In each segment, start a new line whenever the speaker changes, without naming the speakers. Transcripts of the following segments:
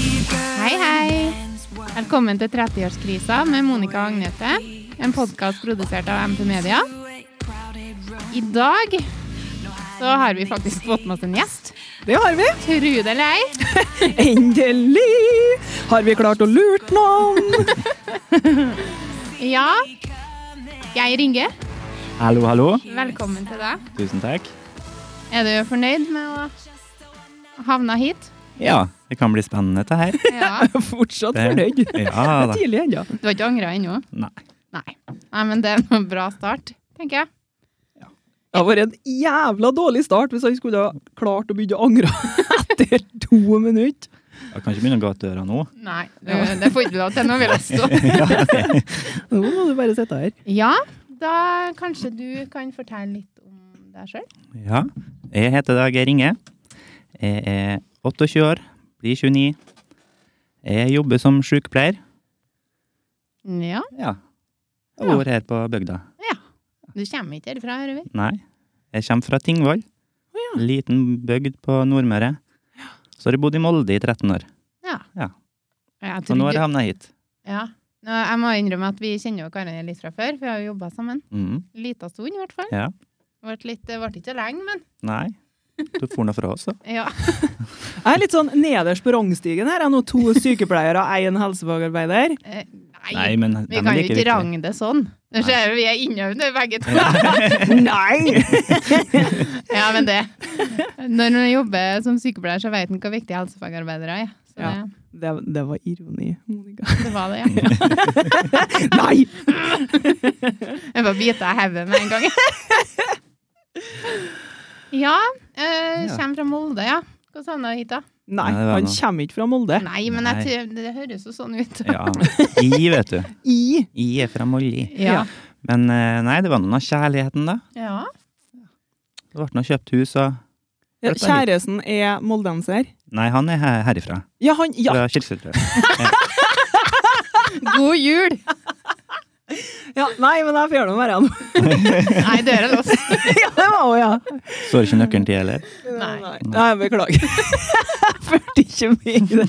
Hei, hei. Velkommen til 30-årskrisa med Monica og Agnete. En podkast produsert av MP Media. I dag så har vi faktisk fått med oss en gjest.
Det har vi.
Tru det eller ei.
Endelig har vi klart å lure noen.
Ja, Geir Inge,
Hallo, hallo.
velkommen til deg.
Tusen takk.
Er du fornøyd med å havne hit?
Ja, det kan bli spennende dette her.
Ja.
Fortsatt
Det-
fornøyd.
Ja da.
Tidlig ennå.
Du har ikke angra ennå?
Nei.
Nei. Nei, men det er en bra start, tenker jeg.
Det har vært en jævla dårlig start hvis han skulle ha klart å begynne å angre etter to minutter.
Jeg kan ikke begynne å gå ut døra nå.
Nei, du- det får ikke du lov til. Nå vil jeg stå.
Nå må du bare sitte her.
Ja, da kanskje du kan fortelle litt om deg sjøl.
Ja. Jeg heter da Geir Inge. Jeg er 28 år, blir 29. Jeg jobber som sykepleier.
Ja.
Ja. Og bor her på bygda.
Du kommer ikke herfra, hører vi.
Nei. Jeg kommer fra Tingvoll. Liten bygd på Nordmøre. Så har jeg bodd i Molde i 13 år.
Ja.
Ja.
Jeg
Så nå har jeg
trodde-
havna hit.
ja. Nå, jeg må innrømme at vi kjenner jo hverandre litt fra før, for vi har jo jobba sammen.
Mm.
Lita stund, i hvert fall.
Ja.
Vart litt, det ble ikke lenge, men
Nei. Du får noe fra oss, da.
ja.
Jeg er litt sånn nederst på rangstigen her. Jeg er nå to sykepleiere og én helsefagarbeider.
Eh, Nei.
Nei, men
vi kan jo ikke
range.
range det sånn. Nå ser vi vi er innøvde begge to.
Nei!
Ja, men det. Når man jobber som sykepleier, så vet man hvor viktig helsefagarbeidere er. Så
Ja. Det, det var ironi, Monica.
det, det var det, ja.
Nei!
Jeg bare biter av hodet med en gang. ja. Eh,
Ja.
kommer fra Molde, ja. Hvordan havna du hit, da?
Nei,
det var
han
noe.
kommer ikke fra Molde.
Nei, men jeg, tror- det høres jo sånn ut.
Eh, Ja. I, vet du.
I
I er fra Molli.
Ja.
Men eh, nei, det var noen av kjærligheten, da.
Ja.
Det ble noe kjøpt hus og
Ja,
Flytta hit.
Kjæresten er moldenser.
Nei, han er her, herifra.
Ja, han ja.
Fra Kirkesutra.
God jul!
ja! Nei, men jeg får nå være han.
Nei, døra er låst.
Ja, det var hun, ja.
Står ikke nøkkelen til heller.
Nei.
Nei, Nei, beklager. Jeg fulgte ikke med i det.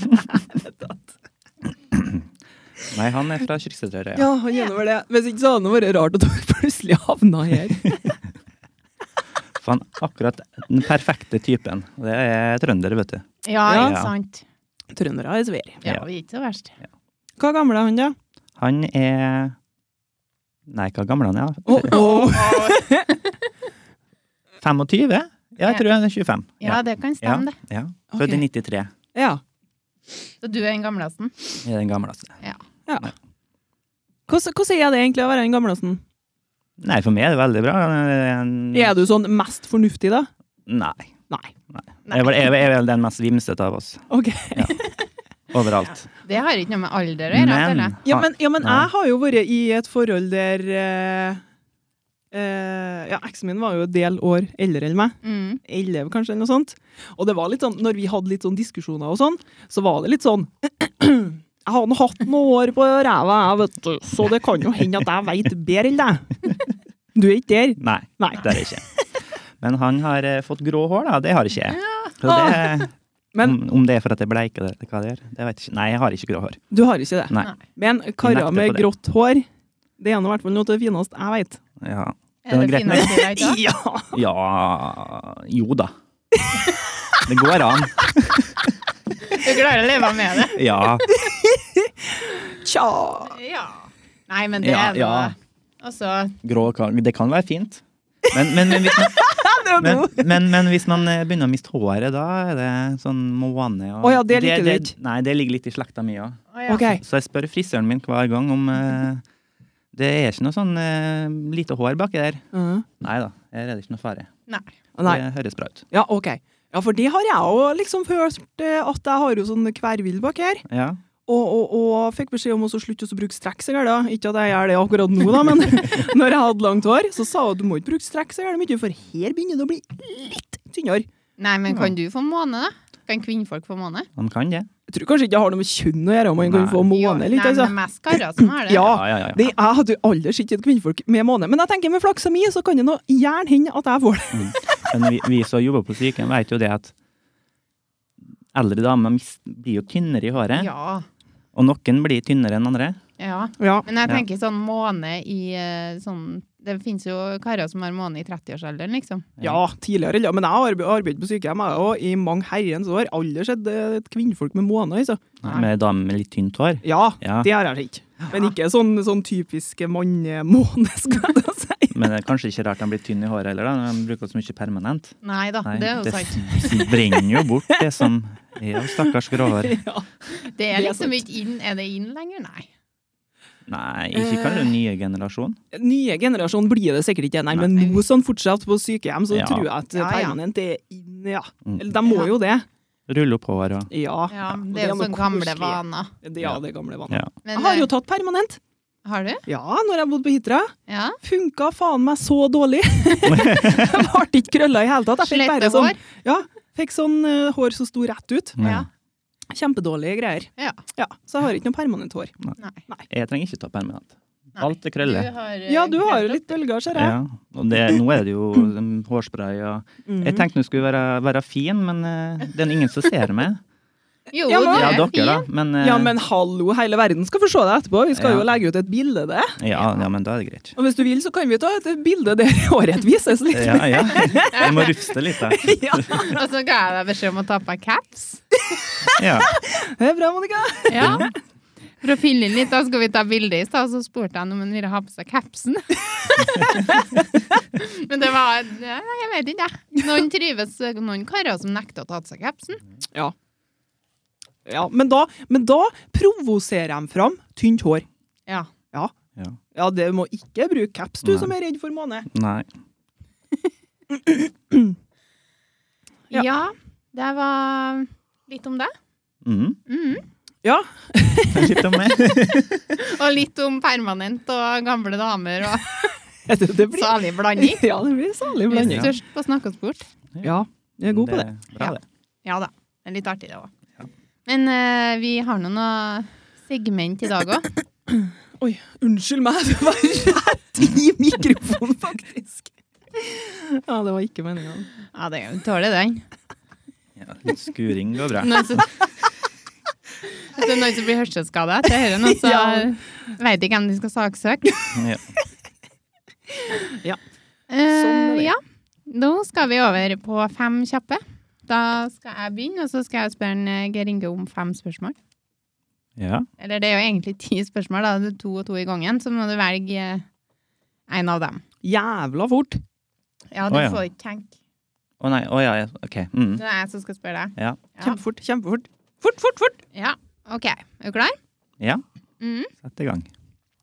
Nei, han er fra Kirkesutra, ja.
Ja, han gjennomgår det. Hvis ikke så hadde det vært rart at dere plutselig havna her.
For han er akkurat den perfekte typen. Og Det er trønder, vet du.
Ja,
Ja.
ikke sant.
Trøndere er svær.
Ja,
Ja.
vi er ikke så verst.
Hva gammel er han, da?
Han er Nei, hva gammel han er?
Å, å.
25? Ja, jeg tror han er 25.
Ja, det kan
ja.
stemme, det.
ja. Født i
Ok.
93.
Ja.
Så du er den gamlesten?
Er den gamleste.
ja. Hvordan, hvordan er det egentlig å være den gamlesten?
Nei, for meg er det veldig bra. Han er en-
Er du sånn mest fornuftig, da?
Nei.
Nei.
Jeg er vel- jeg er vel den mest vimsete av oss.
Ok.
Overalt.
Det har ikke noe med alder å gjøre. føler jeg.
Ja, men, ja, men
Nei.
jeg har jo vært i et forhold der eh, eh, Ja, eksen min var jo en del år eldre enn meg.
Mm.
11 kanskje, eller noe sånt. Og det var litt sånn, når vi hadde litt sånn diskusjoner og sånn, så var det litt sånn Jeg har nå hatt noen år på ræva, jeg, vet du, så det kan jo hende at jeg veit bedre enn deg. Du er ikke der?
Nei,
Nei.
det er det ikke. Men han har eh, fått grå hår, da. Det har ikke jeg. Så det,
Ah. Men
om, om det er for at jeg bleiker det, eller hva det gjør, det vet jeg ikke. Nei, jeg har ikke grå hår.
du har ikke det.
Nei.
Nei.
Men karer
nekter
med
på det.
grått hår, det er nå i hvert fall noe av det fineste jeg veit.
Ja.
Er
Det var
det
greit
fint å si deg da?
Ja.
ja Jo da. Det går an.
Du klarer å leve med det?
Ja.
Tja.
Ja. Nei, men det
Ja,
er noe
ja.
Altså,
Grå kan Det kan være fint. Men, men, men, hvis man,
Det er
men,
noe.
men, men hvis man eh, begynner å miste håret, da er det sånn måne og
Å ja, det liker du ikke.
Nei, det ligger litt i slekta mi òg.
å ja.
OK.
Så jeg spør frisøren min hver gang om eh, Det er ikke noe sånn eh, lite hår baki der.
Uh,
Nei da, her er det ikke noe fare.
Nei.
Nei.
Det høres bra ut.
Ja, OK. Ja, for det har jeg òg liksom hørt, eh, at jeg har jo sånn kvervill bak her.
Ja.
og, og, og fikk beskjed om å slutte å bruke strekkseler. da. Ikke at jeg gjør det akkurat nå, da, men når jeg hadde langt hår, så sa hun at du må ikke bruke strekkseler mye, for her begynner det å bli litt tynnere.
Nei, men kan du få måne, da? Kan kvinnfolk få måne?
Man kan det.
Jeg tror kanskje ikke det har noe med kjønn å gjøre, om man kan
Nei.
få
Jo,
måne litt.
Nei, men det
altså.
er mest karer som har det.
Ja,
Ja, ja, ja.
Det, jeg hadde jo aldri sett et kvinnfolk med måne, men jeg tenker med flaksa mi, så kan det nå
Mm.
gjerne hende at jeg får det.
Men vi, vi som jobber på sykehjem, vet jo det at eldre damer mis- blir jo tynnere i håret,
Ja.
og noen blir tynnere enn andre.
ja.
Ja.
Men jeg
Ja.
tenker sånn måne i eh, sånn Det finnes jo karer som har måne i 30-årsalderen, liksom.
ja, tidligere, ja. Men jeg har arbe- arbeidet på sykehjem jeg, og i mange herrens år. Aldri sett eh, et kvinnfolk med måne. Altså.
Nei.
Med damer med litt tynt hår.
Ja,
Ja.
det har jeg sett. Men ikke sånn, sånn typisk mannemåne, skal jeg si.
Men det er kanskje ikke rart de blir tynne i håret heller, da. De bruker så mye permanent.
Nei da,
Nei,
det er jo
det
sant.
s- brenner jo bort det som er jo stakkars gråhår.
Ja.
Det
er
er liksom
sant.
ikke inn. Er det inn lenger? Nei.
Nei, ikke kanskje
Eh.
den nye generasjon.
Nye generasjon blir det sikkert ikke, nei, men
Nei.
nå sånn fortsatt på sykehjem, så
Ja.
tror jeg at
Ja, ja.
permanent er inn, ja.
Mm.
Eller de må
Ja.
jo det.
Rulle opp hår og
Ja.
Ja, det er jo
noe
sånne gamle
koselig.
vaner.
Det- Ja, det gamle vannet.
Ja.
Men,
Jeg har jo
eh,
tatt permanent.
har du?
Ja, når jeg bodde på Hitra.
Ja.
Funka faen meg så dårlig. Jeg ble ikke krølla i hele tatt. Jeg fikk bare
Slette
sånn,
hår?
ja, fikk sånn eh, hår som sto rett ut.
Ja.
Kjempedårlige greier.
Ja.
Så jeg har ikke noe permanent hår.
Nei.
Jeg trenger ikke ta permanent.
Nei.
Alt er krøller.
Du har, eh,
Ja, du har
krøller.
jo litt bølger, ser jeg.
Ja. Og det, nå er det jo mm, hårspray og Jeg
Mhm.
tenkte du skulle være, være fin, men eh, det er ingen som ser meg.
Jo,
Ja, men-
du
Ja,
er
dere,
fin.
da. Men, eh,
Ja, men hallo, hele verden skal få se det etterpå. Vi skal
Ja.
jo legge ut et bilde av det.
ja, ja, men da er det greit.
Og hvis du vil, så kan vi ta et bilde der håret vises litt.
Ja, ja. Jeg må rufse litt, da.
Ja.
Og så ga jeg deg beskjed om å ta på deg caps.
Ja.
Det er bra, Monica.
Ja. For å fylle inn litt, da skal vi ta bilde i stad, så spurte han om han ville ha på seg capsen. Men det var ja, Jeg vet ikke, jeg. Noen trives, noen karer som nekter å ta på seg capsen.
Ja. ja men, da, men da provoserer de fram tynt hår.
Ja.
ja.
Ja, det må ikke bruke caps, du
Nei.
som er redd for måne.
Nei.
Ja.
ja. det var litt om det.
Mm.
Mhm.
Ja.
Litt om meg.
Og litt om permanent og gamle damer og
Det, det blir
salig blanding.
Ja, det blir salig
Vi er
blanding.
Ja.
størst på å snakke oss bort.
Ja, jeg er god på det.
er Bra,
Ja.
det.
Ja da. Det er litt artig, det òg.
Ja.
Men eh, vi har nå noe segment i dag òg.
Oi, unnskyld meg, det var rett i mikrofonen, faktisk. Ja, det var ikke meninga.
Ja, det tåler den.
Ja, litt skuring går bra.
Noen som, Hvis det er noen som blir hørselskada etter dette, noen som
Ja.
veit ikke hvem de skal saksøke.
Ja.
Eh,
Sånn er det.
ja. Nå skal vi over på fem kjappe. Da skal jeg begynne, og så skal jeg spørre en, eh, Geir Inge om fem spørsmål.
ja.
Eller det er jo egentlig ti spørsmål, da. Det er to og to i gangen. Så må du velge eh, en av dem.
Jævla fort.
Ja, du
Å, ja.
får ikke tenke.
Å nei. Å ja, ja. OK. Mm.
Det er jeg som skal spørre deg.
Ja.
Ja.
Kjempefort, kjempefort. Fort, fort, fort!
Ja, ok. Er du klar?
Ja.
Mm.
Sett i gang.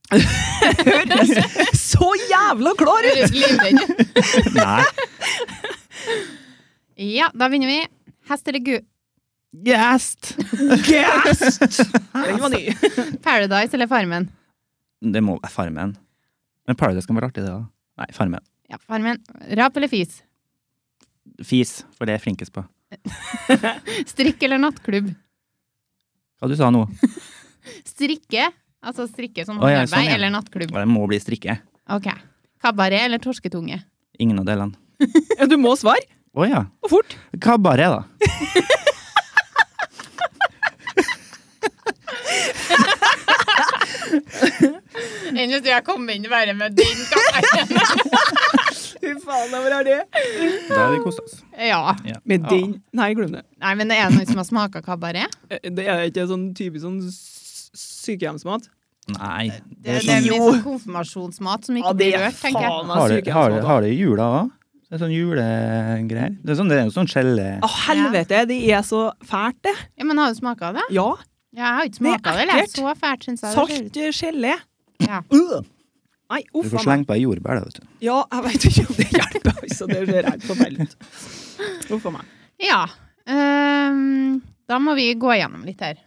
Så jævla klar ut!
Høres livredd.
Nei.
Ja, da begynner vi. Hest eller ku?
Gjest!
Gast! Den var ny.
Paradise eller Farmen?
Det må være Farmen. Men Paradise kan være artig, det òg. Nei, Farmen.
Ja, Farmen. Rap eller fis?
Fis, for det er jeg flinkest på.
Strikk eller nattklubb?
Hva du sa nå?
Strikke, altså strikke som
Å, ja,
håndarbeid,
sånn, ja.
eller nattklubb.
Det må bli strikke.
Ok. Kabaret eller torsketunge?
Ingen av delene.
Ja, du må svare,
Å ja.
og fort.
Kabaret, da.
Enn hvis jeg kom inn bare med din kabaret.
Fy faen, hvor er det?
Da har vi kost oss.
ja.
Ja.
Med den Nei, glem det.
Nei, men det er noen som har smaka kabaret.
Det er ikke sånn typisk sånn s- sykehjemsmat.
Nei.
Det,
Det er
det er
sånn,
Jo.
mye sånn konfirmasjonsmat som ikke
Ja, det
blir
er
rørt, tenker jeg.
faen meg
har, det, har, det,
sykehjemsmat. da.
har det i jula òg? Det er sånn julegreier. Det er sånn, det er en sånn skjelle...
Å, helvete, det er så fælt, det.
Ja, men har du smaka det?
Ja.
Ja, jeg har ikke
Det er
smaka det. eller?
ekkelt.
Så fælt, syns jeg. det ser ut.
Salt eh, gelé.
Ja.
Øh. Nei,
Du
uff
får
a meg.
slengt på ei jordbær, da, vet du.
Ja, jeg veit ikke om det hjelper. Altså, det ser helt forferdelig ut. Uff a meg.
Ja. ehm, da må vi gå gjennom litt her.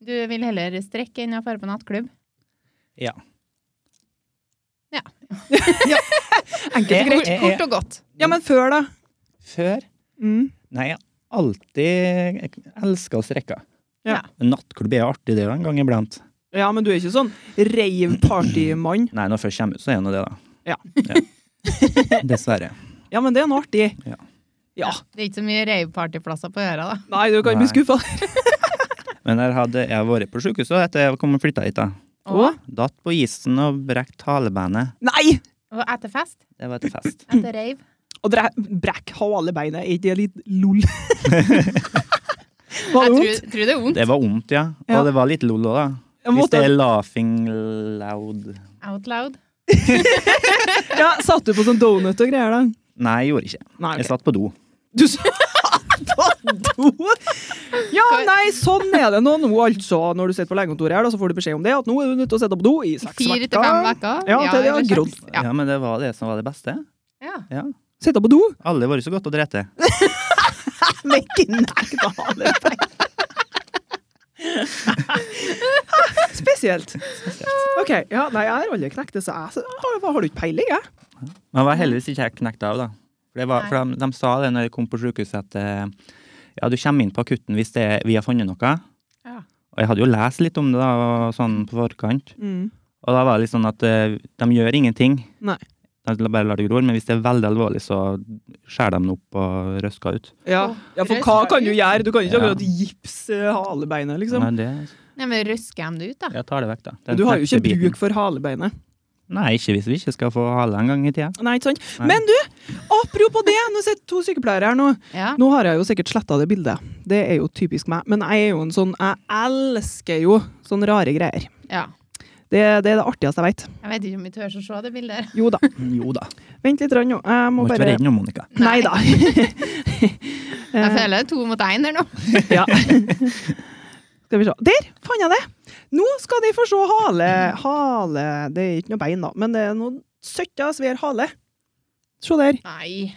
Du vil heller strekke enn å fare på nattklubb?
Ja.
Enkelt og
Kort,
greit.
jeg-
kort og godt.
Ja, men før, da?
Før
Mm.
Nei, jeg har alltid jeg elsker å strekke.
Ja.
Nattklubb er jo artig, det òg, en gang iblant.
Ja, men du er ikke sånn reiv partymann.
Nei, når jeg først kommer ut, så er nå det, da.
Ja.
Dessverre.
Ja, men det er noe artig.
Ja.
Ja.
Det er ikke så mye ravepartyplasser på øra, da.
Nei, du kan ikke bli
Nei.
skuffa.
Men der hadde jeg vært på sykehuset etter jeg kom og flytta hit. da.
Og,
Datt på isen og brekk halebenet.
Nei!
og etter fest.
Det var til fest.
Etter rave.
Og dere brekk halebeinet, er ikke det litt lol? Var
Jeg tror,
det vondt?
tror det er vondt.
Det var vondt, ja.
Ja.
Og det var litt lol òg, da.
Jeg
Hvis det
måtte-
er laughing loud
Out loud.
Ja, Satt du på sånn donut og greier da?
Nei, jeg gjorde ikke.
Nei, ok.
Jeg satt på do.
Du sa do! Ja, nei, sånn er det nå. nå altså, når du sitter på legekontoret her, da, så får du beskjed om det, at nå er du nødt til å sitte på do i seks
Fire til fem uker.
Ja, til det har
eller seks.
grodd.
Ja.
Ja, men det var det som var det beste.
Ja.
Ja.
Sitte på do?
Alle har vært så godt å drete.
Med knekt halebein. Spesielt. OK. Ja, nei, jeg har aldri knekt det, så jeg så- har, har du ikke peiling, jeg?
Men jeg var heldigvis ikke helt knekt av, da. For, det var, for de, de sa det når jeg kom på sykehuset, at eh, ja, du kommer inn på akutten hvis det, er- vi har funnet noe.
Ja.
Og jeg hadde jo lest litt om det da, og sånn på forkant.
Mm.
Og da var det litt sånn at eh, de gjør ingenting.
Nei.
De bare lar det gro, men hvis det er veldig alvorlig, så skjærer de den opp og røsker ut.
Ja. ja, for hva kan du gjøre? Du kan ikke akkurat gipse eh, halebeinet, liksom.
Men det,
Nei, men røsker dem det ut, da?
jeg tar det vekk, da. Den
Du har jo ikke
knekte biten.
bruk for halebeinet.
Nei, ikke hvis vi ikke skal få hale en gang i tida.
Nei, ikke sant?
Nei.
Men du, apropos det, nå sitter to sykepleiere her nå.
Ja.
Nå har jeg jo sikkert sletta det bildet. Det er jo typisk meg. Men jeg er jo en sånn Jeg elsker jo sånne rare greier.
ja.
Det, det er det artigste jeg veit.
Jeg vet ikke om vi tør å se det bildet. her.
Jo da.
Jo da.
Vent litt grann nå. Jeg må
Må ikke være
bare
redd nå, Monica.
Nei da.
Jeg føler det er to mot én her nå.
ja. Skal vi se. Der fant jeg det! Nå skal de få se hale Hale Det er ikke noe bein, da, men det er noe søtta, svær hale. Se der.
Nei.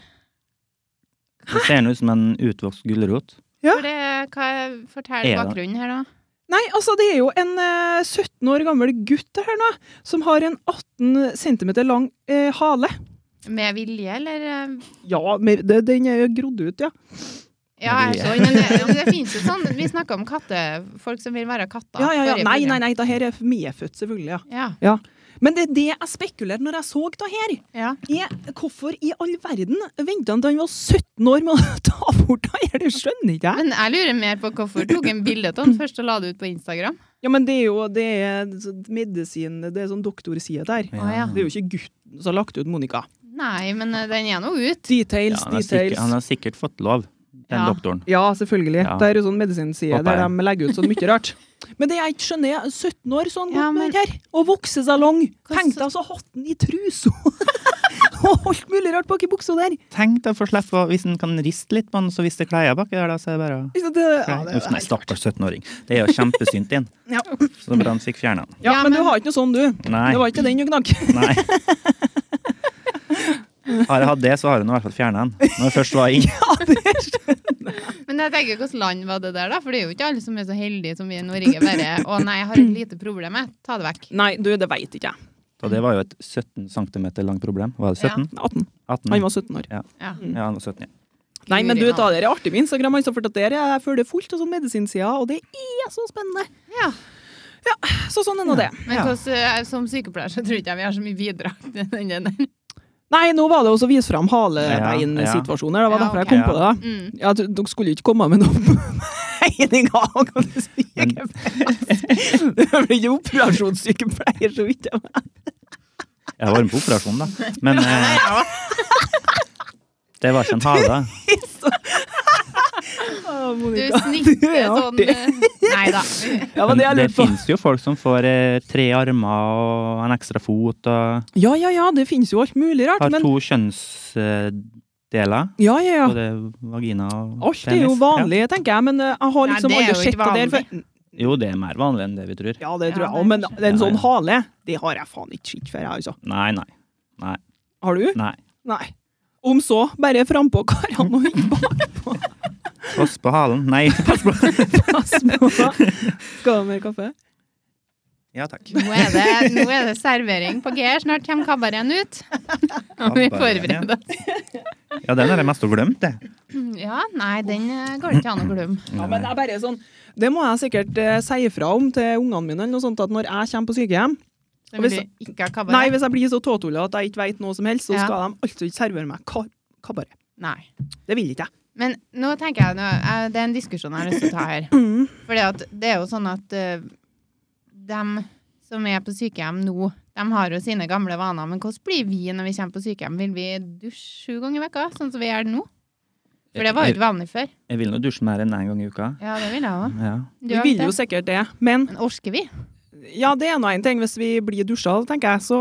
Det ser nå ut som en utvokst gulrot.
For det, hva forteller
Er det-
bakgrunnen her, da?
Nei, altså det er jo en eh, 17 år gammel gutt det her nå, som har en 18 cm lang eh, hale.
Med vilje, eller? eh,
Ja, men det, den er jo grodd ut, ja.
Ja,
Med
jeg så
vilje.
men det, men det finnes jo sånn Vi snakka om katte, folk som vil være katter.
Ja, ja, ja.
forrige
Nei, nei,
program.
nei, det her er medfødt, selvfølgelig. ja.
Ja,
Men det er det jeg spekulerte når jeg så det her.
ja.
Er, hvorfor i all verden venta han til han var 17 år med å ta bort det her? Det skjønner ikke jeg.
Men jeg lurer mer på hvorfor tok en bilde av den først og la det ut på Instagram.
Ja, men det er jo det er sånn medisin, det er sånn doktorside der.
Å, ja.
Det er jo ikke gutten som har lagt ut Monica.
Nei, men eh, den er nå ut.
Details,
Ja, han, har sikkert, han
details.
har sikkert fått lov, den
Ja.
doktoren.
Ja, selvfølgelig.
Ja.
Det er jo sånn medisinside
Håper
der
jeg.
de legger ut sånn mye rart. Men det jeg ikke skjønner, er 17 år sånn
Ja,
godt
men-
med den her, og voksesalong.
Hva
Tenk
så-
deg altså hatten i trusa! og alt mulig rart baki buksa der.
Tenk deg å få slippe å- Hvis en kan riste litt på den, så hvis det kleier baki der, da, så er det bare å
Ikke sant, Det, ja, det,
Uff, nei, Stakkars 17-åring. Det er jo kjempesynt igjen.
ja.
Så bra han fikk fjerna den.
ja,
Ja,
men du
men-
har ikke noe sånn, du.
Nei.
Det var ikke den du knakk.
nei. Har jeg hatt det, så har hun i hvert fall fjerna den. Når jeg først var inn.
Men jeg tenker, hvilket land var det der, da? For det er jo ikke alle som er så heldige som vi i Norge. Bare 'Å nei, jeg har et lite problem med. Ta det vekk'.
Nei, du, det veit ikke jeg.
Og det var jo et 17 cm langt problem. Var det 17?
18.
18?
Han var 17 år.
Ja.
Ja, han var 17, ja.
Nei, men du,
Guri,
da, det er artig med Instagram. Han som fortalte det, jeg følger fullt av sånn medisinsider, og det er så spennende.
ja.
Så sånn er nå det.
Men
Ja.
hvordan, eh, som sykepleier så tror ikke jeg vi har så mye bidrag til den der.
Nei, nå var det også å vise fram halebeinsituasjoner. Det var
Ja,
derfor jeg
ok.
kom på det. da.
Mm.
Ja, du, dere skulle jo ikke komme med noen meninger om det sykepleier. Det blir ikke operasjonssykepleier, så vidt jeg vet.
Jeg var med på operasjon, da. Men eh, det var ikke en hale.
Du
Monica, du
snitter
er
sånn
artig.
Nei da.
Ja, var
Men
det jeg
det
lurte på.
finnes jo folk som får eh, tre armer og en ekstra fot og
Ja, ja, ja, det finnes jo alt mulig rart,
har
men
to kjønnsdeler.
Ja, ja, ja.
Både vagina og
Alt er jo
penis.
vanlig, tenker jeg, men eh, jeg har
Nei,
liksom
det er
aldri
jo
sett
ikke
det der
vanlig.
før.
Ja. Jo, det er mer vanlig enn det vi tror.
Ja, det
Ja,
tror
det
jeg
er
òg, men
kanskje-
en sånn
Ja,
hale, det har jeg faen ikke sett før, jeg, altså.
Nei, nei.
Har du?
nei.
Nei. Om så, bare frampå karene og ikke bakpå.
Pass på halen. Nei, pass på
Pass på. Skal du ha mer kaffe?
Ja takk.
Nå er, det, nå er det servering på G. Snart kommer kabareten ut. Og vi
Kabareten,
forbereder oss.
Ja, den er det mest å glemme, det.
Ja, nei, den eh, går det ikke an å glemme.
Ja, men det er bare sånn Det må jeg sikkert eh, si ifra om til ungene mine, eller noe sånt, at når jeg kommer på sykehjem
Den
Hvis-
blir ikke
Nei,
kabaret.
hvis jeg blir så tåtulla at jeg ikke vet noe som helst, så
Ja.
skal de altså ikke servere meg ka kabaret.
Nei.
Det vil ikke jeg.
Men nå tenker jeg, nå, jeg- det er en diskusjon jeg har lyst til å ta her. Fordi at det er jo sånn at eh, dem som er på sykehjem nå, de har jo sine gamle vaner. Men hvordan blir vi når vi kommer på sykehjem? Vil vi dusje sju ganger i veka, sånn som vi gjør nå? For det var jo
Jeg,
ikke vanlig før.
jeg vil nå dusje mer enn én gang i uka.
Ja, det vil jeg òg.
Ja.
Vi vil jo sikkert det, men
Men orker vi?
ja, det er nå en ting hvis vi blir dusja, tenker jeg. Så,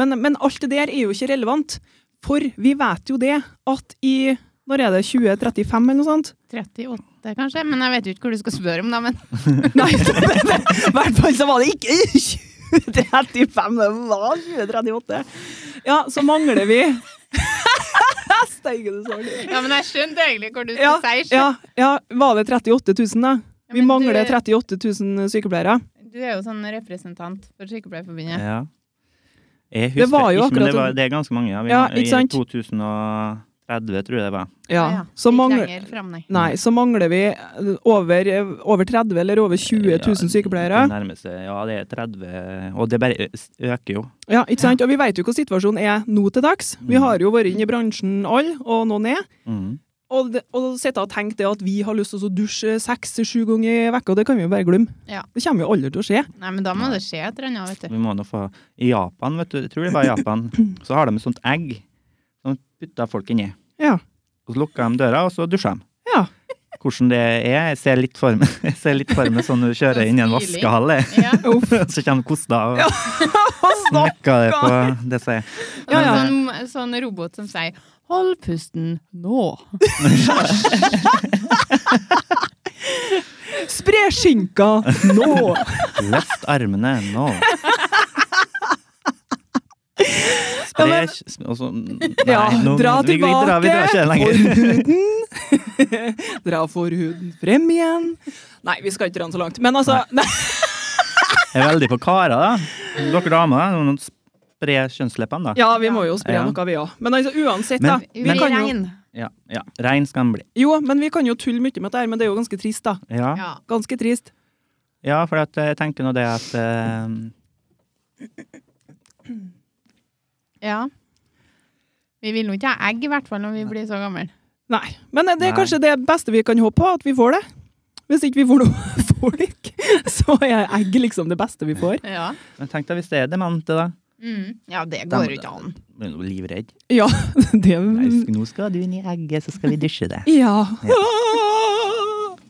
men, men alt det der er jo ikke relevant. For vi vet jo det at i når er det 2035 eller noe sånt?
38, kanskje? Men jeg vet jo ikke hvor du skal spørre om, da. Men
Nei, i hvert fall så var det ikke 2035, det var 2038. Ja, så mangler vi Steigen, du så det.
Ja, men jeg skjønte egentlig hvor du
Ja,
skulle si. skjønte-
ja, ja, var det 38 000, da? Vi
men
mangler
du-
38 000 sykepleiere.
Du er jo sånn representant for Sykepleierforbundet.
Ja. Jeg husker
Det var jo
ikke, men det,
akkurat
var,
en-
det er ganske mange. Ja. Vi,
Ja,
må-
ikke sant?
I 2030, tror jeg det var.
Ja, så
Ikke
mangler
lenger fram, nei.
Nei, så mangler vi eh, over, eh, over 30 eller over 20 000 sykepleiere.
Det nærmer seg- ja, det er 30 Og det bare ø- øker jo.
Ja, ikke sant? Og vi vet jo hvordan situasjonen er nå til dags. Vi
Mm.
har jo vært inne i bransjen alle, og noen er.
Mm.
Og, det, og sitte og tenke det at vi har lyst til å dusje seks til sju ganger i vekka, det kan vi jo bare glemme.
Ja.
Det kommer jo aldri til å skje.
Nei, men da må det skje et eller annet, vet du.
Vi må nå få I Japan, vet du, jeg tror det var i Japan, så har de et sånt egg som putter folk inni.
Ja.
Og så lukker de døra, og så dusjer de.
Ja.
Hvordan det er, jeg ser litt for meg, jeg ser litt for meg sånn når du kjører inn i en
Sånn stilig.
vaskehall, jeg.
Ja,
så kommer kosta og snakker det på det som er.
og
Ja, ja.
Sånn, sånn robot som sier 'hold pusten nå'.
Spre skinka nå!
Løft armene nå.
Ja,
Spre
men-
og så-
Ja,
Nei, nå,
dra
vi, vi, drar, vi drar ikke
tilbake
lenger.
forhuden. Dra forhuden frem igjen. Nei, vi skal ikke dra den så langt. Men altså nei.
Jeg er veldig på karer, da. Dere damer, da. Spre kjønnsleppene, da.
Ja, vi må jo spre
Ja.
noe, vi òg. Men altså, uansett,
Men-
da.
Vi
Vi kan jo,
regn.
Ja, ja. Rein skal den bli.
jo, men vi kan jo tulle mye med det her, men det er jo ganske trist, da.
Ja.
Ja.
Ganske trist.
Ja, for at jeg tenker nå det at eh,
ja. Vi vil nå ikke ha egg, i hvert fall når vi blir så gamle.
Nei. Men eh, det er
Nei.
kanskje det beste vi kan håpe på, at vi får det. Hvis ikke vi får noe folk, så er egg liksom det beste vi får.
Ja.
Men tenk deg hvis det er demente, da.
Mm. ja, det
Da
går
må
jo
det-
ikke an.
Blir du livredd?
Ja, det
Nei, sk- nå skal du inn i egget, så skal vi dusje deg.
Ja.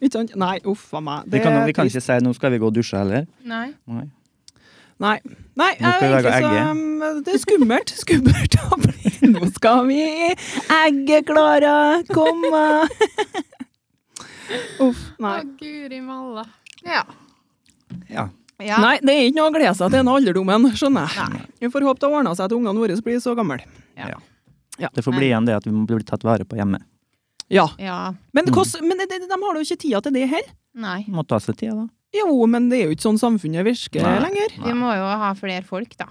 Ikke sant? Nei, uff a meg.
Vi
Det
kan,
er
vi kan
trist.
ikke si 'nå skal vi gå og dusje' heller.
Nei.
Nei.
Nei. Nei,
Nå skal vi
eh,
lage
egentlig så,
egg.
um, det er skummelt. Skummelt. å bli- Nå skal vi i egget, Klara. Kom. eh. Uff. Nei.
Å, guri malla. Ja.
Ja.
ja.
Nei, det er ikke noe å glede seg til denne alderdommen, skjønner jeg. Vi får håpe det ordner seg at ungene våre blir så gamle.
Det får bli igjen det at vi må bli tatt vare på hjemme.
Ja.
Ja.
Men,
Mm.
hvordan- men de, de har jo ikke tida til det her.
Nei.
Må ta seg tid, da.
Jo, men det er jo ikke sånn samfunnet virker
Nei.
lenger.
Vi må jo ha flere folk, da.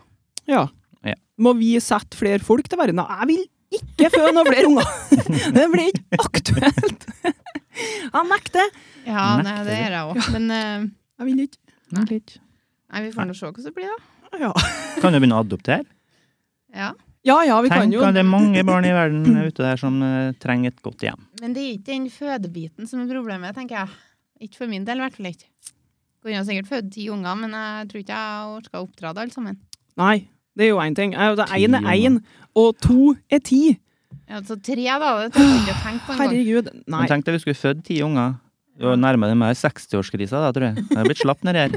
Ja.
Ja.
Må vi sette flere folk til verden? Jeg vil ikke føde noen flere unger! det blir ikke aktuelt! Jeg nekter!
Ja,
Nekter
nei,
vi.
det gjør jeg òg. Men eh,
Jeg vil ikke.
nei, vi får nå se hvordan det blir, da.
Ja
Kan du begynne å adoptere?
Ja.
ja, ja vi kan
Tenk
jo
at det er mange barn i verden ute der som eh, trenger et godt hjem.
Men det er ikke den fødebiten som er problemet, tenker jeg. Ikke for min del, i hvert fall ikke. Kunne jeg sikkert født ti unger, men jeg tror ikke jeg orka å oppdra det alle sammen.
Nei, det er jo én ting. Eh, det er Én er
Ti
én, og to er ti.
Ja, så tre, da. Det tør jeg ikke å tenke på engang.
Herregud. Nei.
Men tenk deg vi skulle født ti unger. Du var nærmere deg meg 60-årskrisa da, tror jeg. Jeg har blitt slapp nedi her.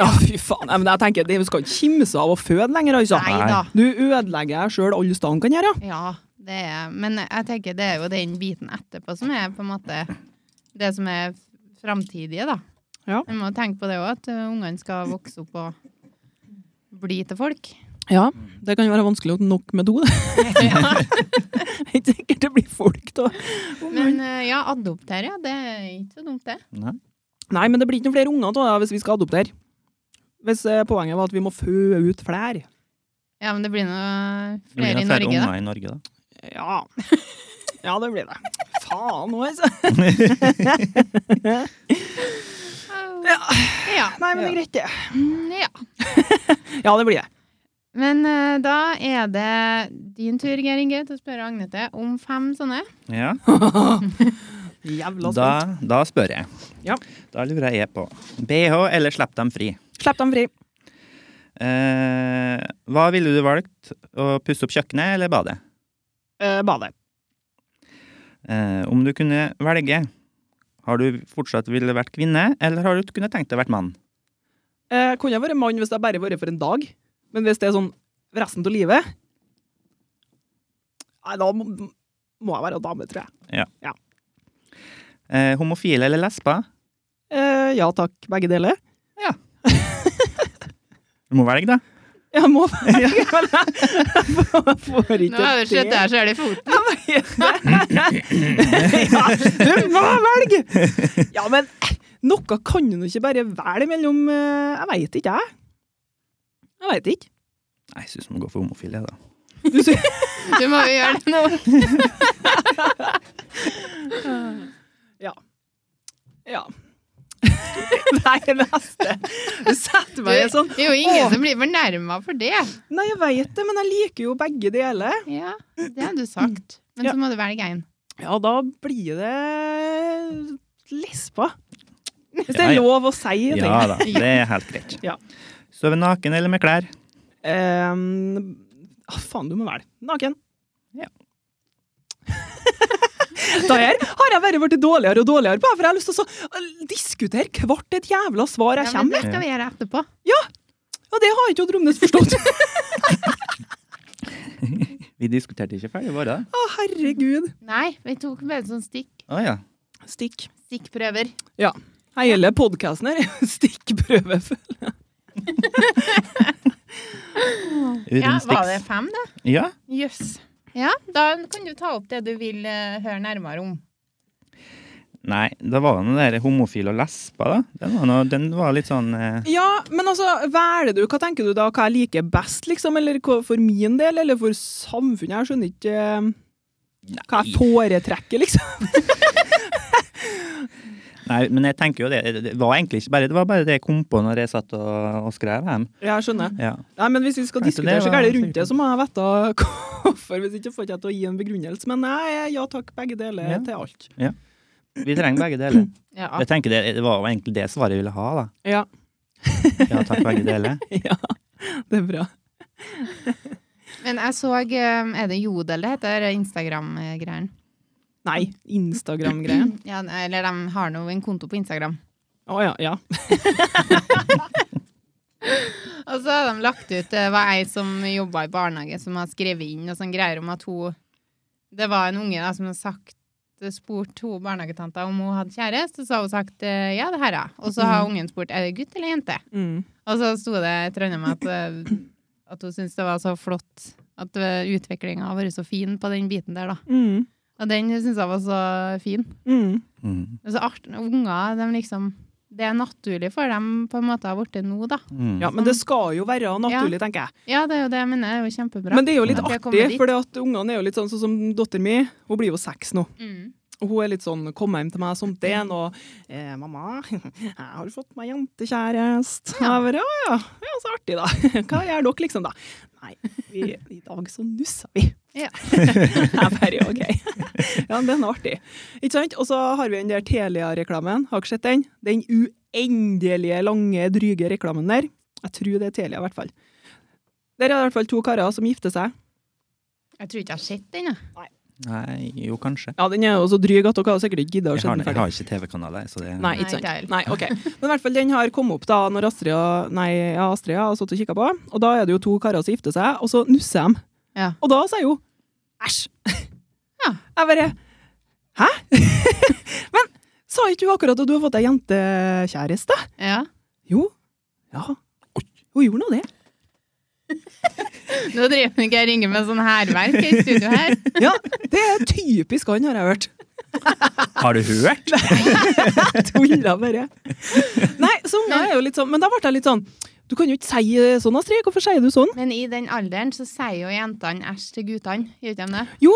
Ja, fy faen. Nei, men jeg tenker, det- Vi skal ikke kimse av å føde lenger, altså.
Nei da.
Du ødelegger deg sjøl alle steder kan gjøre.
Ja, det er Men jeg tenker det er jo den biten etterpå som er på en måte det som er framtidige, da.
Ja.
En må tenke på det òg, at uh, ungene skal vokse opp og bli til folk.
Ja, det kan jo være vanskelig å nok med to. det.
Ja.
Ikke sikkert det blir folk da.
Men uh, ja, adoptere, ja. Det er ikke så dumt, det.
Nei.
Nei, men det blir ikke noen flere unger da, hvis vi skal adoptere. Hvis eh, poenget var at vi må fø ut flere.
Ja, men det blir nå
Det blir
flere i
noen flere
Norge, da.
unger i Norge, da.
Ja. Ja, det blir det. Faen òg, altså.
Ja.
Nei, men det er greit, det.
Mm, ja.
Ja, det blir det.
Men eh, da er det din tur, Geir Inge, til å spørre Agnete om fem sånne.
Ja,
Jævla
da,
spent.
da spør jeg.
Ja.
Da lurer jeg på BH eller slipp dem fri?
Slipp dem fri.
Eh, hva ville du valgt? Å pusse opp kjøkkenet eller badet?
Eh, bade.
Eh, om du kunne velge, har du fortsatt ville vært kvinne, eller har du kunne tenkt deg å vært mann?
Eh, kunne jeg vært mann hvis jeg bare vært for en dag? Men hvis det er sånn resten av livet Nei, da må, må jeg være dame, tror jeg.
Eh, homofile eller lesber?
Eh, ja takk, begge deler.
Du må velge, da.
Jeg må Jeg får
Nå har du sett der, så er det foten.
ja, du må velge! Ja, men eh, noe kan du nå ikke bare velge mellom eh, Jeg veit ikke, jeg. Jeg veit ikke.
Nei, jeg syns man går for homofile, da.
Du sy-
Du må jo gjøre det nå.
Ja. Nei, neste. Du setter
Du,
meg i en sånn
det er jo ingen som blir fornærma for det.
Nei, jeg veit det, men jeg liker jo begge deler.
Ja, det har du sagt. Men
Ja.
så må du velge én.
Ja, da blir det lesba. Hvis det
Ja,
er
ja.
lov å si, tenker
Ja
jeg.
da, det er helt greit.
Ja.
Sove naken eller med klær?
Ehm, ah, faen, du må velge. Naken.
Ja.
da her har jeg bare blitt dårligere og dårligere, bare for jeg har lyst til å så- å diskutere hvert et jævla svar jeg
Ja, men
kommer med.
det skal vi gjøre etterpå.
Og det har ikke Dromnes forstått. Å,
Vi diskuterte ikke ferdig, var det?
herregud.
Nei, vi tok bare sånn stikk.
Å ja.
Stikk.
Stikkprøver.
Hele podkasten her er stikkprøve.
Uten
Ja, var det
sticks.
fem, da?
Ja.
Jøss. Ja, da kan du ta opp det du vil eh, høre nærmere om.
Nei, da var det noe der homofil og lesba, da. Den var, noe, den var litt sånn eh,
Ja, men altså, velger du? Hva tenker du da? Hva jeg liker best, liksom? Eller hva, for min del, eller for samfunnet? Jeg skjønner ikke eh, hva jeg foretrekker, liksom.
Nei, men jeg tenker jo det. Det var egentlig ikke bare det, var bare det jeg kom på når jeg satt og, og skrev dem.
Jeg skjønner.
Ja.
Nei, men Hvis vi skal
Nei, så
diskutere
det
så
var
gærent rundt
sikkert-
det, så må jeg vite hvorfor. Hvis ikke får jeg ikke til å gi en begrunnelse. Men nei, ja takk, begge deler
Ja.
til alt.
Vi trenger begge deler.
Ja.
Jeg tenker det, det var jo egentlig det svaret jeg ville ha, da.
Ja.
Ja, takk, begge deler.
ja, det er bra.
Men jeg så eh, Er det Jodel det heter? Instagram-greien.
Nei, Instagram-greien.
Ja, eller de har nå en konto på Instagram.
Å ja, ja.
Og så har de lagt ut Det var ei som jobba i barnehage, som har skrevet inn og sånn greier om at hun Det var en unge da, som hadde sagt spurt to barnehagetanter om hun hadde kjæreste, og så har hun sagt eh, ja, det her, ja. Og så har ungen spurt er det gutt eller jente.
Mm.
Og så sto det et eller annet med at, eh, at hun syntes det var så flott at utviklinga har vært så fin på den biten der, da.
Mm.
Og den syns jeg var så fin.
Mm.
Mm.
Altså, art, unger, de liksom Det er naturlig for dem på en måte har blitt det nå, da.
Mm.
ja. Men det skal jo være naturlig, tenker jeg.
Ja, det er jo det jeg mener. Det er jo kjempebra.
Men det er jo litt
At vi har
artig,
kommet dit.
for ungene er jo litt sånn, sånn som datteren min. Hun blir jo seks nå.
Mm.
Og hun er litt sånn 'kom hjem til meg som den', og eh, 'mamma, jeg har fått meg jentekjæreste'. Ja. Jeg bare, «Å ja, ja, så artig, da. Hva gjør dere, liksom, da? Nei, vi, i dag så nussa vi.
Ja.
jeg bare OK. ja, men den er artig. Ikke sant? Og så har vi den der Telia-reklamen. Har dere sett den? Den uendelige lange, dryge reklamen der. Jeg tror det er Telia, i hvert fall. Der er det i hvert fall to karer som gifter seg.
Jeg tror ikke jeg har sett den, jeg.
Nei, jo, kanskje.
Ja, den er jo så dryg at dere har sikkert ikke giddet å
Jeg
se
har,
den
jeg
ferdig.
har ikke TV-kanaler, så det
Nei,
Nei,
ikke sant.
ikke
Nei, ok. Men i hvert fall, den har kommet opp da når Astrid og, nei, ja, Astrid har satt og kikket på, og da er det jo to karer som gifter seg, og så nusser de.
Ja.
Og da sier hun, æsj.
Ja.
Jeg bare, hæ? Men, sa ikke du akkurat at du har fått deg jentekjæreste?
Ja.
Jo. Ja. Hun gjorde nå det.
Nå driver ikke jeg ringer med sånn hærverk i studio her.
Ja, det er typisk han, har jeg hørt.
Har du hørt?
Tulla bare. Nei, så unger er jo litt sånn, men da ble jeg litt sånn, du kan jo ikke si eh, sånn, Astrid, hvorfor sier du sånn?
Men i den alderen så sier jo jentene æsj til guttene, gjør ikke de det?
Jo,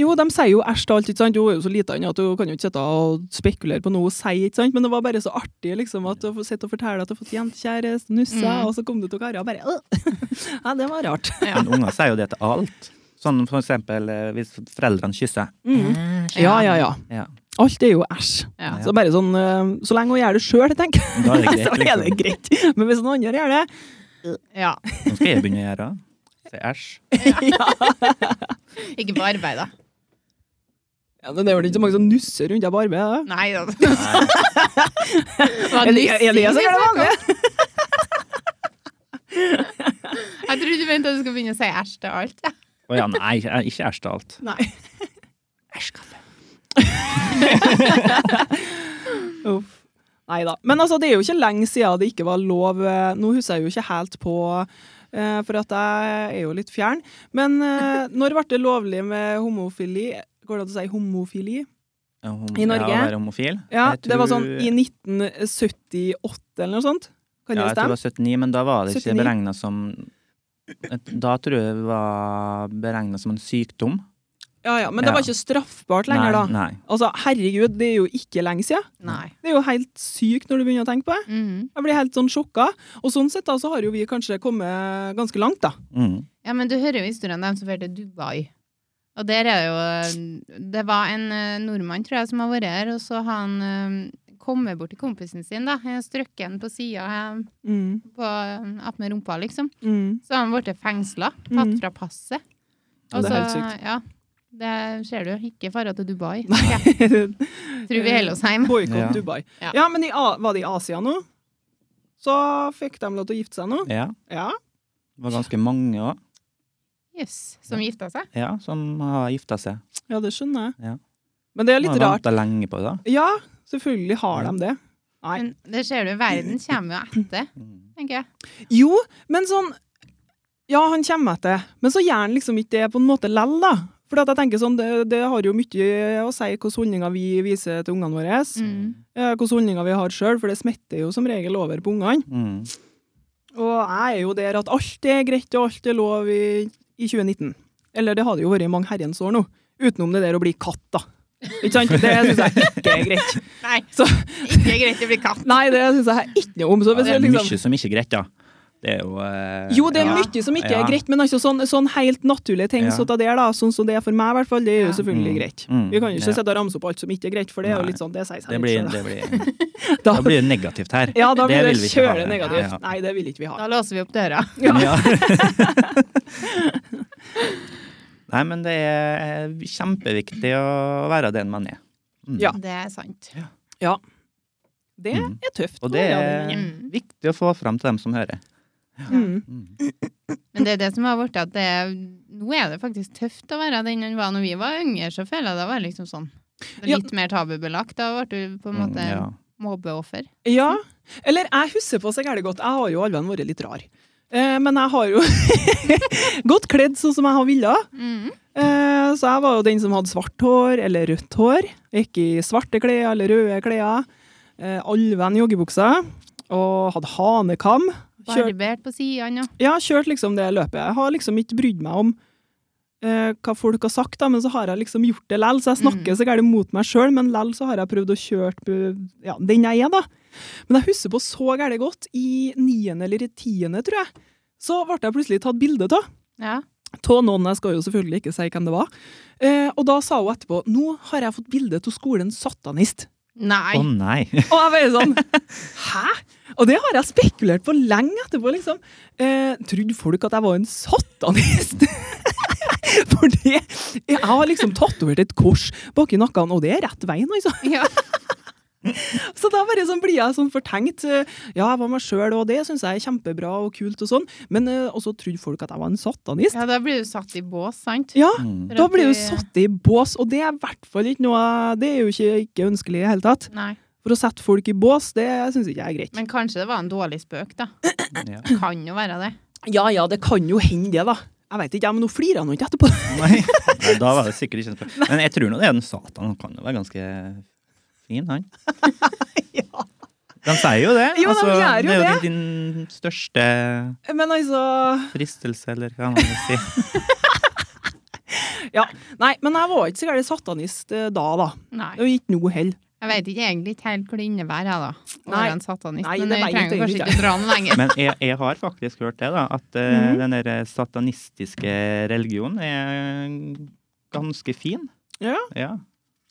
Jo, de sier jo æsj til alt, ikke sant? Hun er jo så liten at hun kan jo ikke sitte og spekulere på noe hun sier, ikke sant? Men det var bare så artig liksom, at hun sitter og forteller at hun har fått jentekjæreste, nussa,
Mm.
og så kom det to karer og bare «Åh!» Ja, det var rart.
Ja.
Men unger sier jo det til alt. Sånn for eksempel eh, hvis foreldrene kysser.
Ja, ja, ja.
Ja.
Alt er jo æsj.
Ja.
Så bare sånn eh, Så lenge hun gjør det sjøl, tenker jeg,
Da er det
så
greit,
er det
liksom.
greit. Men hvis noen andre gjør det
ja.
Nå skal jeg begynne å gjøre det. Si æsj.
Ikke på arbeid, da.
ja, men Det er vel ikke så mange som nusser rundt her på arbeidet? da.
Nei da.
Nei.
Hva
Er det, er
nussing
det jeg som
vi
gjør det
snakker om?
vanlige?
Jeg trodde du mente at du skulle begynne å si æsj til alt. Ja.
Å ja, nei, jeg- ikke æsj til alt.
Nei.
Æsj, kaffe.
Uff. Nei da. Men altså, det er jo ikke lenge siden det ikke var lov. eh, Nå husker jeg jo ikke helt på, eh, for at jeg er jo litt fjern. Men eh, når ble det lovlig med homofili? Går det an å si homofili?
Ja, hom-
I Norge?
Ja, å være homofil.
Ja,
Jeg
Det var sånn
tror-
i 1978 eller noe sånt. Kan
Ja,
det
jeg tror det
stemme?
var 79, men da var det ikke
79.
beregna som Da tror jeg det var beregna som en sykdom.
Ja, ja, Men det var
Ja.
ikke straffbart lenger da.
Nei, nei.
Altså, herregud, det er jo ikke lenge siden.
Nei.
Det er jo helt sykt når du begynner å tenke på det.
Mhm.
Jeg blir helt sånn sjokka. Og sånn sett da, så har jo vi kanskje kommet ganske langt, da.
Mm.
Ja, men du hører jo historien om dem som drar til Dubai. Og der er det jo Det var en eh, nordmann, tror jeg, som har vært her, og så har han eh, kommet bort til kompisen sin, da. Jeg Strøkket han på sida
Mm.
attmed rumpa, liksom.
Mm.
Så har han blitt fengsla. Tatt
Mhm.
fra passet.
Ja,
Og
det er
så-
helt sykt.
Ja, det ser du. Ikke dra til Dubai.
Boikott
Tror vi holder oss hjemme.
Ja.
Dubai.
Ja.
Ja. men i, A- var det i Asia nå? Så fikk de lov til å gifte seg nå?
Ja.
Ja.
Det var ganske mange òg
Jøss. Som gifta seg.
ja, som har gifta seg.
Ja, det skjønner jeg.
Ja.
Men det er litt
Man har
rart.
ventet lenge på det.
Ja, selvfølgelig har de det. Nei.
Men det ser du, verden kommer jo etter,
Mm.
tenker jeg.
Jo, men sånn Ja, han kommer etter, men så gjør han liksom ikke det på en måte lell, da. For at jeg tenker sånn, det, det har jo mye å si hvilke holdninger vi viser til ungene våre.
Mm.
eh, Hvilke holdninger vi har sjøl, for det smitter jo som regel over på ungene.
Mm.
Og jeg er jo der at alt er greit og alt er lov i, i 2019. Eller det har det jo vært i mange herrens år nå. Utenom det der å bli katt, da. Ikke sant? Det syns jeg ikke er greit.
Nei,
Så-
ikke greit å bli katt.
Nei, det syns jeg ikke noe om. Så hvis
Det
jeg
er
liksom
mye som ikke er greit, da. Det er jo eh,
jo, det er
ja.
mye som ikke
Ja.
er greit, men altså sånn, sånn helt naturlige ting
Ja.
så ta der, da, sånn som det er for meg, i hvert fall, det er jo
Ja.
selvfølgelig
Mm.
greit.
Mm.
Vi kan jo ikke
Ja.
sitte og ramse opp alt som ikke er greit, for det er jo
Nei.
litt sånn, det sier seg
Det
litt
blir,
selv,
det blir,
da.
da blir det negativt her.
Ja, da blir det,
vil vi ikke ha
kjølig
det.
negativt.
Ja.
Nei, det vil ikke vi ha.
Da låser vi opp døra.
Ja. Nei, men det er kjempeviktig å være den man er. Mm.
Ja.
Det er sant.
Det
Mm.
er tøft.
Og det
Ja,
er
Mm.
viktig å få fram til dem som hører.
Mm.
Mm.
Men det er det som har vært at det er, nå er det faktisk tøft å være den enn hva når vi var yngre, så føler jeg det var liksom sånn. Det
Ja.
er litt mer tabubelagt. Da ble du på en måte
Mm, ja.
mobbeoffer.
Ja. Eller jeg husker på seg gærent godt. Jeg har jo allvenn vært litt rar. Eh, men jeg har jo godt kledd sånn som jeg har villa.
Mm.
Eh, så jeg var jo den som hadde svart hår eller rødt hår. Gikk i svarte klær eller røde klær. Eh, allvenn joggebukser. Og hadde hanekam. Kjør,
Barbert på sidene og
ja, kjørt liksom det løpet. Jeg har liksom ikke brydd meg om eh, hva folk har sagt, da, men så har jeg liksom gjort det lell. Så jeg snakker så gærent mot meg sjøl, men lell så har jeg prøvd å kjøre på ja, den jeg er, da. Men jeg husker på så gærent godt, i niende eller i tiende, tror jeg, så ble jeg plutselig tatt bilde av.
Ja.
Av noen, jeg skal jo selvfølgelig ikke si hvem det var. Eh, og da sa hun etterpå nå har jeg fått bilde av skolen Satanist.
Nei.
Å nei!
Og jeg bare sånn Hæ?! Og det har jeg spekulert på lenge etterpå, liksom. Eh, Trodde folk at jeg var en satanist? For det Jeg har liksom tatovert et kors bak i nakken, og det er rett veien, altså.
Ja.
Så da bare sånn blir jeg sånn fortenkt. eh, Ja, jeg var meg sjøl, og det syns jeg er kjempebra og kult og sånn, men eh, også trodde folk at jeg var en satanist.
ja, da blir du satt i bås, sant?
Ja,
Mm.
da blir du satt i bås, og det er i hvert fall ikke noe Det er jo ikke, ikke ønskelig i det hele tatt.
Nei.
For å sette folk i bås, det syns ikke jeg er greit.
Men kanskje det var en dårlig spøk, da.
Ja.
Kan jo være det.
Ja, ja, det kan jo hende det, da. Jeg vet ikke, ja, men nå flirer han jo ikke etterpå.
Nei. Nei, da var det sikkert ikke noe Men jeg tror nå det er den Satan. Han kan jo være ganske fin, han.
Ja.
De sier jo det.
Jo, de gjør jo
det er jo
det.
din, din største
Men altså
fristelse, eller hva man vil si.
Ja. Nei, men jeg var ikke så gæren satanist eh, da, da.
Nei.
Og ikke nå heller.
Jeg vet ikke egentlig ikke helt hva det innebærer, jeg, da. Å
Nei.
være en satanist.
Nei,
men jeg
det vet jeg
trenger kanskje
egentlig
ikke dra den lenger.
Men jeg, jeg har faktisk hørt det, da, at eh,
Mhm.
den der satanistiske religionen er eh, ganske fin.
Ja.
Ja.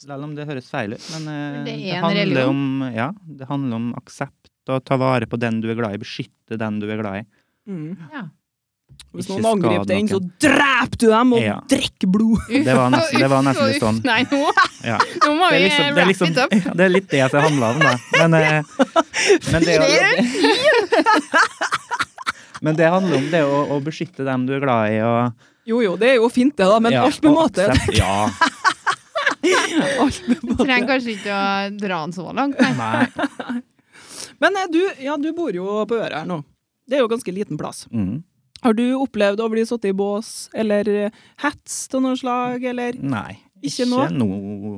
Selv om det høres feil ut, men eh,
Det er
det,
en
handler
religion.
om, ja, det handler om aksept. Og ta vare på den du er glad i, beskytte den du er glad i.
Mm.
Ja.
Hvis
Ikke
noen angriper
skad
den, så
noen.
dreper du dem og
Ja.
drikker blod!
Uff,
Det var nesten- det var
uff,
nesten
uff.
litt sånn.
Nei, nå,
Ja.
nå må vi
Det er liksom, det er
wrap
liksom,
it up.
ja, det er litt det som handler om, da. Men, eh, men, det, men det handler om det å, å beskytte dem du er glad i. Og,
Jo jo, det er jo fint det, da, men
ja,
alt med
og
måte.
aksept- Ja,
Alt med måte.
Trenger kanskje ikke å dra den så langt, nei.
nei.
Men eh, du, ja, du bor jo på Øra her nå. Det er jo ganske liten plass.
Mm,
Har du opplevd å bli satt i bås, eller eh, hets til noe slag, eller
nei.
Ikke nå?
nå,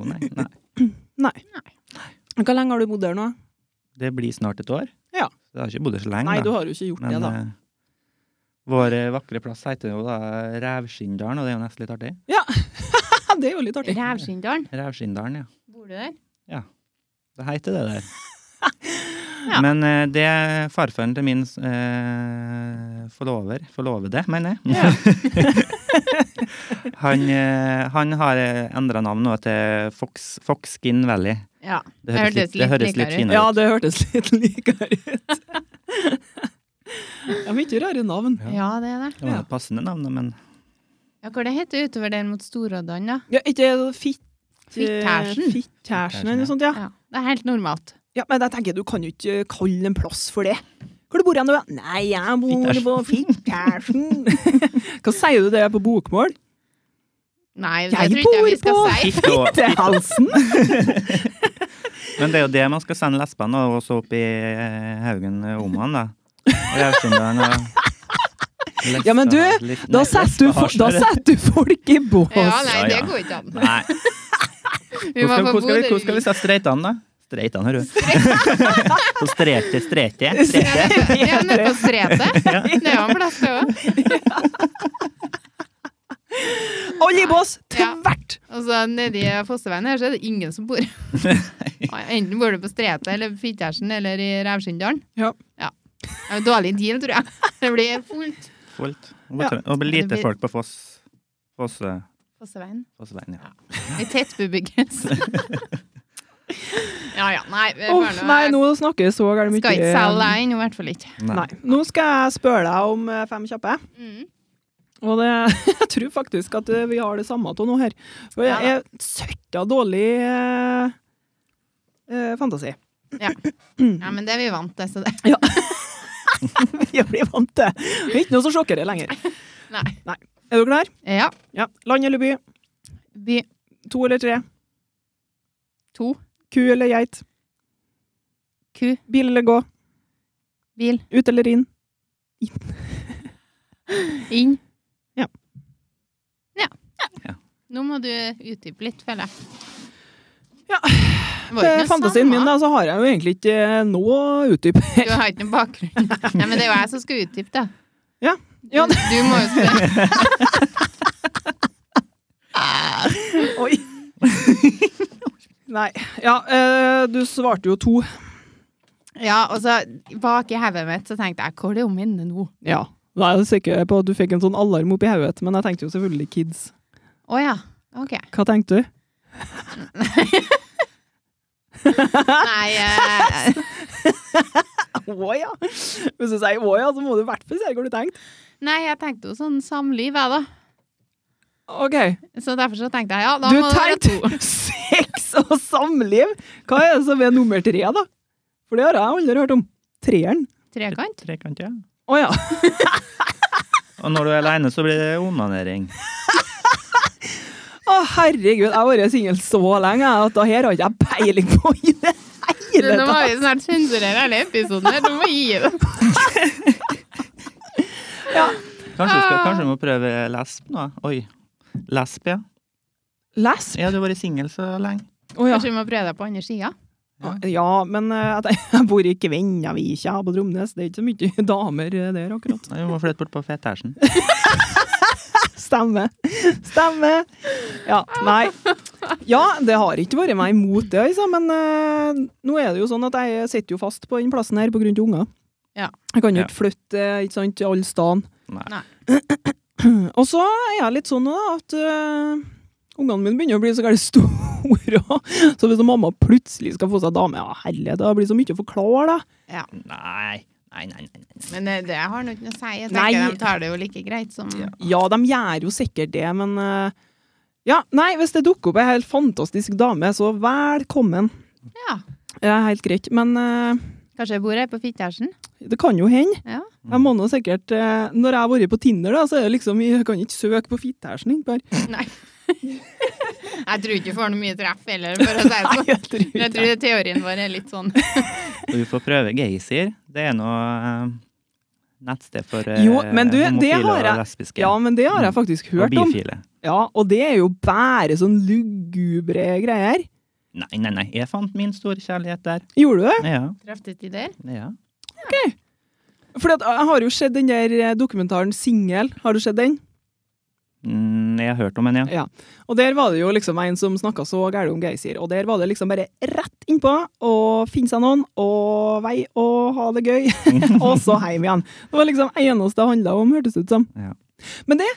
nei, nei.
Nei. Hvor lenge har du bodd der nå?
Det blir snart et år.
Ja.
Så Jeg har ikke bodd her så lenge,
Nei, du
da.
har jo ikke gjort
Men
det, da.
eh, vår eh, vakre plass heter jo da Revskindalen, og det er jo nesten litt artig.
Ja, det er jo litt artig.
Revskinndalen,
Revskindalen, ja.
bor du der?
Det heter det der.
Ja.
Men eh, det er farfaren til min eh, forlover Forlovede, mener jeg. han, eh, han har endra navn nå til Fox, Fox Skin Valley.
Ja.
Det
Det
høres
hørtes
litt, det
litt
høres litt
likere ut.
finere
Ja,
ut.
det hørtes litt likere ut. Ja, mye rare navn.
Ja.
ja, det er det.
Det var et passende navn, da, men
Ja, Hva det heter det utover der mot Storoddan, da?
Ja, ikke fitt...
Fittersen.
eh, Fittersen eller noe sånt, ja.
Ja, det er helt normalt.
ja. Men jeg tenker, du kan jo ikke eh, kalle en plass for det. Hvor du bor hen, du? Nei, jeg bor på Fittersen. Hva sier du det er på bokmål?
Nei, det
Jeg
tror ikke jeg vi skal
bor på-
si.
Fitte og-
Fittehalsen?
Men det er jo det man skal sende lesbene og så opp i eh, Haugen eh, om han, da. Revskindalen og
Ja, men du,
lesbe- litt-
Da
nei,
setter du, fo- da
lesbeharsere.
setter du folk i
Ja,
bås.
nei,
Ja,
det
ja.
går ikke an.
Nei.
Vi
Hvor
må
skal,
få bo
hvor skal, vi,
der
hvor skal vi se streitene, da? Streitene, hører du. Så strete, strete, strete.
vil. Ja, nede på Stretet. Det er jo en plass, det òg.
Alle i bås,
Ja.
tvert!
Og så nedi Altså, Fosseveien her, så er det ingen som bor. Enten bor du på Stretet eller Fittersen eller i Revskindalen.
Ja.
Det er en dårlig deal, tror jeg. Det blir fullt.
Fullt.
Ja.
Og blir lite folk på Foss. Foss eh,
Fosseveien.
Fossveien, ja.
I tettbebyggelse. ja ja, nei. vi får
Uff, nei, nå snakker vi så gærent mye.
Skal ikke selge deg ennå, i hvert fall ikke.
Nei.
Nei. Nå skal jeg spørre deg om eh, fem kjappe.
Mm.
Og det, jeg tror faktisk at eh, vi har det samme av nå her. For jeg
Ja
er søtta dårlig eh, eh, fantasi.
Ja, men det er vi vant til, så det
Jeg blir vant til det. er Ikke noe som sjokkerer lenger.
Nei.
Er du klar?
Ja.
Ja. Land eller by?
By
To eller tre?
to.
Ku eller geit?
Ku.
Bil eller gå?
Bil.
Ut eller inn?
Inn.
Ja.
Ja.
Ja.
Nå må du utdype litt, føler jeg.
Ja.
Det var jo
Eh,
ikke noe
Fantasien min,
samme.
da, så har jeg jo egentlig ikke eh, noe utdyp.
Du har ikke noen bakgrunn. Nei, men det er jo jeg som skal utdype, da.
Ja. Ja.
Du, du må jo spørre.
Oi. Nei. Ja, eh, du svarte jo to.
Ja, og så bak i hodet mitt så tenkte jeg, hva er det om henne nå?
Ja. Da er jeg sikker på at du fikk en sånn alarm opp i hodet, men jeg tenkte jo selvfølgelig kids.
Å ja. Ok.
Hva tenkte du?
Nei, eh,
Å ja! Hvis du sier å ja, så må du i hvert fall si hva du tenkte.
nei, jeg tenkte jo sånn samliv, jeg, da.
OK.
Så derfor så tenkte jeg ja, da
Du
må det være to.
tenkte sex og samliv! Hva er det som er nummer tre, da? For det har jeg aldri hørt om. Treeren.
Trekant.
Trekant, ja.
Å ja.
Og når du er aleine, så blir det onanering.
Å herregud, jeg har vært singel så lenge jeg, at det her har ikke jeg peiling på i det
Du,
hele
Nå må
tatt.
vi snart sensurere hele episoden her. Du må gi deg.
Kanskje du,
Ah.
skal, kanskje du må prøve lesb nå? Oi. Lesb, ja.
Lesb?
Ja, du har vært singel så lenge.
Å ja.
Kanskje vi må prøve deg på andre sida.
Ja, ja, men eh, jeg tenker- jeg bor i Kvennavikja på Tromnes. Det er ikke så mye damer eh, der, akkurat.
Nei, Du må flytte bort på Fetersen.
Stemmer. Stemmer. Ja, nei. Ja, det har ikke vært meg imot det, altså, men eh, nå er det jo sånn at jeg sitter jo fast på den plassen her på grunn til unger.
Ja.
Jeg kan jo
Ja.
ikke flytte eh, ikke sant, til alle stedene.
Nei.
Og så er jeg litt sånn nå da, at eh, ungene mine begynner å bli så gærent store. så hvis mamma plutselig skal få seg dame, ja herlighet, det blir så mye å forklare, da.
Ja.
Nei, nei, nei. nei, nei.
Men eh, det har nå ikke noe å si. Jeg
Nei.
tenker de tar det jo like greit som
Ja, de gjør jo sikkert det, men eh, ja, nei, hvis det dukker opp ei helt fantastisk dame, så velkommen.
Ja.
Det er helt greit, men eh,
Kanskje jeg bor her på Fitjarsen?
det kan jo hende.
Ja.
Jeg må nå sikkert, eh, Når jeg har vært på Tinder, da, så er det liksom Jeg kan ikke søke på fittehæsen innpå her.
Nei. Jeg tror ikke du får noe mye treff heller, for å si det
Nei,
sånn.
jeg tror ikke
Jeg tror teorien vår er litt sånn
Du får prøve Geysir. Det er noe eh, nettsted for eh,
Jo, men du, det
homofile
har jeg-
og lesbiske.
Ja, men det har jeg faktisk
og
hørt om.
bifile.
Ja, Og det er jo bare sånn lugubre greier.
Nei, nei, nei. Jeg fant min store kjærlighet der.
Gjorde du det?
Ja,
treffet i der.
ja.
For eh, jeg har jo sett den der eh, dokumentaren Singel. Har du sett den?
Mm, jeg har hørt om en, ja.
Og der var det jo liksom en som snakka så gærent om Geysir, og der var det liksom bare rett innpå og finne seg noen og vei og ha det gøy, og så hjem igjen. Det var liksom eneste det handla om, hørtes det ut som.
Ja.
Men det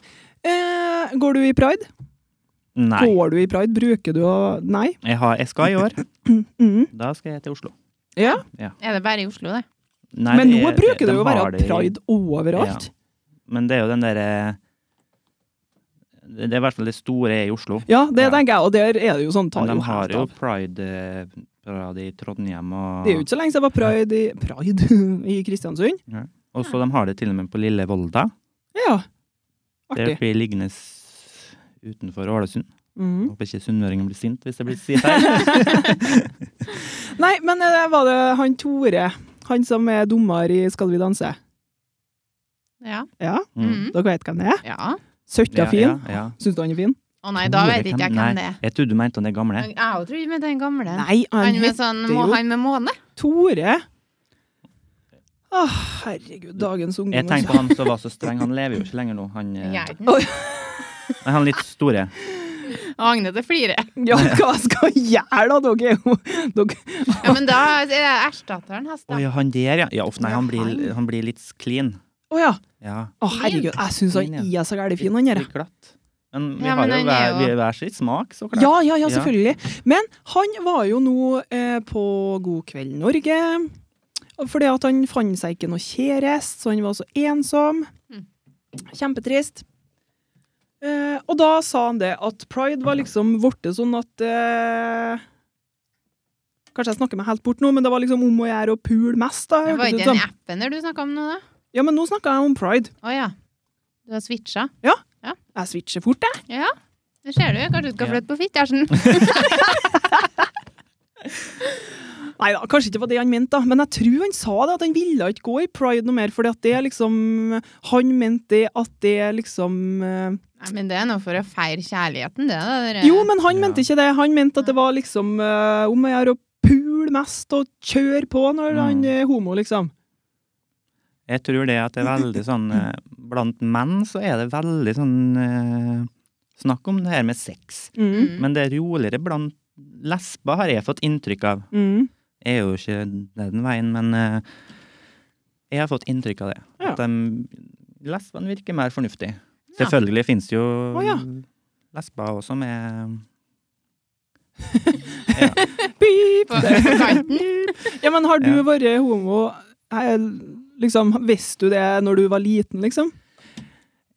eh, Går du i pride?
Nei.
Går du i pride? Bruker du å Nei?
Jeg, har, jeg skal i år.
Mm.
Da skal jeg til Oslo.
Ja.
Er det bare i Oslo, det?
Nei,
Men nå
jeg-
bruker
de
det jo å
har
være
det i-
pride overalt.
Men det er jo den derre Det det er i hvert fall det store er i Oslo.
Ja, det
Ja.
tenker jeg, og der er det jo sånn tar
Men de
jo
har
helt
jo
av.
pride eh, parade i Trondheim og
Det er jo ikke så lenge siden det var pride i, pride i Kristiansund.
Og så de har det til og med på Lille Volda.
Ja.
Det
Artig.
blir liggende s- utenfor Ålesund.
Mm.
Håper ikke sunnmøringen blir sint hvis det blir sier feil.
Nei, men eh, var det han Tore, han som er dommer i Skal vi danse?
Ja.
Ja,
Mm.
Mm.
dere vet hvem det er?
ja.
Søtta
Ja,
fin.
ja, ja.
Syns du han er fin?
Å nei, da
Tore,
vet ikke jeg hvem det
Nei,
er.
jeg trodde du mente han er gamle.
Jeg òg tror ikke med den gamle.
Nei, han
Han med,
heter
sånn,
heter
må,
jo-
han med måne?
Tore. Å, herregud, dagens ungdom.
Jeg tenkte på han som var så streng. Han lever jo ikke lenger nå. Han, eh,
Geirden.
Oi.
men han litt store.
Og Agnete flirer.
altså. Ja, hva skal jeg gjøre da, dere? er jo- dere-
Ja, men da eh, erstatter han hest,
Å
da.
ja, han der, ja. ja uff, nei,
Ja,
han blir,
han.
han blir litt clean.
Å ja.
Ja.
Å, herregud, jeg syns han
Fin,
er så gæren fin, han der.
Litt glatt. Men vi
Ja,
har
men
jo
han er
hver,
jo-
vi har hver sitt smak, så klart.
Ja, ja, ja,
Ja.
selvfølgelig. Men han var jo nå eh, på God kveld Norge. Fordi at han fant seg ikke noe kjæreste, så han var så ensom.
Mm.
Kjempetrist. Eh, og da sa han det, at pride var liksom blitt sånn at eh, Kanskje jeg snakker meg helt bort nå, men det var liksom om å gjøre å pule mest. da.
Det var ikke
hørtes det ut
den
som.
appen der du snakka om nå, da?
Ja, men nå snakker jeg om pride.
Å ja. Du har switcha?
Jeg switcher fort, jeg.
Ja. Det ser du. Kanskje du skal
Ja.
flytte på Fitjarsen?
Nei da, kanskje ikke var det han mente, da. Men jeg tror han sa det, at han ville ikke gå i pride noe mer. fordi at det liksom Han mente det at det liksom eh,
Nei, men det er noe for å feire kjærligheten, det. da. dere-
Jo, men han
Ja.
mente ikke det. Han mente at det var liksom eh, om å gjøre å pule mest og kjøre på når
Mm.
han er homo, liksom.
Jeg tror det at det er veldig sånn eh, Blant menn så er det veldig sånn eh, Snakk om det her med sex.
Mm.
Mm.
Men det er roligere blant lesber, har jeg fått inntrykk av.
Mm.
Jeg er jo ikke den veien, men eh, jeg har fått inntrykk av det.
Ja.
At de, lesbene virker mer fornuftig.
Ja.
Selvfølgelig finnes det jo
Å, ja.
lesber også som er
Pip!
På på kanten.
Ja, men har du
Ja.
vært homo eh, Liksom, Visste du det når du var liten, liksom?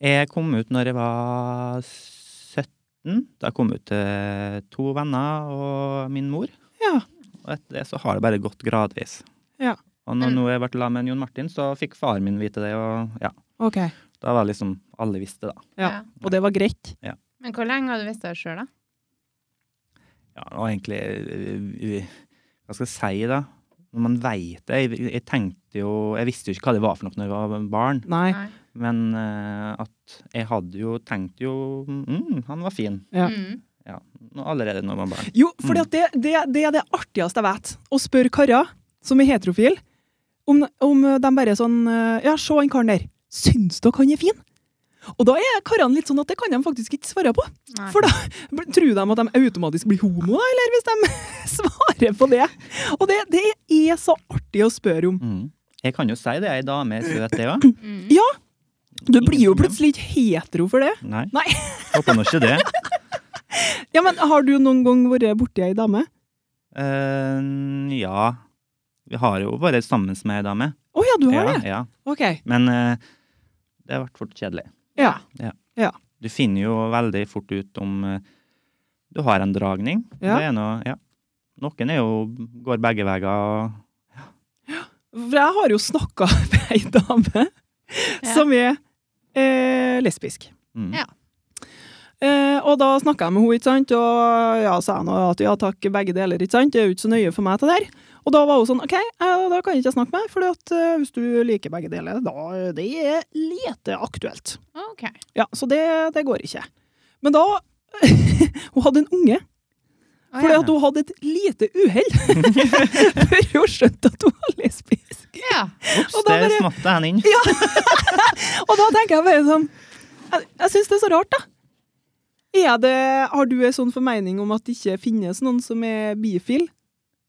Jeg kom ut når jeg var 17. Da kom jeg ut til to venner og min mor.
Ja.
Og etter det så har det bare gått gradvis.
Ja. Mm.
Og når, nå jeg ble sammen med Jon Martin, så fikk far min vite det, og ja.
OK.
Da var liksom alle visste, da.
Ja. Og det var greit?
Men hvor lenge har du visst det sjøl, da?
Ja, og egentlig eh, eh, Hva skal jeg si, da? Når man veit det jeg, jeg tenkte jo Jeg visste jo ikke hva det var for noe når jeg var barn,
Nei.
Nei.
men eh, at jeg hadde jo tenkt jo mm, Han var fin.
Ja.
Mm.
Ja, nå- allerede når man var barn.
Jo, for det, det, det er det artigste jeg vet. Å spørre karer som er heterofil om, om de bare er sånn eh, Ja, se han karen der. Syns dere han er fin? Og da er karene litt sånn at det kan de faktisk ikke svare på.
Nei.
For da bl- tror de at de automatisk blir homo, da, eller hvis de svarer på det. Og det, det er så artig å spørre om.
Mm. Jeg kan jo si det, ei dame er søt, det òg.
Mm.
Ja, du blir jo plutselig ikke hetero for det.
Nei.
Nei.
Håper nå ikke det.
Ja, men har du noen gang vært borti ei dame?
Eh, ja. Vi har jo vært sammen med ei dame.
Å ja, du har
Ja,
det?
ja.
Ok.
Men eh, det ble fort kjedelig.
Ja.
Du finner jo veldig fort ut om eh, du har en dragning.
Ja.
Det er noe, ja. Noen er jo, går begge veier. og-
For jeg har jo snakka med ei dame
Ja.
som er eh, lesbisk.
Mm.
Ja.
Eh, og da snakka jeg med henne, ikke sant? og ja, sa jeg nå at ja takk, begge deler. ikke sant? Det er jo ikke så nøye for meg, det der. Og da var hun sånn OK, eh, da kan jeg ikke snakke med deg, for eh, hvis du liker begge deler, da eh, det er lite aktuelt.
Ok.
Ja, Så det, det går ikke. Men da Hun hadde en unge,
Å,
fordi
ja.
at hun hadde et lite uhell før hun skjønte at hun var lesbisk.
ja.
Ops,
Og da
der
bare-
smatt jeg inn.
Og da tenker jeg bare sånn Jeg, jeg syns det er så rart, da. Er det, har du en sånn formening om at det ikke finnes noen som er bifil?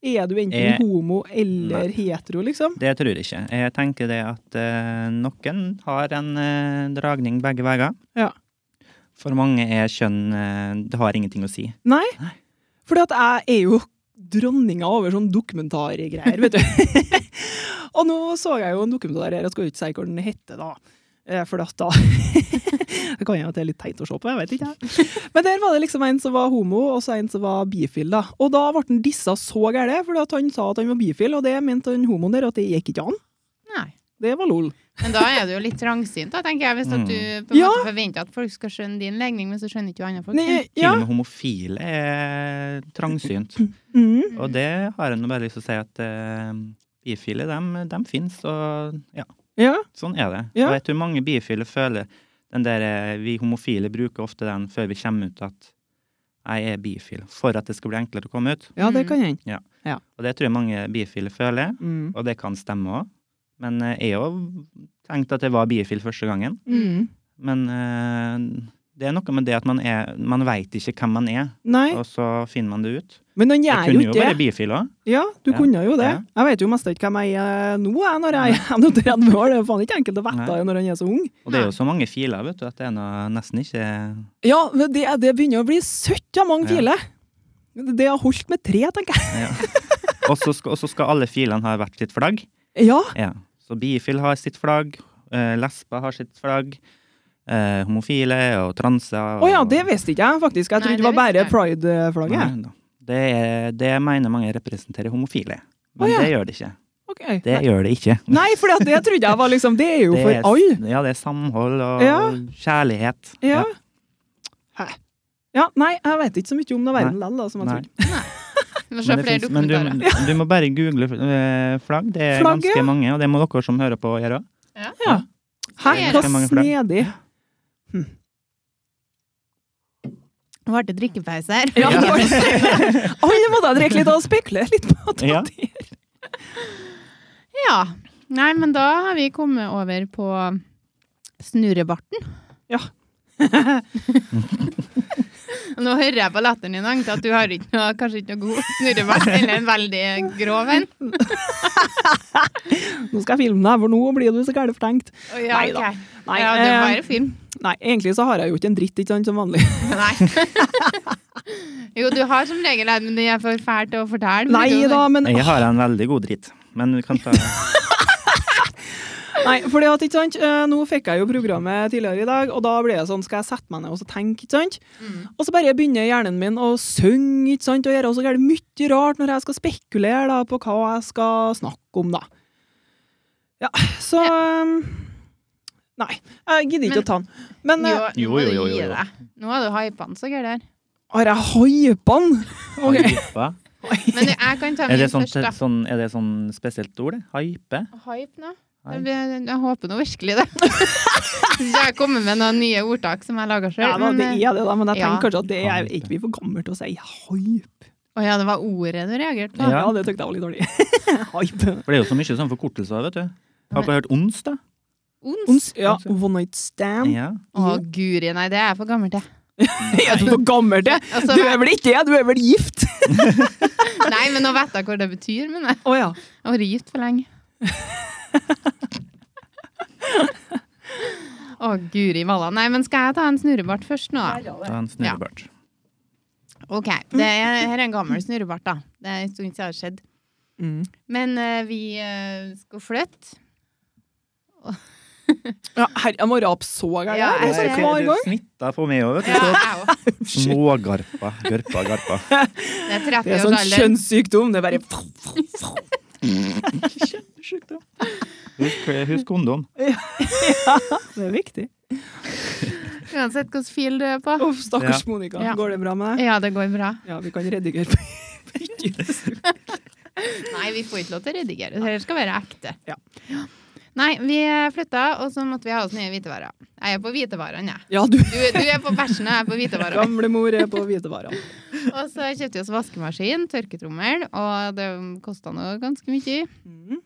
Er du enten
Eh,
homo eller hetero, liksom?
Det tror jeg ikke. Jeg tenker det at eh, noen har en eh, dragning begge veier.
Ja.
For mange er kjønn eh, Det har ingenting å si.
Nei.
Nei.
Fordi at jeg er jo dronninga over sånn dokumentargreier, vet du. og nå så jeg jo en dokumentar her, jeg skal jo ikke si hva den heter, da. Eh, For at da Det kan jo at det er litt teit å se på, jeg vet ikke. jeg. Men der var det liksom en som var homo, og så en som var bifil, da. Og da ble han dissa så gæren, fordi at han sa at han var bifil, og det mente han homoen der at det gikk ikke an.
Nei.
Det var lol.
Men da er du jo litt trangsynt, da, tenker jeg, hvis at du
Mm.
på en
Ja.
måte forventer at folk skal skjønne din legning, men så skjønner ikke du andre folk.
Nei,
Til
ja.
og med homofile er trangsynt.
Mm.
Og det har jeg nå bare lyst til å si at eh, bifile, dem, dem fins, og ja,
Ja.
sånn er det.
Ja.
Og jeg tror mange bifile føler den der eh, Vi homofile bruker ofte den før vi kommer ut at jeg er bifil, for at det skal bli enklere å komme ut.
ja, det kan hende.
Og det tror jeg mange bifile føler.
Mm.
Og det kan stemme òg. Men eh, jeg òg tenkte at jeg var bifil første gangen.
Mm.
Men eh, det er noe med det at man, er, man veit ikke hvem man er,
Nei,
og så finner man det ut.
men han
Jeg
gjør jo
kunne jo
ikke det.
vært bifil òg.
Ja, du
Ja.
kunne jo det.
Ja.
Jeg vet jo mest ikke hvem jeg er nå, jeg, når jeg er noe 30 år. Det er jo faen ikke enkelt å vite
Nei.
det når han er så ung.
Og det er jo så mange filer vet du, at det er noe nesten ikke
Ja, men det, det begynner å bli søtt av mange
Ja.
filer. Det har holdt med tre, tenker jeg.
ja. Og så skal, og så skal alle filene ha hvert sitt flagg.
Ja,
Ja. Så bifil har sitt flagg, eh, lesber har sitt flagg, eh, homofile og transer.
Å ja, det visste ikke jeg faktisk. Jeg
Nei,
trodde det
det
var bare
visste jeg.
pride-flagget.
Nei da. det, er- det mener mange representerer homofile, men
Å ja.
det gjør det ikke.
Ok.
Det
Nei.
gjør det ikke.
Nei, for det trodde jeg var liksom Det er jo
Det er-
for alle.
Ja, det er samhold og
Ja.
kjærlighet.
Ja. Hæ. Ja, nei, jeg vet ikke så mye om den verden likevel, da, som jeg
Nei.
trodde.
Du får se
Men, det
flere
finnes, men
dokumentarer.
du, du må bare google eh, flagg. Det er
Flagg, ja.
ganske mange, og det må dere som hører på gjøre òg.
Ja. Hæ,
Det er
hva
ganske mange flagg.
snedig.
Nå ble det drikkepause her.
Ja, det var det. Alle måtte jeg drikke litt og spekulere litt på at
Ja.
det
Ja. Nei, men da har vi kommet over på snurrebarten.
Ja.
Nå hører jeg på latteren din, Agnes, at du har ikke noe, kanskje ikke noe god snurrebart, eller en veldig grov en.
Nå skal jeg filme deg, for nå blir du så gæren fortenkt.
Å, ja,
Nei da.
ok.
Nei,
ja, det var
eh,
bare film.
nei, egentlig så har jeg jo ikke en dritt, ikke sant, som vanlig.
Nei. jo, du har som regel en, men det er for fælt å fortelle.
Nei
vil du-
da, men
Jeg har en veldig god dritt, men vi kan ta
Nei, fordi at, ikke sant, eh, nå fikk jeg jo programmet tidligere i dag, og da ble jeg sånn, skal jeg sette meg ned og så tenke, ikke sant?
Mm.
Og så bare begynner hjernen min å synge, ikke sant, og gjøre så gærent mye rart når jeg skal spekulere da, på hva jeg skal snakke om, da. Ja, så um, Nei, jeg gidder ikke
Men-
å ta den. Men eh,
Jo, nå må
Jo, jo,
du
jo,
gi
jo, jo.
deg. Nå har du hypa den så gærent.
har jeg hypa den? Ok.
hype.
Men jeg kan ta
Er
min
det sånn,
først, da.
sånn, er det sånn spesielt ord, det? Hype?
Hype nå?
Hype.
Jeg, jeg håper nå virkelig det. Hvis ikke jeg kommer med noen nye ordtak som jeg lager eh,
Ja,
sjøl.
da, det er det, da, men jeg
Ja.
tenker kanskje at det er er ikke vi for gammel til å si hype.
Å ja, det var ordet du reagerte på.
Ja, det tenkte jeg var litt dårlig. hype.
For det er jo så mye sånn forkortelser, vet du. Har dere hørt ons, da?
Ons?
Ons, ja, One Night Stand.
Ja.
Å, guri, nei, det er jeg for gammel til.
Er du for gammel til?
Altså,
Du er vel ikke det? Du er vel gift?
Nei, men nå vet jeg hva det betyr, men jeg
Å ja.
har vært gift for lenge. Å, guri malla. Nei, men skal jeg ta en snurrebart først nå, da?
Ta en snurrebart.
Ok, det er, her er en gammel snurrebart, da. Det er en stund siden det har skjedd.
Mm.
Men eh, vi eh, skal flytte.
ja her, jeg må rape så gærent.
Ja,
jeg,
jeg ser
jeg, hver gang.
smitta på meg òg, vet
Ja,
du.
jeg òg.
Så Smågarpa. Garpa, garpa.
Det er
Det er sånn
30-årsalderen.
kjønnssykdom. Det er bare
Kjempesjukt, da. Husk, husk kondom.
Det er viktig.
Uansett hvilken fil du er på.
Uff, stakkars Monica.
Ja.
Går det bra med deg?
Ja, det går bra.
Ja, vi kan redigere på
Nei, vi får ikke lov til å redigere. Dette skal være ekte.
Ja.
Nei, vi flytta, og så måtte vi ha oss nye hvitevarer. Jeg er på hvitevarene, jeg.
Ja, du
Du, du er på bæsjen, og jeg er på hvitevarene.
gamlemor er på hvitevarene.
Og så kjøpte vi oss vaskemaskin, tørketrommel, og det kosta nå ganske mye.
Mm.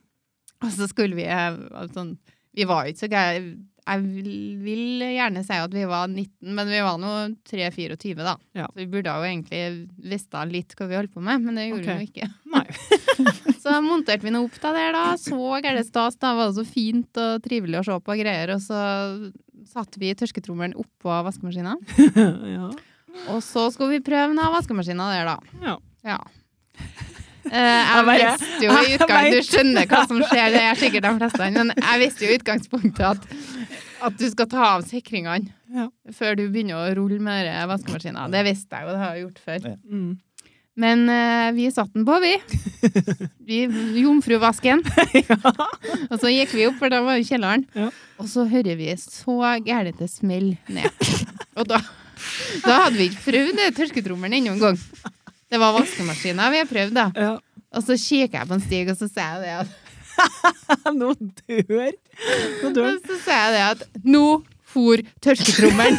Og så skulle vi eh, altså, sånn Vi var jo ikke så gære Jeg vil- vil gjerne si at vi var 19, men vi var nå 3-24, da.
Ja.
Så vi burde jo egentlig visst da litt hva vi holdt på med, men det gjorde
Ok.
vi jo ikke.
Nei.
så monterte vi noe opp da der, da. Så gæren stas. Da var det så fint og trivelig å se på og greier. Og så satte vi tørsketrommelen oppå vaskemaskina.
ja.
Og så skulle vi prøve den av vaskemaskina der, da.
Ja.
Ja. Eh, jeg
bare-
visste jo i
jeg
utgang, Du
vet.
skjønner hva som skjer, det er sikkert de fleste. Men jeg visste jo i utgangspunktet at, at du skal ta av sikringene
Ja.
før du begynner å rulle med denne vaskemaskinen. Det visste jeg jo, det har jeg gjort før.
Ja.
Mm.
Men eh, vi satte den på, vi. vi Jomfruvasken. Og så gikk vi opp, for da var jo kjelleren.
Ja.
Og så hører vi så gærente smell ned. Og da, da hadde vi ikke prøvd det tørketrommelen ennå en gang. Det var vaskemaskina vi hadde prøvd, da.
ja.
Og så kikker jeg på en stig, og så sier jeg det at,
Nå dør Nå dør
og så sier jeg det at nå for tørketrommelen.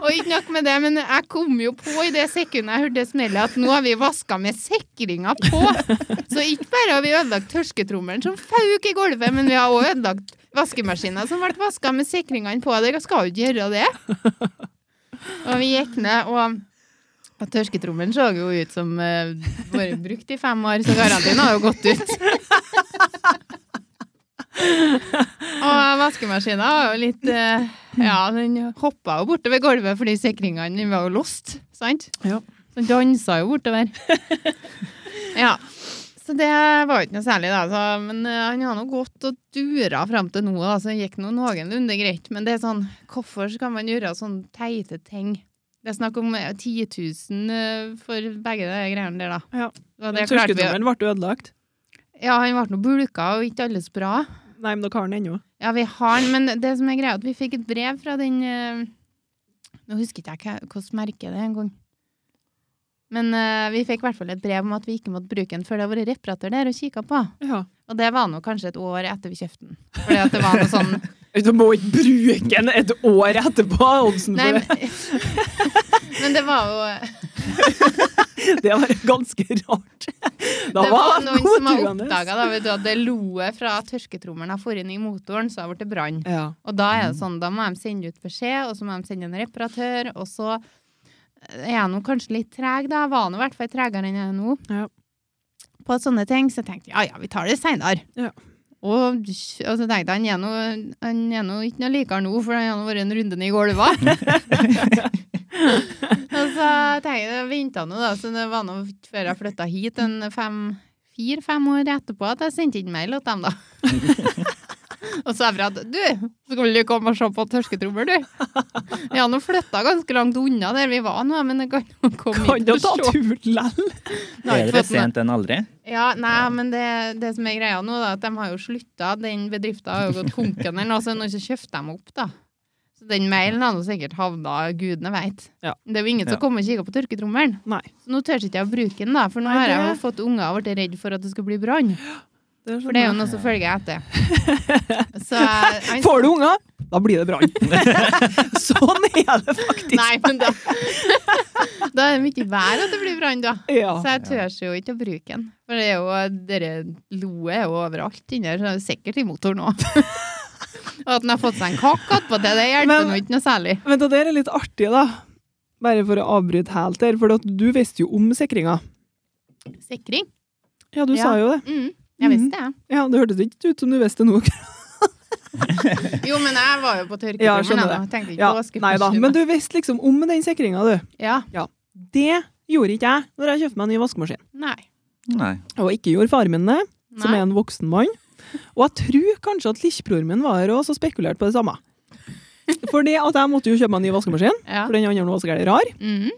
og ikke nok med det, men jeg kom jo på i det sekundet jeg hørte det smellet, at nå har vi vaska med sikringa på. Så ikke bare har vi ødelagt tørsketrommelen som fauk i gulvet, men vi har òg ødelagt vaskemaskina som ble vaska med sikringene på. Dere skal jo ikke gjøre det. Og vi gikk ned, og, og tørsketrommelen så jo ut som eh, vært brukt i fem år, så garantien har jo gått ut. Og vaskemaskina var jo litt eh, Ja, den hoppa jo bortover gulvet fordi sikringene den var jo låst, sant?
Ja.
Så den dansa jo bortover. Ja. Så det var jo ikke noe særlig, da. Så, men eh, han har nå gått og dura fram til nå, da, så det gikk nå noenlunde greit. Men det er sånn, hvorfor skal man gjøre sånne teite ting? Det er snakk om eh, 10 000 eh, for begge de greiene der, da.
Ja.
Og det klarte vi.
Tørsketrommelen ble ødelagt.
Ja, han ble nå bulka, og ikke alle så bra.
Nei, men dere har den ennå.
Ja, vi har den, men det som er greia, er at vi fikk et brev fra den eh, Nå husker ikke jeg hva- hvordan merket det er engang. Men eh, vi fikk i hvert fall et brev om at vi ikke måtte bruke den før det har vært reparatør der og kikka på.
Ja.
Og det var nå kanskje et år etter vi kjøpte den. Fordi at det var noe sånn
Du må ikke bruke den et år etterpå! Oddsen
Nei,
for
men, men det var jo
det. det var ganske rart. Da
Det var
den
noen
god,
som har
Johannes.
oppdaga at det loet fra tørketrommelen har fått inn i motoren, så har det blitt brann.
Ja.
Og da er det sånn, da må de sende ut beskjed, og så må de sende en reparatør, og så er jeg nå kanskje litt treg, da. Jeg var nå i hvert fall tregere enn jeg er nå.
Ja.
På sånne ting. Så jeg tenkte jeg ja ja, vi tar det seinere.
Ja.
Og, og så tenkte jeg han er nå- han er nå ikke noe likere nå, for han har nå vært en runde ned i gulvet. og så tenkte jeg, jeg venta nå, da, så det var nå ikke før jeg flytta hit en fem fire-fem år etterpå at jeg sendte inn mail til dem, da. og sa fra at du, skulle du komme og se på tørsketrommel, du? Ja, nå flytta ganske langt unna der vi var nå, men det kan jo komme
Kan
hit
jo
og
ta
se.
tur lell.
Jeg har ikke
Bedre
fått noe-
sent enn aldri.
Ja, nei, men det, det som er greia nå, da, at de har jo slutta. Den bedriften har jo gått konken eller noe, så nå ikke kjøpte dem opp, da. Så den mailen har nå sikkert havna gudene veit.
Ja.
Det er jo ingen
Ja.
som kommer og kikker på tørketrommelen.
Nei.
Så nå tør ikke jeg å bruke den, da, for nå
Nei,
har jeg jo
det-
fått unger og blitt redd for at det skal bli brann.
Det sånn
For det er jo noe som følger etter. Så han,
Får du unger, da blir det brann. sånn er det faktisk.
Nei, men da Da er det mye vær at det blir brann, da.
Ja.
Så jeg tør jo ikke å bruke den. For det er jo dere loet er jo overalt inni her, så det er sikkert i motoren òg. Og at han har fått seg en kakk attpå, det, det hjelper
Men-
nå ikke noe særlig.
Men det der er litt artig, da. Bare for å avbryte helt der, for at du visste jo om sikringa.
Sikring?
Ja, du
Ja.
sa jo det.
Mm.
Mhm.
Jeg visste det. jeg.
Ja, Det hørtes ikke ut som du visste noe.
Jo, men jeg var jo på
Ja,
tørketrommelen.
skjønner
da. Tenkte ikke
Ja,
på å skulle
nei da,
pusle
men
meg.
du visste liksom om den sikringa, du.
Ja,
Det gjorde ikke jeg når jeg kjøpte meg en ny vaskemaskin.
nei.
Nei.
Og ikke gjorde faren min det, som
nei.
er en voksen mann. Og jeg tror kanskje at lillebroren min var her også og spekulerte på det samme. Fordi at jeg måtte jo kjøpe meg en ny vaskemaskin,
Ja.
for den andre var så gærent rar.
Mhm.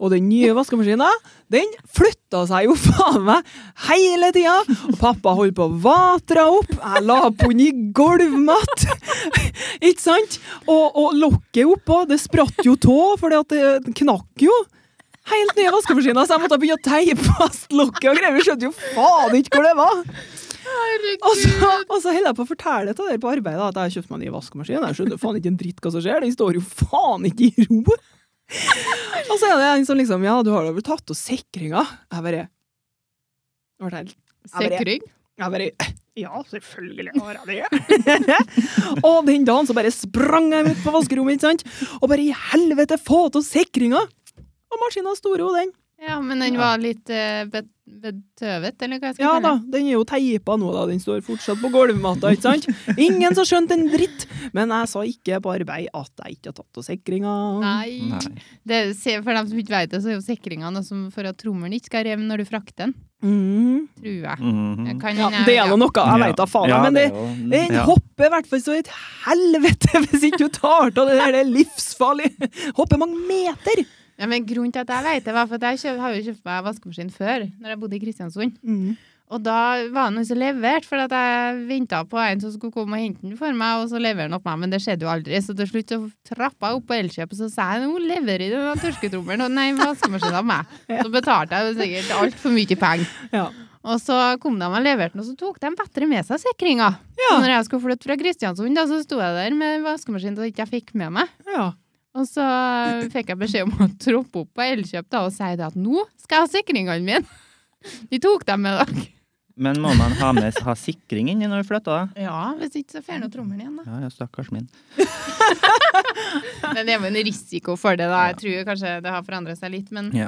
Og den nye vaskemaskinen, den flytta seg jo faen meg hele tida! Og pappa holdt på å vatre opp, jeg la på den i gulvmatt! Ikke sant? Og, og lokket oppå, det spratt jo tå, for det knakk jo. Helt nye vaskemaskiner, så jeg måtte begynne å teipe fast lokket og greier. Vi skjønte jo faen ikke hvor det var! Og så,
Herregud.
og så holder jeg på å fortelle til dere på arbeidet at jeg har kjøpt meg en ny vaskemaskin. Jeg skjønner faen ikke en dritt hva som skjer. Den står jo faen ikke i ro. Og så er det en som liksom Ja, du har da vel tatt av sikringa? Jeg bare Jeg ble helt-
Sikring?
jeg bare Ja, selvfølgelig har jeg det. og den dagen så bare sprang jeg ut på vaskerommet, ikke sant? Og bare i helvete, få av sikringa! Og maskina sto jo, den.
Ja, men den var litt eh, bet betøvet, eller hva jeg skal
Ja
kalle
da, den er jo teipa nå, da. Den står fortsatt på gulvmatta, ikke sant? Ingen som skjønte en dritt! Men jeg sa ikke på arbeid at jeg ikke har tatt av sikringa.
Nei.
Nei.
Det, er- se, for dem som ikke vet det, så er jo sikringa noe som for at trommelen ikke skal revne når du frakter den.
Mhm.
Tror jeg.
Mhm.
Jeg kan-
Ja, det er
ja.
nå noe, jeg veit da faen.
Ja,
men det,
er jo- Mm.
den
ja.
hopper i hvert fall så et helvete hvis ikke du tar av det der. Det er livsfarlig. Hopper mange meter.
Ja, men grunnen til at jeg vet det, var for at jeg kjøp, har jo kjøpt meg vaskemaskin før, når jeg bodde i Kristiansund.
Mm.
Og da var det noen som leverte, for at jeg venta på en som skulle komme og hente den for meg, og så leverer den opp meg, men det skjedde jo aldri. Så til slutt så trappa jeg opp på Elkjøp, og så sa jeg nå leverer jeg den tørsketrommelen og nei, vaskemaskinen av meg. Så betalte jeg jo sikkert altfor mye penger.
Ja.
Og så kom de og leverte den, og så tok de bedre med seg sikringa.
Ja.
Så når jeg skulle flytte fra Kristiansund, da, så sto jeg der med vaskemaskinen som jeg ikke fikk med meg.
ja.
Og så eh, fikk jeg beskjed om å troppe opp på Elkjøp da, og si det at nå skal jeg ha sikringene mine. De tok dem med dere.
Men må man ha med ha sikring inni når du flytter? da?
Ja, hvis ikke så får jeg nå trommelen igjen, da.
Ja, ja, stakkars min.
Men det er jo en risiko for det, da. Jeg tror kanskje det har forandret seg litt, men
Ja.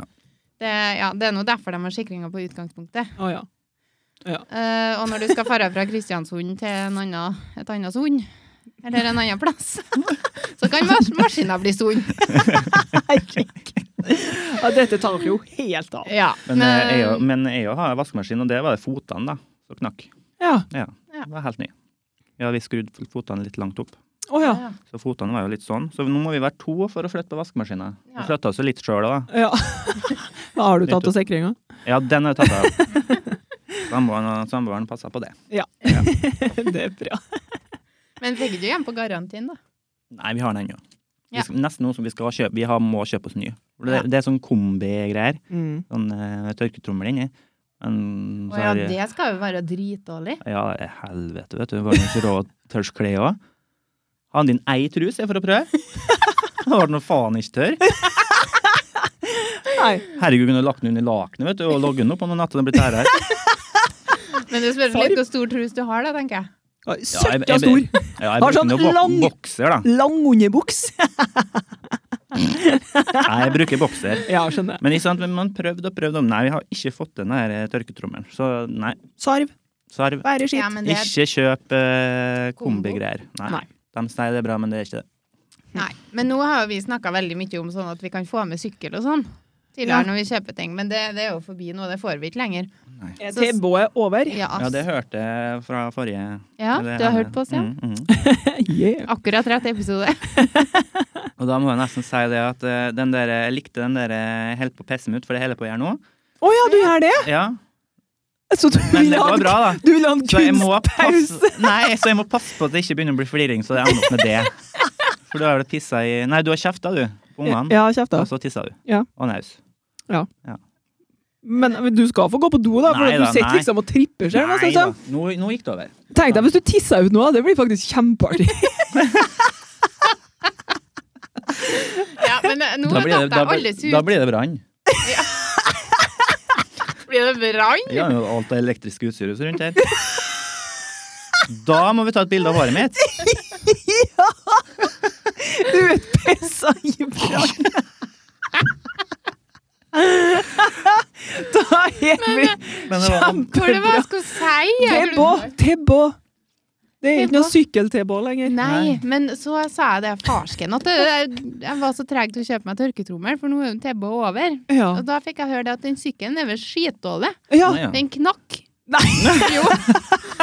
det, ja, det er nå derfor de har sikringer på utgangspunktet.
Å ja.
Eh, og når du skal fare fra Kristiansund til en annen, et annet sund, eller en annen plass, så kan mas maskina bli sund.
ja. Dette tar jo helt av.
Ja,
Men, eh, jeg, jo- men jeg jo har vaskemaskin, og det var det fotene da, som knakk.
Ja.
Ja,
Ja.
det var helt ny. Ja, vi skrudde fotene litt langt opp.
Å ja.
ja.
Så fotene var jo litt sånn. Så nå må vi være to for å flytte på vaskemaskinen. Vi
Ja.
flytta oss jo litt sjøl òg, da.
ja. Da har du tatt av sikringa.
Ja, den har vi tatt av. Samboeren og samboeren passa på det.
Det er bra.
Men fikk du hjem på garantien, da?
Nei, vi har den ennå. Vi
Ja.
skal- Nesten noe som vi skal kjøpe. Vi har, må kjøpe oss ny. For Det,
Ja.
det er sånn kombigreier.
Mm.
Sånn eh, tørketrommel inni. En- så
Å ja,
har jeg-
det skal jo være dritdårlig.
Ja, helvete, vet du. Var det ikke råd tørst kle òg? Hadde din ei trus jeg for å prøve? Da var den nå faen ikke tørr.
Nei.
Herregud, kunne du lagt den under lakenet vet du, og logget den opp om natta den ble tærere.
Men det spørs
For-
litt hvor stor trus du har, da, tenker jeg.
Ja,
Ja, jeg-
Søkka
jeg-
stor.
Ja, jeg
Har
bruker
sånn
nå bok-
lang-
bokser, da.
Lang underbuks.
Nei, jeg bruker bokser.
Ja, skjønner.
Men ikke sant, men man prøvde og prøvde om. Nei, vi har ikke fått den her eh, tørketrommelen. Så nei,
Sarv.
sarv.
Bare skitt.
Ja, men det er,
Ikke kjøp eh,
Kombo.
kombigreier. Nei.
Nei.
De sier det er bra, men det er ikke det.
nei. Men nå har jo vi snakka veldig mye om sånn at vi kan få med sykkel og sånn.
Ja.
Tidligere når vi kjøper ting, men det, det er jo forbi nå, det får vi ikke lenger.
Er tilbået over?
Ja,
Ja, det hørte jeg fra forrige
ja
eller
du har
henne.
hørt på oss, ja?
Mm, mm.
Yeah.
Akkurat rett episode.
Og da må jeg nesten si det at eh, den der, jeg likte den der eh, helt på å pisse meg ut, for det holder jeg på å gjøre nå.
Å ja, du gjør det?
Ja,
Så du
Men
vil
det
ha
var
en,
bra, da.
du vil ha en
Så jeg må
kunstpause?
passe, nei, så jeg må passe på at det ikke begynner å bli fliring, så det ender opp med det. For da har du pissa i Nei, du har kjefta, du, på ungene.
Ja, kjeft da.
Og så tissa du.
Ja.
Og naus.
Men men du skal få gå på do, da, for
Nei
du
da,
sitter
nei.
liksom og tripper seg.
Nei
Nei,
da,
sånn.
nå, nå gikk det over.
Tenk deg hvis du tisser ut nå, det blir faktisk kjempeartig.
Ja, men eh, nå
Da
har
blir det,
tatt
da,
deg alle
blir- da
surt.
blir det brann.
Blir det brann?
Vi har jo alt det elektriske utstyret rundt her. Da må vi ta et bilde av håret mitt.
Utpressa iblant. Da er vi
eh,
Men det var-
For det var
kjempebra.
jeg skulle si. jeg
Tebå,
glemte.
tebå. Det er ikke
Tebå.
noe sykkel-tebå lenger.
Nei, men så sa jeg det farsken at eh, jeg, jeg var så treg til å kjøpe meg tørketrommel, for nå er jo Tebbe over.
Ja.
Og da fikk jeg høre det at den sykkelen er vel skitdårlig.
ja.
Nei, ja.
Den knakk.
Nei.
Jo.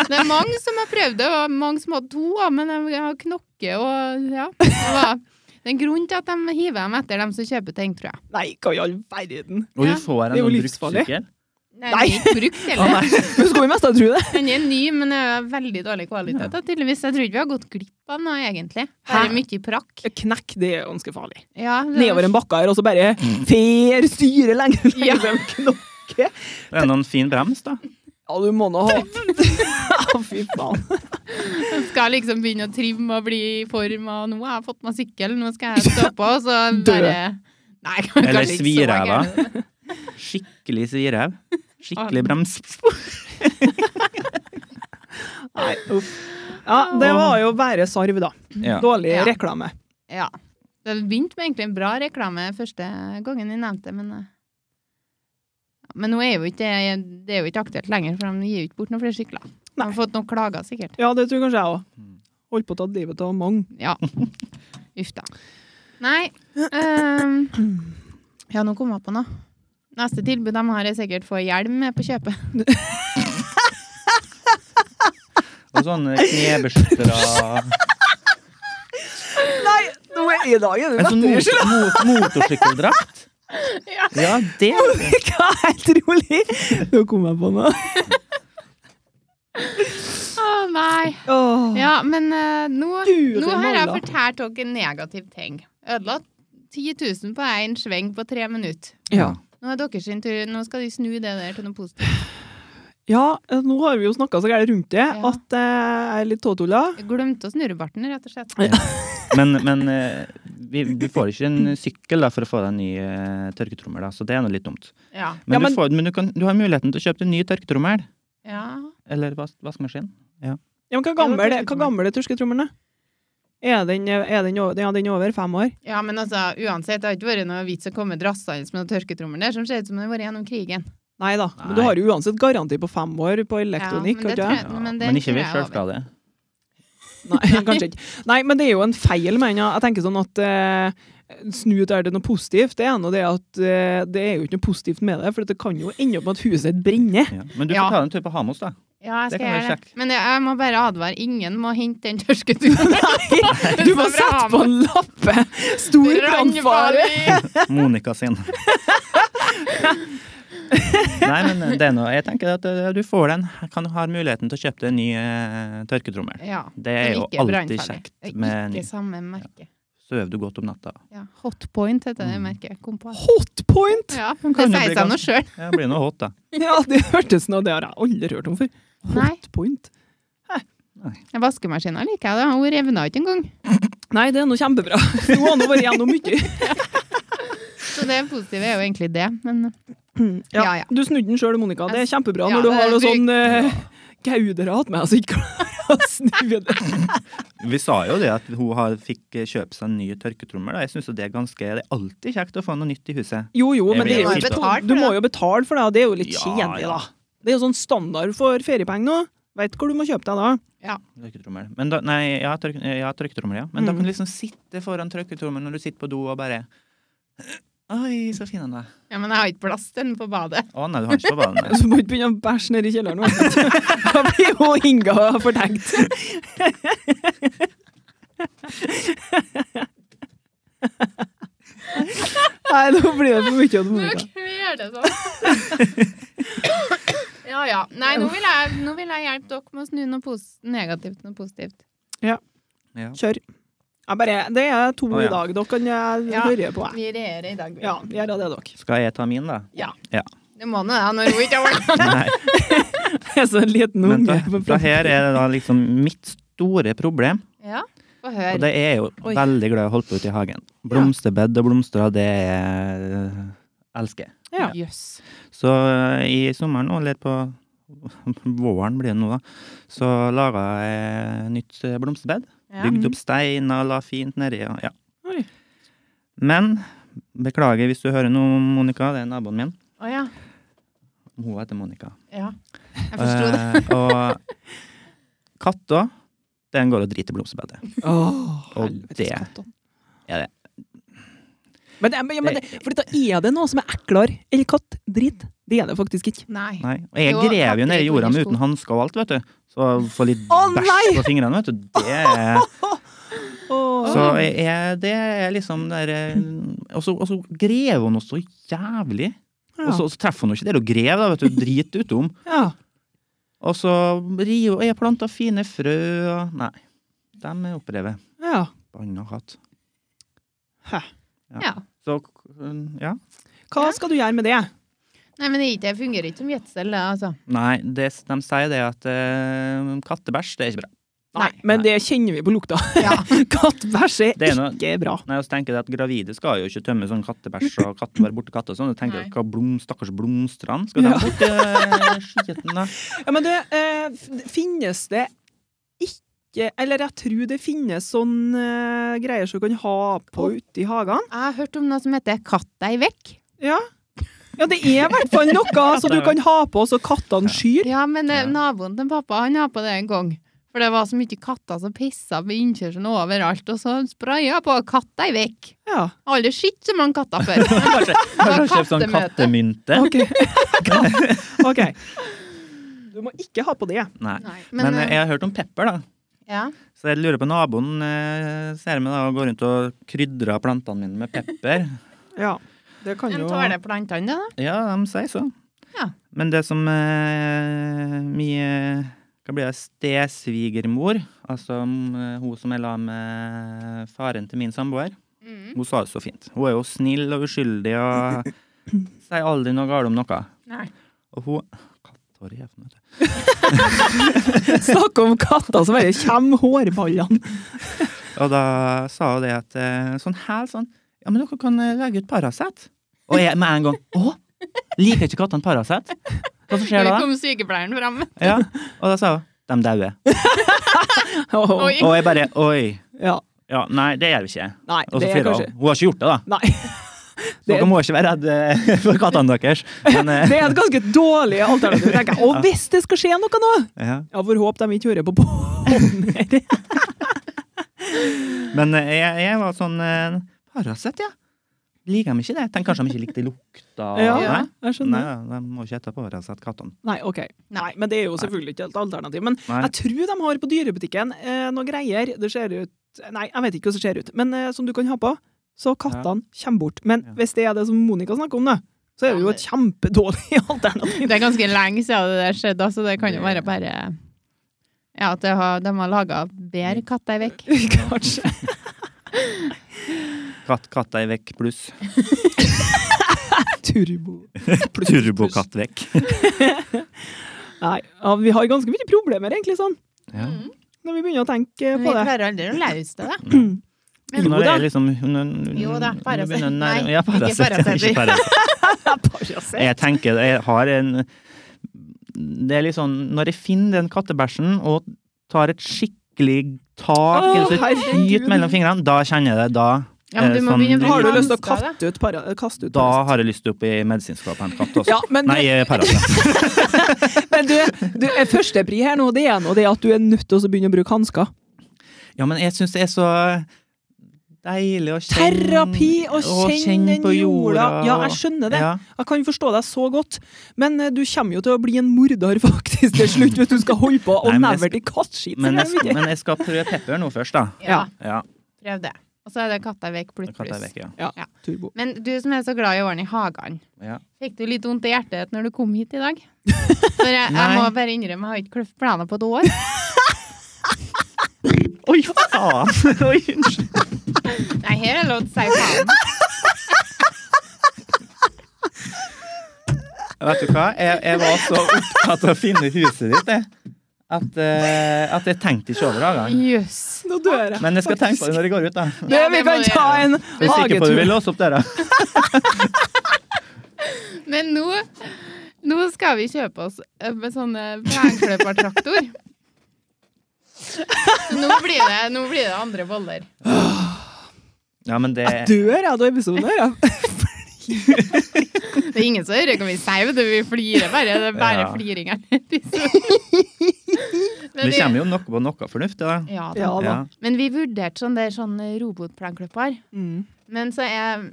Det er mange som har prøvd det, og mange som hadde to, ja, men de har knokke og ja. Det var det er en grunn til at de hiver dem etter dem som kjøper ting, tror jeg.
Nei, hva i all verden?
Og
Ja.
du
Det
får en
er jo
sånn brukt
livsfarlig.
sykkel?
Nei.
Nei.
Den er ikke brukt
Ah,
heller.
nei. Men så kommer vi mest til å tro det.
Den er ny, men er veldig dårlig kvalitet. da, Tydeligvis. Jeg tror ikke vi har gått glipp av noe, egentlig.
Hæ?
Bare mye prakk.
Knekk, det er ganske farlig.
Ja, det-
Nedover en bakke her, og så bare fer styre lenger og lenger frem knokke.
Det er noen fin brems, da.
Ja, du må nå ha Å, fy faen.
Jeg skal liksom begynne å trimme og bli i form, og nå har jeg fått meg sykkel, nå skal jeg stå på, og så
Dø.
bare Nei, kanskje
Eller
ikke så
sviræva.
gærent.
Skikkelig svirev. Skikkelig
Ah.
brems.
Nei, uff. Ja, det var jo bare sarv, da.
Ja.
Dårlig
Ja.
reklame.
Ja. Det begynte med egentlig en bra reklame første gangen jeg nevnte det, men eh, ja, Men nå er jo ikke det Det er jo ikke aktuelt lenger, for de gir jo ikke bort noen flere sykler. De
Nei.
har fått noen klager, sikkert.
Ja, det tror kanskje jeg òg.
Mm.
Holdt på å ta livet av mange.
Ja. Uff da. Nei ehm, Ja, nå kom jeg på noe. Neste tilbud de har, er sikkert få hjelm med på kjøpet.
Og sånne knebeskyttere.
Nei, nå er i dag er
En sånn mot,
Unnskyld!
mot, motorsykkeldrakt.
Ja.
Ja, det
Hva er helt rolig? Nå kom jeg på noe.
Å nei.
Åh.
Ja, men eh, nå,
Guri
nå har jeg
malla.
fortalt dere en negativ ting. Ødela 10 000 på én sving på tre minutter.
Ja.
Nå er dere sin tur. Nå skal de snu det der til noe positivt.
ja, eh, nå har vi jo snakka så gærent rundt det
Ja.
at eh, jeg er litt tåtulla.
Jeg glemte å snurre barten, rett og slett.
Men, men eh, vi, du får ikke en sykkel da, for å få deg en ny eh, tørketrommel, da, så det er nå litt dumt.
Ja.
Men,
Ja, men-
du, får, men du, kan, du har muligheten til å kjøpe deg en ny tørketrommel.
ja.
Eller vas vaskemaskin.
Ja,
Ja,
men hva
det
gammel
er
er, hva
tørsketrommel.
gammel er tørsketrommelen? da? Er den, er den, over, ja, den er over fem år?
ja, men altså, uansett, det har ikke vært noe vits å komme drassende med noen tørketrommel der som ser ut som den har vært gjennom krigen.
Nei da. Men du
Nei.
har jo uansett garanti på fem år på
Ja,
elektronikk.
men det tror
har ikke det?
jeg- men
men,
den
ikke
tror
ved
jeg er
sjølskade.
Nei, kanskje ikke. Nei, men det er jo en feil, mener jeg. Jeg tenker sånn at eh, snu det er det noe positivt. Det er nå det at eh, det er jo ikke noe positivt med det, for det kan jo ende opp med at huset brenner.
Ja. Men du
Ja.
får ta deg en tur på Hamos, da.
Ja, jeg
Det
skal
kan være
gjøre det.
kjekt.
Men jeg, jeg må bare advare. Ingen må hente den tørketrommelen.
Du må sette på en lappe! Stor brannfare!
brannfare!
Monica sin. Nei, men det er noe Jeg tenker at eh, du får den, kan ha muligheten til å kjøpe deg en ny eh, tørketrommel.
Ja.
Det er
Som
jo
ikke
alltid
brannfarlig. Det
kjekt
er
med en ny.
Ikke samme merke.
Sover du godt om natta?
Ja. Hotpoint heter det
Mm.
merket. Kom på.
Hotpoint!
Ja, det
kan jo
sier
bli
seg nå
ganske-
sjøl.
Ja, det blir noe hot, da.
Ja, det hørtes nå Det har jeg aldri hørt om før.
Nei.
Hotpoint.
Vaskemaskina liker jeg, da. Hun revna ikke engang.
Nei, det er nå kjempebra. Nå har nå vært gjennom mye.
Så det positive er jo egentlig det. Men
Ja,
Ja, ja.
Du snudde den sjøl, Monica. Det er kjempebra
Ja,
når du
det
har noe
bruk-
sånn eh, gauderat med altså ikke klarer å snu det.
Vi sa jo det at hun har, fikk eh, kjøpe seg en ny tørketrommel. Da. Jeg synes jo det er ganske Det er alltid kjekt å få noe nytt i huset.
Jo, jo,
Jeg
men
vil
det er jo
jo
ikke
betale
for
sånn, du
det.
må jo betale for det, og det er jo litt
Ja,
kjedelig,
ja.
da. Det er jo sånn standard for feriepenger nå. Veit hvor du må kjøpe deg da.
Tørketrommel. Men da, nei, ja, tørk, ja, tørketrommel, ja. Men da
Mm.
kan du liksom sitte foran tørketrommelen når du sitter på do og bare Oi, så fin han er.
ja, men jeg har ikke plass til den på badet.
Å nei, du har ikke på badet. nei.
Så må du ikke begynne å bæsje nedi kjelleren nå. Da blir jo Inga fortenkt. Nei, nå blir det for mye til Monica.
vi gjør det sånn. ja ja. Nei, nå vil jeg, nå vil jeg hjelpe dere med å snu noe pos negativt til noe positivt.
Ja.
Kjør. Jeg bare, det er to
Å, ja.
i dag. Dere kan eh,
Ja.
høre på. Jeg.
Vi regjerer i dag, vi.
Ja, gjør det, dere.
Skal jeg ta min, da?
Ja.
Ja.
Det må nå det, når hun ikke har vært
Nei.
Jeg er så en liten
Men
unge.
da,
på
da her er det da liksom mitt store problem.
Ja, få
Og
høre.
det er jo
Oi.
veldig glad i å holde på ute i hagen. Blomsterbed og blomster, det er, elsker jeg.
Ja.
Jøss.
Så eh, i sommeren nå, eller på våren blir det nå, da, så laga jeg nytt eh, blomsterbed.
Ja.
Bygde opp steiner, la fint nedi og ja.
Oi.
Men beklager hvis du hører noe, Monica. Det er naboen min.
Å ja.
Hun heter Monica.
ja. Jeg forsto det.
Eh, og katta, den går og driter i blomsterbedet.
Åh,
Og
helvetes
det
katten.
er det.
Men, det, men, men det, for da er det noe som er eklere enn kattdrit. Det er det faktisk ikke.
Nei.
Nei. Og jeg
Jo,
grev jo nedi
katter
jorda med
liker
uten hansker og alt, vet du. Så få litt
Å, nei!
bæsj på fingrene, vet du. Det er
Åh.
Så er, det er liksom det er, og, så, og så grev hun oss så jævlig. Og så, så treffer hun jo ikke det hun grev, da, vet du. Drit utom.
ja.
Og så rir hun Jeg har planta fine frø og Nei. Dem er opprevet.
ja.
Banna katt.
Hæ.
Ja.
Så ja.
Hva skal du gjøre med det?
Nei, men det, er ikke- det fungerer ikke som gjødsel, det, altså.
Nei, det, de sier det at eh, kattebæsj, det er ikke bra.
Nei.
Men det kjenner vi på lukta.
Ja.
Kattbæsj er,
Det er noe-
ikke bra.
Nei, og så tenker jeg at Gravide skal jo ikke tømme sånn kattebæsj og katt, være borte katter og sånn. Jeg tenker
Nei.
hva blom, stakkars blomstrene skal de borti eh, skiten, da?
Ja, men det eh, f- finnes det ikke Eller jeg tror det finnes sånne eh, greier som du kan ha på ute i hagene.
Jeg har hørt om noe som heter 'katt deg vekk'.
Ja. ja, det er i hvert fall noe som du kan ha på så kattene skyr.
Ja, men eh,
Ja.
naboen til pappa han har på det en gang. For det var så mye katter som pissa ved innkjørselen overalt, og så spraya på 'katt deg vekk'.
Ja.
Aldri sett så mange katter før.
Kanskje, kanskje kjøpt sånn
kattemøte.
kattemynte?
OK. OK. Du må ikke ha på det.
Nei.
Nei,
Men,
men, eh,
eh, jeg har hørt om pepper, da.
ja.
Så jeg lurer på naboen eh, ser meg da og går rundt og krydrer plantene mine med pepper.
Ja. Det kan
En
jo
tåler plantene, da?
Ja, de sier så.
Ja.
Men det som eh, mi eh, hva blir det, stesvigermor, altså mm, eh, hun som jeg la med faren til min samboer,
Mm.
hun sa det så fint. Hun er jo snill og uskyldig og sier aldri noe galt om noe.
Nei.
Og hun Katthår i kjeften, vet du.
Snakk om katter som bare kommer hårballene.
Og da sa hun det at eh, sånn hæl sånn Ja, men dere kan eh, legge ut Paracet. Og jeg med en gang Å! Liker ikke kattene Paracet? Hva som skjer
Der
da?
kom sykepleieren fram.
Ja, og da sa hun de dauer.
Åh.
Oi.
Og jeg bare Oi.
Ja.
Ja, nei, det gjør vi ikke.
Nei,
Og så
det er
flirer
kanskje
hun. Hun har ikke gjort det, da.
Nei. Det-
Så dere må ikke være redde for kattene deres. Men eh,
Det er et ganske dårlig alternativ. tenker jeg. Og hvis det skal skje noe nå
ja.
Ja, får håpe de ikke hører på podden her.
Men eh, jeg, jeg var sånn eh, Paracet, ja. Liker de ikke det? Tenk kanskje de ikke likte lukta.
Ja,
Nei,
jeg
nei,
skjønner. Nei.
de må ikke ete Paracet, kattene.
OK. Nei, men det er jo selvfølgelig ikke et alternativ. Men
Nei.
jeg tror de har på dyrebutikken eh, noen greier. Det ser ut Nei, jeg vet ikke hvordan det ser ut, men eh, som du kan ha på. Så kattene kommer bort. Men
Ja.
hvis det er det som Monica snakker om, da, så er det jo et kjempedårlig alternativ.
Det er ganske lenge siden det der skjedde, så det kan jo være bare ja, at det har, de har laga bedre katter vekk.
Kanskje.
Katt, katta er vekk pluss.
Turbo.
Turbokatt vekk.
Nei, ja, vi har ganske mye problemer, egentlig, sånn,
Ja.
når vi begynner å tenke
Men vi
på det.
klarer aldri å løse det. da.
Men
Jo
når det
da.
er liksom når, når,
Jo da,
når
Paracet.
det begynner å nærme-
Nei,
Ja,
ikke
Paracet.
Paracet.
Ikke Paracet.
Paracet.
Jeg tenker jeg har en Det er litt sånn Når jeg finner den kattebæsjen og tar et skikkelig tak
Å,
eller så et
herregud.
Dyt mellom fingrene, da kjenner jeg det. Da,
Ja, men du må
Sånn,
begynne å
Har du
bruke
lyst til å
hansker, da.
katte ut para, kaste ut
da har jeg lyst til opp i medisinskapet en katt også.
Ja, men du-
Nei, eh, Paracet.
Men du, du er førstepri her nå, det er nå det at du er nødt til å begynne å bruke hansker.
Ja, men jeg syns det er så deilig å kjenne
Terapi og kjenn den jorda. Ja, jeg skjønner det.
Ja.
Jeg kan forstå deg så godt. Men eh, du kommer jo til å bli en morder faktisk til slutt hvis du skal holde på og
Nei, men
never
jeg
til kattskit.
Men,
sier jeg jo ikke.
jeg, skal- men jeg skal prøve pepper nå først, da.
Ja,
Ja,
prøv det. Og så er det katter vekk pluss
katta er
pluss.
vekk, ja.
Ja,
Ja.
turbo.
Men du som er så glad i å ordne i hagene,
ja.
fikk du litt vondt i hjertet når du kom hit i dag? For jeg, jeg
Nei.
må bare innrømme, jeg har ikke kløft planer på et år.
Oi, faen! Oi, unnskyld.
Nei, her er lov til å si faen.
Vet du hva? Jeg, jeg var så opptatt av å finne huset ditt, jeg. At, eh, at jeg tenkte ikke over det.
Jøs.
Nå dør jeg.
Men jeg skal tenke på det når jeg går ut, da.
Du,
Ja,
vi
det må
kan
du
ta
gjøre.
en
Jeg er sikker på at du vil
hagetur.
låse opp døra.
Men nå, sånn, nå skal vi kjøpe oss eh, med sånne plenkløpertraktor. Så nå blir det, nå blir det andre boller.
Ja, men det
Jeg dør jeg av episoden her. jeg.
Det er ingen som hører hva vi sier, vet du. Vi flirer bare. Det er bare
Ja.
fliring her. Men
Det kommer jo noe på noe fornuftig, da.
Ja, da.
Ja da.
Ja.
Men vi vurderte sånn der sånn robotplenklipper.
Mm.
Men så er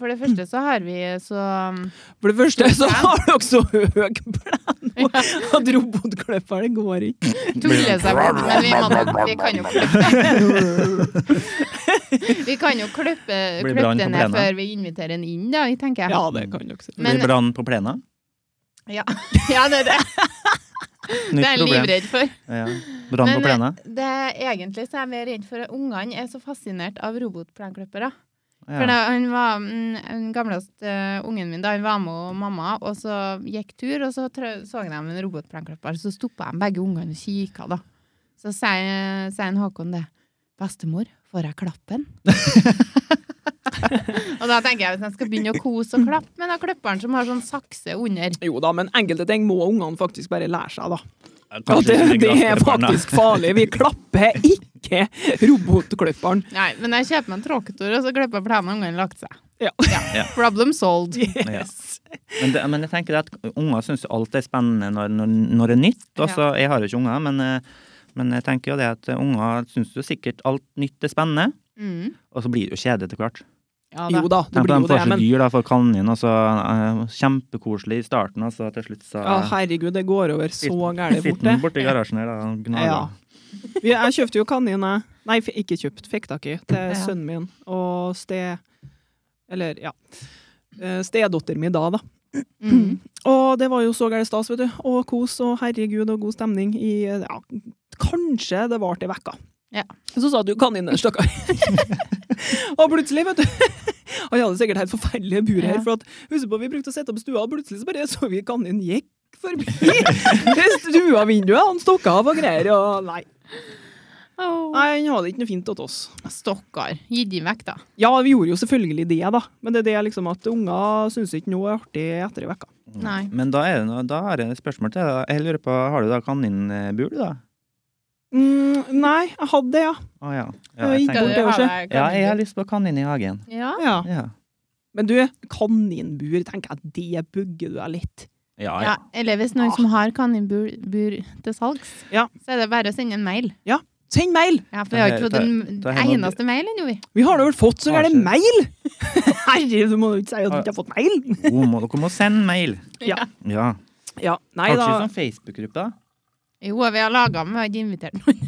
For det første så har vi så um,
For det første så har dere så høy plan nå at robotklipperen går ikke.
tulle seg bort, men vi, må, vi kan jo klippe Vi kan jo klippe,
Blir
klippe
brann
det
på
ned
plenen.
før vi inviterer den inn, da, tenker jeg.
Ja, det kan dere si.
Men-
Blir brann på plena?
Ja, ja det er det. Det er jeg livredd for.
Ja.
Men,
Brann på
eh,
plena?
Det er egentlig så er jeg mer redd for at ungene er så fascinert av robotplenklippere. eh, For
Ja.
da han var mm, den gamleste eh, ungen min, da han var med og mamma, og så gikk tur, og så trø- så de en robotplenklipper, så stoppa de begge ungene og kikka, da. Så sier sier han Håkon det. Bestemor, får jeg klappen? og da tenker jeg hvis jeg skal begynne å kose og klappe med den klipperen som har sånn sakse under.
Jo da, men enkelte ting må ungene faktisk bare lære seg, da.
Kanskje
At det,
ikke
det er
glassklipperen, da.
faktisk farlig. Vi klapper ikke robotklipperen.
Nei, men jeg kjøper meg en tråkketor, og så klipper jeg plenen, og ungene har lagt seg.
Ja.
Problem solved.
Yes.
Men, det, men jeg tenker det at unger syns alt er spennende når, når, når det er nytt. Altså, Jeg har jo ikke unger, men, eh, men jeg tenker jo det at unger syns jo sikkert alt nytt er spennende.
Mm.
Og så blir det jo kjedelig etter hvert.
Ja, da.
Jo da, det
Tenk på
blir
de
jo det.
får seg
Men
dyr, da, får kanin, og så eh, kjempekoselig i starten, og så til slutt så
ja, herregud, det går over så gærent
Sitter
borte.
den borti garasjen her da, og gnager.
Ja. Vi- Jeg kjøpte jo kanin, jeg. Nei, f- ikke kjøpt, fikk tak i. Til
Ja.
sønnen min og ste... Eller, ja. Eh, Stedatteren min da, da.
Mm.
Og det var jo så gærent stas, vet du. Og kos og herregud og god stemning i eh, ja, Kanskje det varte ei uke.
Ja.
Så sa du kaninen, stakkar. og plutselig, vet du Han hadde sikkert helt forferdelige bur her.
Ja.
For at, husk på, vi brukte å sette opp stua, og plutselig så bare så vi kaninen gikk forbi Det stuavinduet. Han stakk av og greier. Og nei,
Åh. Ah,
nei han hadde ikke noe fint til oss.
Stokkar. Gi dem vekk, da.
Ja, vi gjorde jo selvfølgelig det, da. Men det er det liksom at unger syns ikke noe er artig etter ei uke.
Nei.
Men da er det noe, da er det et spørsmål til deg. Jeg lurer på, har du da kaninbul, da?
Mm, nei, jeg hadde det, ja.
Å ja.
Ja,
Ja, jeg,
ikke
Skal du
tenker,
ha
bortover,
deg
ja, jeg har lyst på kanin i hagen.
Ja.
ja.
Ja.
Men du, kaninbur, tenker jeg, det bugger du deg litt.
Ja,
Ja, eller hvis noen
Ah.
som har kaninbur bur til salgs,
Ja.
så er det bare å sende en mail.
Send mail!
Ja, for vi har
Det
ikke
er-
fått en
det er- det er noe-
eneste mail ennå, vi.
Vi har da vel fått så gærent
Kanskje.
mail! Herregud, du må jo ikke si at du ikke har fått mail!
God, må, dere må sende mail.
Ja.
Ja.
Ja, nei
Har dere
da.
ikke sånn Facebook-gruppe? da?
Jo, vi har laga, men vi har ikke invitert noen.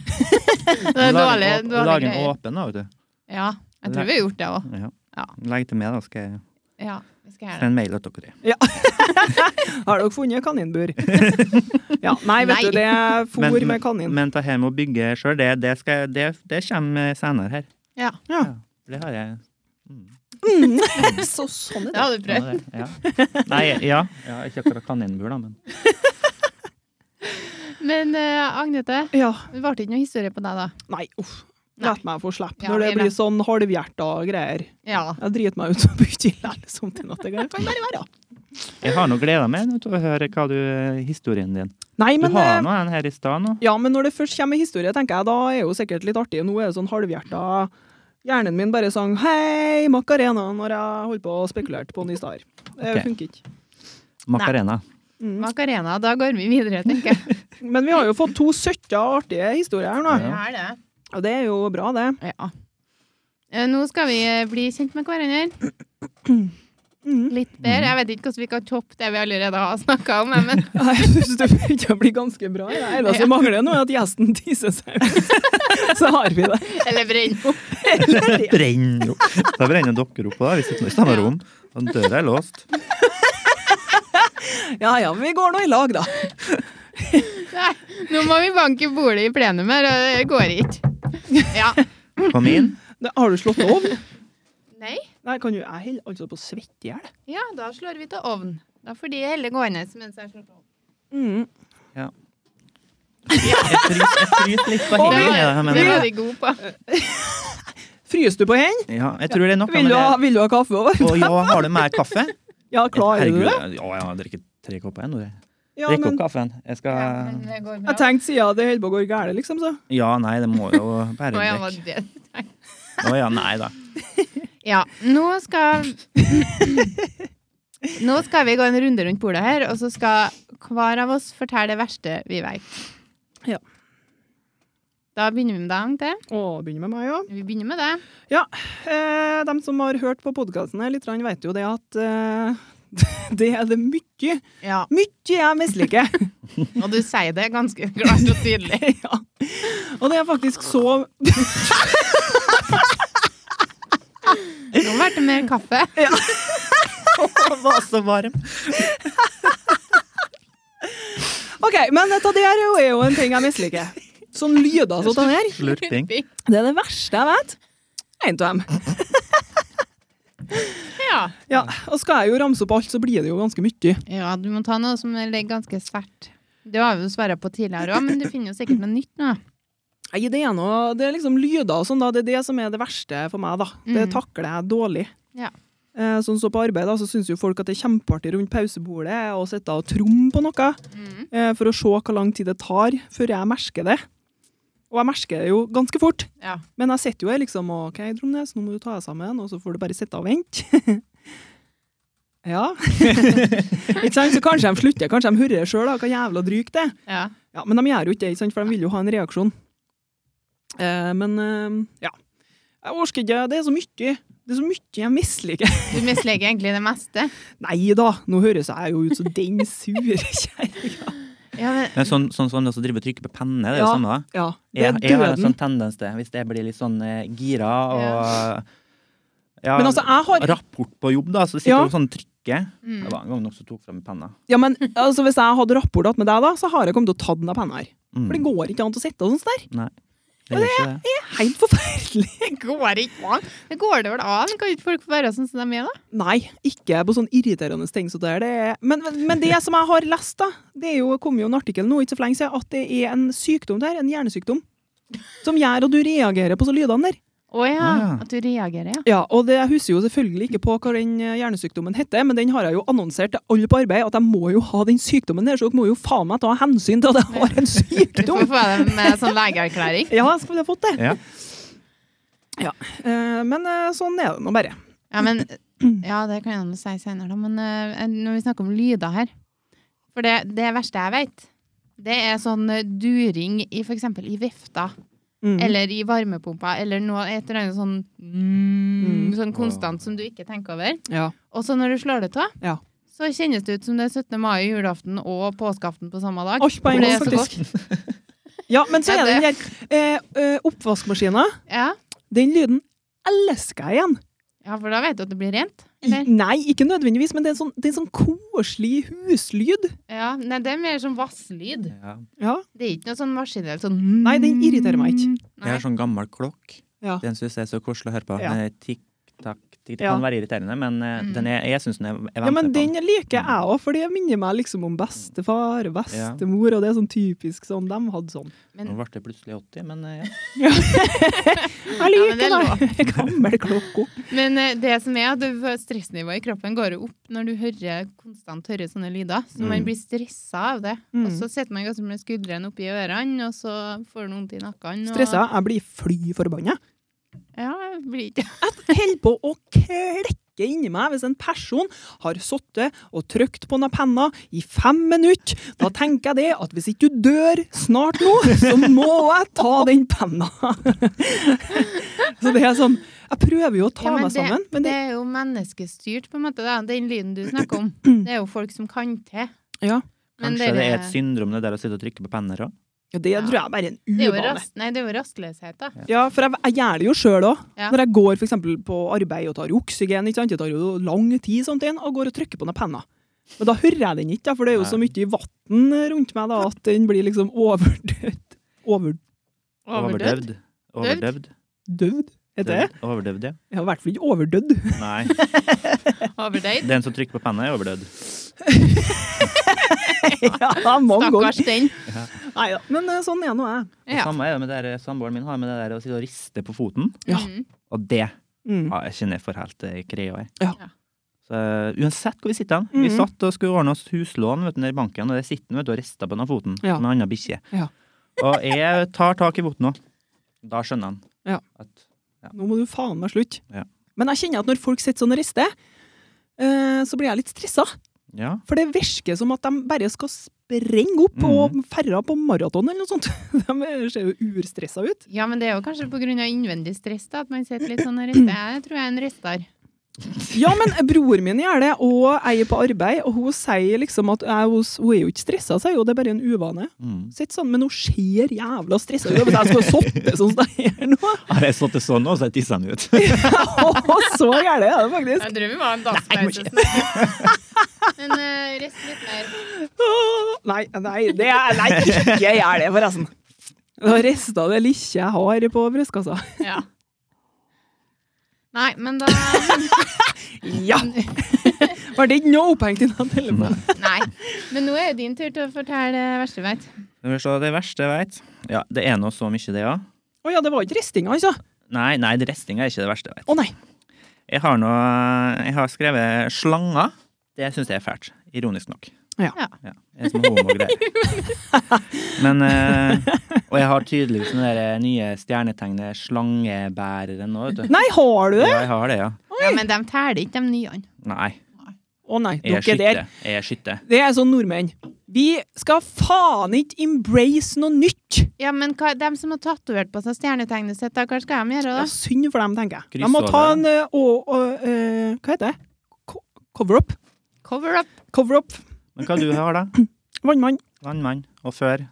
det er
Lag
dårlig,
en å-
dårlig
Lag en
greier.
åpen, da, vet du.
Ja, jeg tror vi har gjort det òg.
Ja.
Ja.
Legg til meg, da, skal jeg
Ja, vi skal gjøre det.
sende mail til dere.
Har dere funnet kaninbur? ja, nei, vet
Nei.
du, det er fôr
Men-
med kanin.
Men det her med å bygge sjøl, det, det, skal jeg- det, det kommer eh, senere her.
Ja.
Ja.
Det har jeg. Mm.
så sånn
Det hadde du prøvd.
Ja, det- Ja. Nei, ja. ja. Ikke akkurat kaninbur, da, men
Men eh, Agnete,
Ja,
det ble ikke noe historie på deg, da?
nei, uff.
Nei.
Lett meg få slippe
Ja,
når det
vi
blir
lar-
sånn halvhjerta greier.
Ja.
Jeg driter meg ut så mye likevel samtidig at det kan- kan bare være.
jeg har nå gleda meg nå til å høre hva du, eh, historien din.
Nei,
Du
men eh,
har nå en her i stad nå.
Ja, men når det først kommer en historie, tenker jeg, da er jo sikkert litt artig. Nå er det sånn halvhjerta Hjernen min bare sang 'Hei, Macarena' når jeg holdt på og spekulerte på nye stader. Det
Ok.
funker ikke.
Macarena.
Mm.
Macarena, da går vi videre, tenker jeg.
Men vi har jo fått to søtta artige historier her nå.
Ja.
Det er det.
Og det er jo bra, det.
Ja. Eh, Nå skal vi eh, bli kjent med hverandre.
Mm.
Litt bedre. Jeg vet ikke hvordan vi kan toppe det vi allerede har snakka om, men
Jeg syns det begynner å bli ganske bra. Det eneste som mangler nå, er at gjesten tisser seg ut. Så har vi det.
Eller brenner opp.
Brenner jo. Da brenner dere opp, da. Vi sitter nå i samme rom. Og døra er låst.
Ja ja, vi går nå i lag, da.
Nei, nå må vi banke bordet i plenum her, og det går ikke. Ja.
Kom inn.
Det, har du slått ovn?
Nei,
Nei, kan du Jeg holder altså på å svette i hjel.
ja, da slår vi til ovn. Da får de heller gående mens jeg slår på ovn.
Mm.
Jeg frys- jeg fryser litt på
Å,
hendene. jeg,
Det
men-
var de gode på.
Fryser du på hendene?
Ja, jeg tror det er noe
Vil,
med
du ha-
det.
vil du ha kaffe òg?
Og ja, har du mer kaffe?
Ja, klarer du
Herregud,
det?
Ja, jeg har drukket tre kopper ennå. jeg.
Ja,
Drikk
men
opp kaffen. Jeg
Ja, men
skal
det går
jeg
bra.
tenkte siden det holder på å gå galt, liksom, så.
Ja, nei, det må jo bære
Å, ja, var
vekk.
det det du tenkte?
Å ja, nei da.
Ja, nå skal Nå skal vi gå en runde rundt bordet her, og så skal hver av oss fortelle det verste vi vet.
Ja.
Da begynner vi med deg, Agnete.
Å, begynner med meg, ja.
Vi begynner med deg.
Eh, de som har hørt på podkasten her litt, grann vet jo det at eh, det er det mye,
Ja.
mye jeg misliker.
Og du sier det ganske klart og tydelig.
ja. Og det er faktisk så
Nå ble det mer kaffe.
Det var så varm.
OK, men dette der er jo- er jo en ting jeg misliker. Sånn lyder som den her.
Slurping.
Det er det verste jeg vet. En av dem.
Ja.
Ja, og skal jeg jo ramse opp alt, så blir det jo ganske mye.
ja, du må ta noe som ligger ganske svært. Det har vi jo svaret på tidligere òg, men du finner jo sikkert noe nytt nå.
Nei, det er noe Det er liksom lyder og sånn, da. Det er det som er det verste for meg, da. Det
Mm.
takler jeg dårlig.
Ja.
Eh, Sånn som på arbeid, da, så syns jo folk at det er kjempeartig rundt pausebordet å sitte og tromme på noe.
Mm.
eh, for å se hvor lang tid det tar før jeg merker det. Og jeg merker det jo ganske fort.
Ja.
Men jeg sitter jo her liksom og OK, Tromnes, nå må du ta deg sammen, og så får du bare sitte og vente. ja. ikke sant? Så kanskje de slutter, kanskje de hører sjøl hva jævla drygt det er.
ja.
Ja, men de gjør jo ikke det, ikke sant? for de vil jo ha en reaksjon. Eh, men eh, ja. Jeg orker ikke, det er så mye. Det er så mye jeg misliker.
Du misliker egentlig det meste.
Nei da, nå høres jeg jo ut som den sure kjerringa.
Ja, men
Men sånn som sånn, sånn, også driver og trykker på penne, det er det
Ja.
samme, da?
Ja, det
Jeg,
er
jeg har en
døden.
sånn tendens til, hvis jeg blir litt sånn eh, gira og ja,
Men altså, jeg har
Rapport på jobb, da, så sitter
Ja.
du sånn og trykker.
Mm.
Det var en gang noen som tok fram penna.
Ja, men altså, Hvis jeg hadde rapport med deg, da, så har jeg kommet til å ta den av penna her.
Mm.
For det går ikke an å sitte og sånn der.
Det gjør ikke det.
Det er helt forferdelig.
Det går ikke an. Det går det vel an? Kan ikke folk få være sånn som de er, da?
Nei, ikke på sånn irriterende ting. Så det er det. Men, men- men det som jeg har lest, da, det er jo, kom jo en artikkel nå ikke så for lenge siden, at det er en sykdom der, en hjernesykdom, som gjør at du reagerer på så lydene der.
Å ja.
Ah, ja.
At du reagerer, ja.
Ja, og det, Jeg husker jo selvfølgelig ikke på hva den eh, hjernesykdommen heter, men den har jeg jo annonsert til alle på arbeid, at jeg må jo ha den sykdommen der, så dere må jo faen meg ta hensyn til at jeg har en
Du får
sykdom.
få deg med sånn legeerklæring.
Ja, jeg skulle ha fått det.
Ja.
Eh, Men eh, sånn er det nå bare.
Ja, men, ja, det kan jeg nå si senere, da. Men eh, når vi snakker om lyder her For det, det verste jeg vet, det er sånn eh, during i for eksempel i vifta,
Mm.
eller i varmepumpa, eller noe, et eller annet sånn
Mm.
mm, Sånn konstant som du ikke tenker over.
Ja.
Og så når du slår det av,
Ja.
så kjennes det ut som det er 17. mai, julaften og påskeaften på samme dag.
Alt på
For
en
det
gang,
er så
faktisk. Ja, men så
Ja,
er det den der eh, eh, oppvaskmaskina.
Ja.
Den lyden elsker jeg igjen.
ja, for da vet du at det blir rent.
I,
Eller?
nei, ikke nødvendigvis, men det er en sånn, det er en sånn koselig huslyd.
Ja, nei, det er mer sånn vasslyd.
Ja.
Ja.
Det er ikke noe sånn maskinell sånn
Nei, den irriterer meg ikke.
Jeg har sånn gammel klokk.
Ja.
Den syns jeg er så koselig å høre på.
Ja.
Den er Tikk-takk tikk, Det
Ja.
kan være irriterende, men eh,
Mm.
den er, jeg syns den er jeg
ja, men
venter på
den liker jeg òg, for det minner meg liksom om bestefar og bestemor, og det er sånn typisk sånn de hadde sånn.
Nå ble det plutselig 80, men eh, ja.
Jeg
Ja, men
liker
det er
det! Gammel klokka.
Men eh, det som er at du får stressnivået i kroppen går jo opp når du hører konstant hører sånne lyder. Så man
Mm.
blir stressa av det.
Mm.
Og så setter man ganske med skuldrene oppi ørene, og så får du vondt i nakken. og-
Stressa. Jeg blir fly forbanna.
Ja, jeg blir ikke
holder på å klekke inni meg hvis en person har sittet og trykt på noen penna i fem minutter. Da tenker jeg det at hvis ikke du dør snart nå, så må jeg ta den penna. Så det er sånn Jeg prøver jo å ta
Ja, men
meg sammen,
det,
men det,
er jo menneskestyrt, på en måte. Da. Den lyden du snakker om. Det er jo folk som kan til.
Ja.
Men
Kanskje det er et
det-
syndrom, det der å sitte og trykke på penner òg.
ja, det tror jeg bare er
Det
en
er jo,
uvane.
ras nei, det er jo rastløshet, da.
Ja, for jeg, jeg gjør det jo sjøl òg.
Ja.
Når jeg går for eksempel, på arbeid og tar oksygen, ikke sant? det tar jo lang tid sånt inn, og går og trykker på noen penner. Men da hører jeg den ikke, da, for det er jo så
Nei.
mye vann rundt meg da, at den blir liksom overdøvd. Overdøvd?
Overdøvd.
Overdøvd.
Heter det?
Døvd. Overdøvd, ja.
Ja, i hvert fall ikke overdødd.
Nei.
Overdøyd.
Den som trykker på penna, er overdødd.
ja, mange ganger.
Stakkars den.
Nei da. Men eh, sånn er nå jeg.
Det
Ja.
Samme er det med det der samboeren min har med det der å sitte og riste på foten.
Ja.
Mm.
Og det
Mm.
ja, jeg kjenner jeg får helt eh, krea i.
Ja.
Ja.
Så, eh, uansett hvor vi sitter hen. Vi
Mhm.
satt og skulle ordne oss huslån vet du, nede i banken, og der sitter han vet du, og rister på den av foten
Ja.
med en annen bikkje.
Ja.
Og jeg tar tak i foten òg. Da skjønner han
Ja.
at
Nå må du faen meg slutte.
Ja.
Men jeg kjenner at når folk sitter sånn og rister, eh, så blir jeg litt stressa.
ja,
For det virker som at de bare skal sprenge opp
Mhm.
og ferra på maraton eller noe sånt. De ser jo urstressa ut.
Ja, men det er jo kanskje pga. innvendig stress da, at man sitter litt sånn og rister. Jeg tror jeg er en rister.
Ja, men bror min gjør det, og jeg er på arbeid, og hun sier liksom at eh, hun, hun er jo ikke stressa, sier hun, det er bare en uvane.
mm.
Sitter sånn, men hun ser jævla stressa ut. Jeg bare, Jeg skulle ha sittet sånn som det her nå.
Har jeg stått sånn nå, så jeg tisser han ut.
Å, så gæren er det faktisk.
Jeg tror vi var en
dagspause
Men eh, rist litt mer.
Åh, Nei, nei, det er, nei ikke gjør det, forresten. Og resten av det lille jeg har på brystkassa.
Ja. Nei, men da
Ja! Var det ikke noe opphengt i den telefonen?
Nei. Men nå er det din tur til å fortelle det verste du vet.
Skal vi se, Det verste jeg veit Ja, det er nå så mye, det òg.
Å ja, det var ikke ristinga, altså.
Nei, nei, det restinga er ikke det verste jeg vet.
Å nei.
Jeg har, nå, jeg har skrevet slanger. Det syns jeg er fælt. Ironisk nok.
Ja.
Ja.
en som er homo og greier. Men eh, Og jeg har tydeligvis det der eh, nye stjernetegnet slangebæreren òg, vet du.
Nei, har du det?
Ja, jeg har det, ja.
Ja, men de teller ikke de nye.
Nei,
Å nei,
jeg er
dere der.
skytte. Jeg er skytte.
Det er sånn nordmenn. Vi skal faen ikke embrace noe nytt!
Ja, men hva, de som har tatovert på seg stjernetegnet sitt, da, hva skal de gjøre
Det
da?
er synd for dem, tenker jeg. De må ta en eh, og, og, eh, Hva heter det? Co- Cover-up.
Cover up.
Cover-up.
Men hva du har da?
Vannmann.
Landmann. Og før?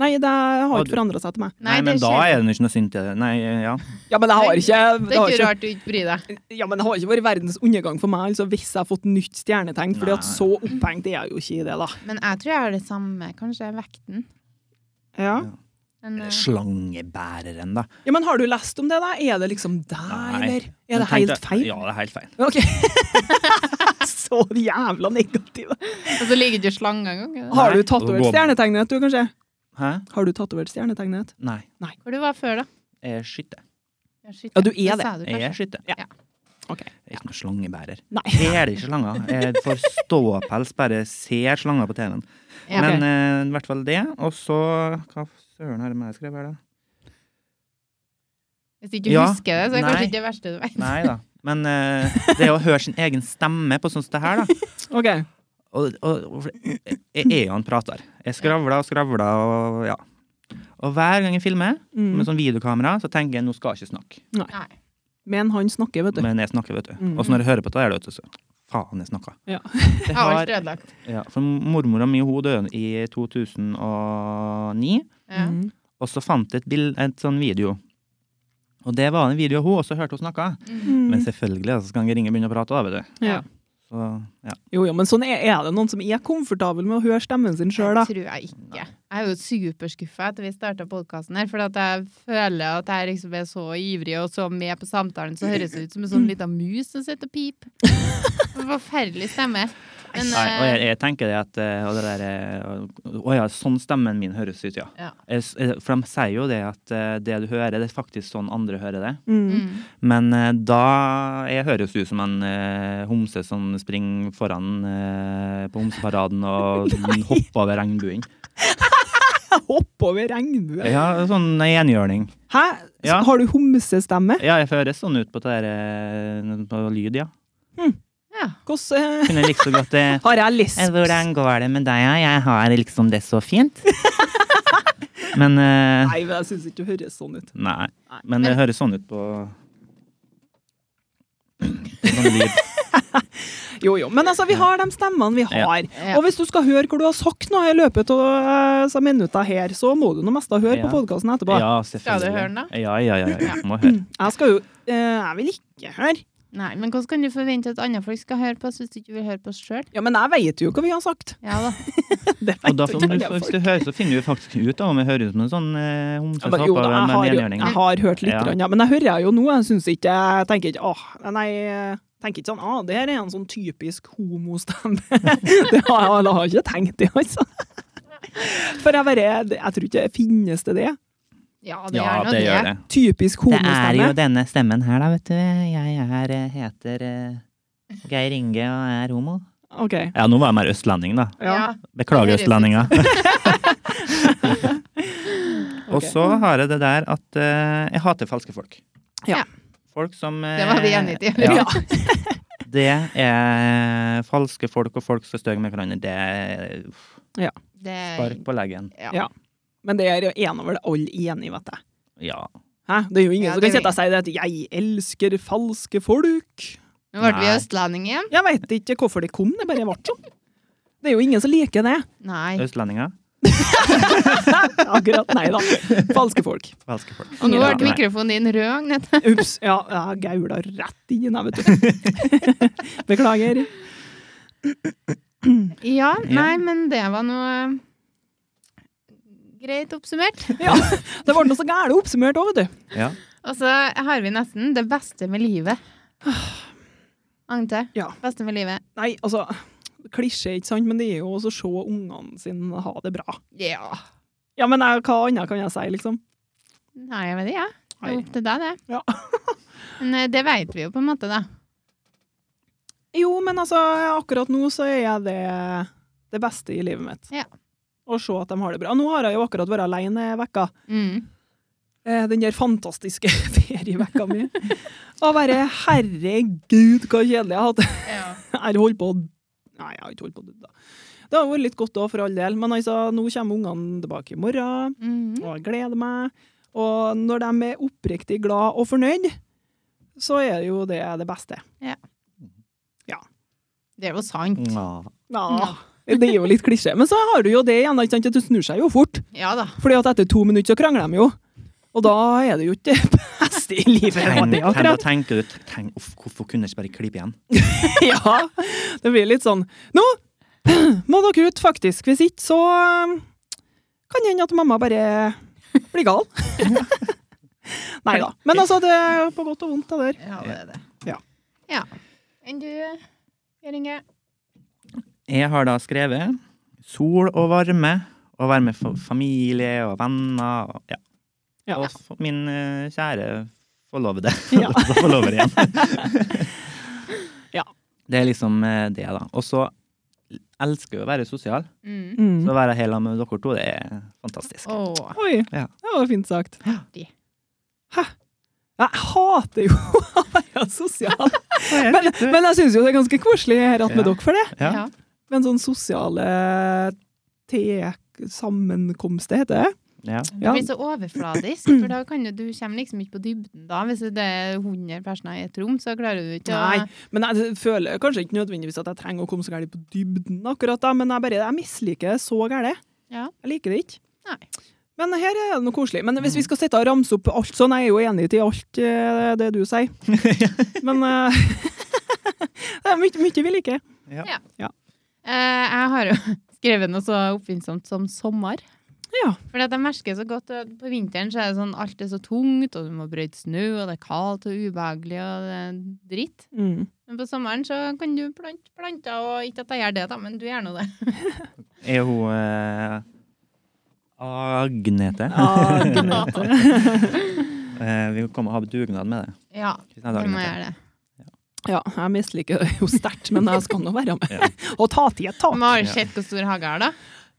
Nei, det har
Og
ikke
du-
forandra seg til meg.
Nei, men da er
sånn.
det jo ikke noe synd til det. Nei, ja.
Ja, men det har
Det
ikke det har
er ikke
ikke,
rart du ikke bryr deg.
ja, men det har ikke vært verdens undergang for meg altså, hvis jeg har fått nytt stjernetegn. Fordi at
Nei.
så opphengt er jeg jo ikke i det, da.
Men jeg tror jeg har det samme. Kanskje vekten.
Ja.
Men, eh,
Slangebæreren, da.
ja, Men har du lest om det, da? Er det liksom deg,
Nei.
eller?
Men
Er det
tenk
helt
deg-
feil?
Ja, det er helt feil.
Ok. så jævla negativ.
Og så ligger det ikke slange engang. er det?
Har du
Nei.
tatovert
Gå-
stjernetegnet, du, kanskje?
Hæ?
Har du tatovert stjernetegnet?
Nei,
Hvor du var før, da?
jeg er skytte.
Ja, shit,
Ja, du er det.
sa du
Jeg er
kanskje.
skytte.
Ja.
Ok.
Jeg er ikke noen slangebærer.
Nei.
Jeg er det ikke slanger. Jeg får ståpels, bare ser slanger på TV-en.
Ja.
Men eh, i hvert fall det. Og så Hva søren har jeg med skrevet her, da?
Hvis du ikke
Ja.
husker det, så er det
Nei.
kanskje ikke det verste du vet.
Nei da. Men eh, det å høre sin egen stemme på sånn som det her, da
Ok.
og, og, og, Jeg er jo en prater. Jeg skravler og skravler og ja. Og hver gang jeg filmer
Mm.
med sånn videokamera, så tenker jeg nå skal jeg ikke snakke.
Nei.
Men han snakker, vet du.
Men jeg snakker, vet du.
Mm.
Og så når jeg hører på det, der, vet du, så Faen, jeg snakka.
Ja.
Det
Jeg har
har
vært ødelagt.
Ja, for mormora mi hun døde i 2009,
Ja.
Mm.
og så fant jeg et, bild, et sånn video. Og det var en video av hun, og så hørte hun snakka.
Mhm.
Mm.
Men selvfølgelig, altså, så kan jeg ringe og begynne å prate, da, vet du.
Ja.
Så, ja.
Jo, jo, men sånn er, er det noen som er komfortabel med å høre stemmen sin sjøl, da.
Det tror jeg ikke. Jeg er jo superskuffa etter vi starta podkasten her, for at jeg føler at jeg liksom er så ivrig og så med på samtalen, så høres det ut som en sånn lita mus som sitter og piper. Forferdelig stemme. Men,
Nei, og jeg,
eh,
jeg tenker det at eh, og det der, eh, Å ja, sånn stemmen min høres ut, ja.
Ja.
Jeg s- eh, For de sier jo det at eh, det du hører, det er faktisk sånn andre hører det.
Mm.
mm.
Men eh, da Jeg høres ut som en eh, homse som springer foran eh, på homseparaden og hopper over regnbuen.
Hopp over regnbuen!
Ja, sånn enhjørning.
Hæ? Så
Ja.
Har du homsestemme?
Ja, jeg høres sånn ut på, det der, eh, på lyd, ja.
Ja.
Hvordan eh,
Kunne jeg liksom godt eh,
Har jeg lesb?
eh, Hvordan går det med deg, ja? Jeg har liksom det så fint. Men eh,
Nei, men jeg syns ikke du høres sånn ut.
Nei.
Nei.
Men det høres sånn ut på Sånn lyd.
Jo, jo. Men altså, vi har de stemmene vi har.
Ja.
Og hvis du skal høre hva du har sagt nå i løpet av eh, disse minuttene her, så må du nå mest da høre
Ja.
på podkasten etterpå.
Ja,
Skal du høre den, da?
selvfølgelig. Ja, ja, ja. ja. Må høre.
Jeg skal jo eh, Jeg vil ikke høre.
Nei, men hvordan kan du forvente at andre folk skal høre på oss hvis du ikke vil høre på oss sjøl?
Ja, men jeg veit jo hva vi har sagt.
Ja da.
Det
Og da,
vet jo
får-
ikke alle
hvis
folk.
du hører, så finner du faktisk ut da, om jeg hører ut som en sånn eh, homse
Ja,
som
men, jo,
hopper
da,
over
jeg,
med
har,
en
jo,
enhjørning.
jeg har hørt litt,
Ja.
grann, ja. men jeg hører jo nå. Jeg synes ikke Jeg tenker ikke åh, nei, jeg tenker ikke sånn ah, det her er en sånn typisk homostemme. det har jeg jeg har ikke tenkt det, altså. For jeg bare Jeg tror ikke finnes det det.
Ja, det
Ja,
gjør nå
det
det.
gjør det.
Typisk
Det er jo
homostemme.
denne stemmen her, da, vet du. Jeg er, heter eh, Geir Inge er homo.
OK.
Ja, nå var jeg mer østlending, da.
Ja.
Beklager,
Det høres ut.
østlendinger. Og
Ok.
så har jeg det der at eh, jeg hater falske folk.
Ja.
Folk som eh,
Det var vi enige til.
Ja. Det er falske folk og folk som støger med hverandre. Det er uff,
Det,
spark på leggen.
ja.
Ja. Men det er jo en over det alle enige, vet jeg.
Ja.
Hæ? Det er jo ingen
Ja,
som
det er
kan sitte og si det at 'jeg elsker falske folk'.
Nå ble vi
Nei.
østlendinger igjen.
Jeg veit ikke hvorfor det kom, det bare ble sånn. Det er jo ingen som liker det.
Nei.
Østlendinger.
Akkurat. Nei da. Falske folk.
Falske folk.
Og nå
Ja,
ble
nei.
mikrofonen din rød, Agnete.
Ups. Ja, jeg gaula rett inn i den, vet du. Beklager.
Ja,
Ja.
nei, men det var noe eh, greit oppsummert.
Ja, det ble noe så gære oppsummert òg, vet du.
Ja.
Og så har vi nesten det beste med livet. Agnete,
Ja.
beste med livet.
Nei, altså, klisjé, ikke sant, men det er jo også å se ungene sine ha det bra.
Ja.
Ja, men jeg, hva annet kan jeg si, liksom?
Nei, jeg vet ikke, ja. Det er
Nei.
opp til deg, det.
Ja.
Men eh, det vet vi jo på en måte, da.
Jo, men altså, akkurat nå så er det det beste i livet mitt.
Ja.
Å se at de har det bra. Nå har jeg jo akkurat vært alene ei uke.
Mm.
Eh, Den der fantastiske ferievekka mi. Og bare herregud, så kjedelig jeg har hatt det.
Ja.
Jeg holdt på å Nei, jeg har ikke holdt på å dø, da. Det har vært litt godt òg, for all del. Men altså, nå kommer ungene tilbake i morgen.
Mm.
og jeg gleder meg. Og når de er oppriktig glad og fornøyd, så er jo det det beste.
Det er jo sant. Mm.
Ja.
Ja. Det er jo litt klisjé. Men så har du jo det igjen, ikke sant? at du snur seg jo fort.
Ja da.
Fordi at etter to minutter så krangler de jo. Og da er det jo ikke det beste i livet. det var
Tenk,
det
tenk, da
akkurat.
tenker du tenk, uff, Hvorfor kunne jeg ikke bare klippe igjen?
Ja, det blir litt sånn Nå må dere ut, faktisk. Hvis ikke så eh, kan det hende at mamma bare blir gal. Nei da. Men altså, det er på godt og vondt, det der.
Ja,
det
er det.
Ja.
ja. Enn du, Geir Inge?
Jeg har da skrevet sol og varme, og være med fa- familie og venner. Og, ja.
Ja.
og f- min eh, kjære forlovede.
Ja.
Så forlover igjen.
Ja.
Det er liksom eh, det, da. Og så elsker jeg å være sosial.
Mm.
Så å være helt med dere to, det er fantastisk.
Åh.
Oi,
Ja.
det var fint sagt.
De.
Hæ? Jeg hater jo å være sosial. Men, men jeg syns jo det er ganske koselig her at med
Ja.
dere for det.
Ja.
Ja.
Men sånn sosiale te-sammenkomster, heter det.
Ja.
Det
Ja.
blir så overfladisk, for da kan du, du kommer liksom ikke på dybden da. Hvis det er 100 personer i et rom, så klarer du ikke
Nei, men jeg føler kanskje ikke nødvendigvis at jeg trenger å komme så gærent på dybden akkurat da, men jeg bare, jeg misliker det så gærent.
Ja.
Jeg liker det ikke.
Nei.
Men her er det noe koselig. Men
Mm.
hvis vi skal sitte og ramse opp alt sånn, jeg er jo enig til alt eh, det du sier. Men eh, det er mye, mye vi liker.
Eh, jeg har jo skrevet noe så oppfinnsomt som sommer.
Ja.
For jeg merker så godt at på vinteren så er det sånn alt er så tungt, og du må brøyte snø, og det er kaldt og ubehagelig, og det er dritt.
Mm.
Men på sommeren så kan du plante planter, og ikke at jeg gjør det, da, men du gjør nå det.
Er hun eh, Agnete? Eh, vi kommer og har dugnad med det.
Ja,
Tusen
du
takk,
må
Agnete.
gjøre det.
Ja, jeg misliker det jo sterkt, men jeg skal nå være med.
Ja.
Og ta til et tak.
Man har
Ja.
jo sett hvor stor hage er, da.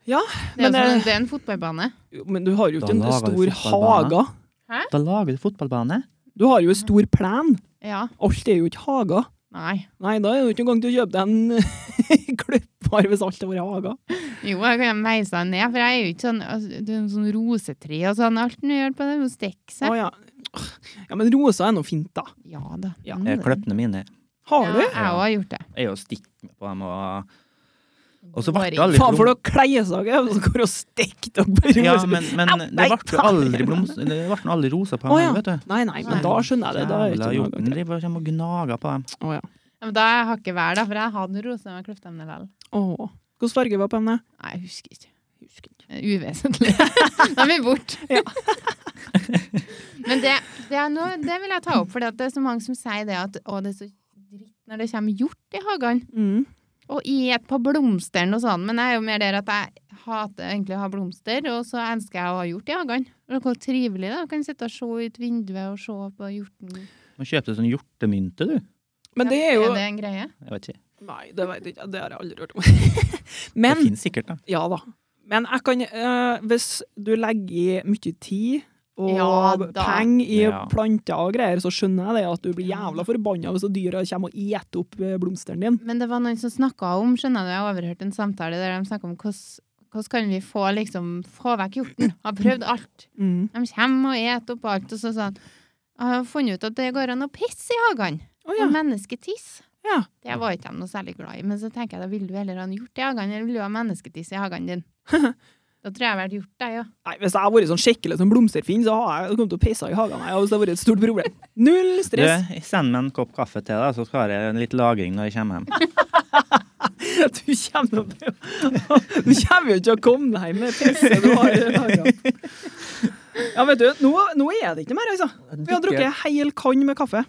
Ja,
Det er,
men
jo som,
det-
en- det er en fotballbane.
Jo, Men du har jo ikke
Da
en
lager vi
stor
fotballbane.
hage.
Da lager du fotballbane.
Du har jo en stor plen.
Ja.
Alt er jo ikke hager.
Nei.
Nei, da er det jo ikke engang til å kjøpe deg en klippbar hvis alt har vært hager.
Jo, jeg kan meise deg ned, for jeg er jo ikke sånn altså, Det er en sånn rosetre og sånn. Alt du gjør på det, er jo å stikke
Å,
seg.
ja. ja, men rosa er noe fint, da.
Ja da.
Ja.
Mm.
Eh, Kløpene mine
Har du?
Ja, jeg òg har gjort det.
er jo stikk på dem og Og så ble det
Går
aldri
Faen for
blom-
noe kleiesager! Og så går og stikker dere på rosa.
Ja, men, men
Au,
det
nei,
ble jo
ta-
aldri bloms... Det ble nå aldri rosa på dem,
Å, ja.
vet du.
Nei, nei, men
Nei.
da skjønner jeg det. Da er det
Jævla
ikke noe
hjorten
hager.
driver og kommer og gnager på dem.
Å, ja.
Ja, men da er jeg hakket hver, da, for jeg hadde rosa med kløftemne likevel.
Å. Hvilken farge var på henne?
Nei, jeg husker ikke. Det er Uvesentlig. Da er vi borte.
Ja.
Men det, det, er noe, det vil jeg ta opp, for det er så mange som sier det at å, det er så dritt når det kommer hjort i hagene.
Mm.
Og i et par blomster og sånn. Men jeg er jo mer der at jeg hater egentlig å ha blomster, og så elsker jeg å ha hjort i hagene. Og Hvor trivelig det er. Du kan sitte og se ut vinduet og se på hjorten.
Må kjøpe deg sånn hjortemynte, du.
Men det er jo
det en greie?
Jeg vet ikke.
Nei, det vet jeg ikke. Det har jeg aldri hørt om. Men
det finnes sikkert, da.
Ja da. Men jeg kan eh, Hvis du legger i mye tid og
Ja da.
penger i
Ja.
planter og greier, så skjønner jeg det at du blir jævla forbanna hvis dyra kommer og eter opp eh, blomsteren din.
Men det var noen som snakka om, skjønner du, jeg overhørte en samtale der de snakka om hvordan hvordan kan vi få, liksom, få vekk hjorten? Har prøvd alt.
Mm.
De kommer og eter opp alt, og så sa han Jeg har funnet ut at det går an å pisse i hagene.
Å
Det
ja.
er Mennesketiss.
Ja.
Det var ikke de noe særlig glad i. Men så tenker jeg, da vil du heller ha en hjort i hagen, eller vil du ha mennesketiss i hagen din? da tror jeg jeg har vært hjort, jeg, ja.
Nei, hvis jeg har vært sånn skikkelig som blomsterfinn, så har jeg kommet til å pisse i hagen. Jeg, hvis det har vært et stort problem. Null
Du,
stress.
send meg en kopp kaffe til deg, så skal jeg ha litt lagring når jeg kommer hjem.
Du kommer, til å- du kommer jo ikke til å komme deg hjem med pisset du har i hagen. Ja, vet du, nå, nå er det ikke mer, altså. Vi har drukket en hel kann med kaffe.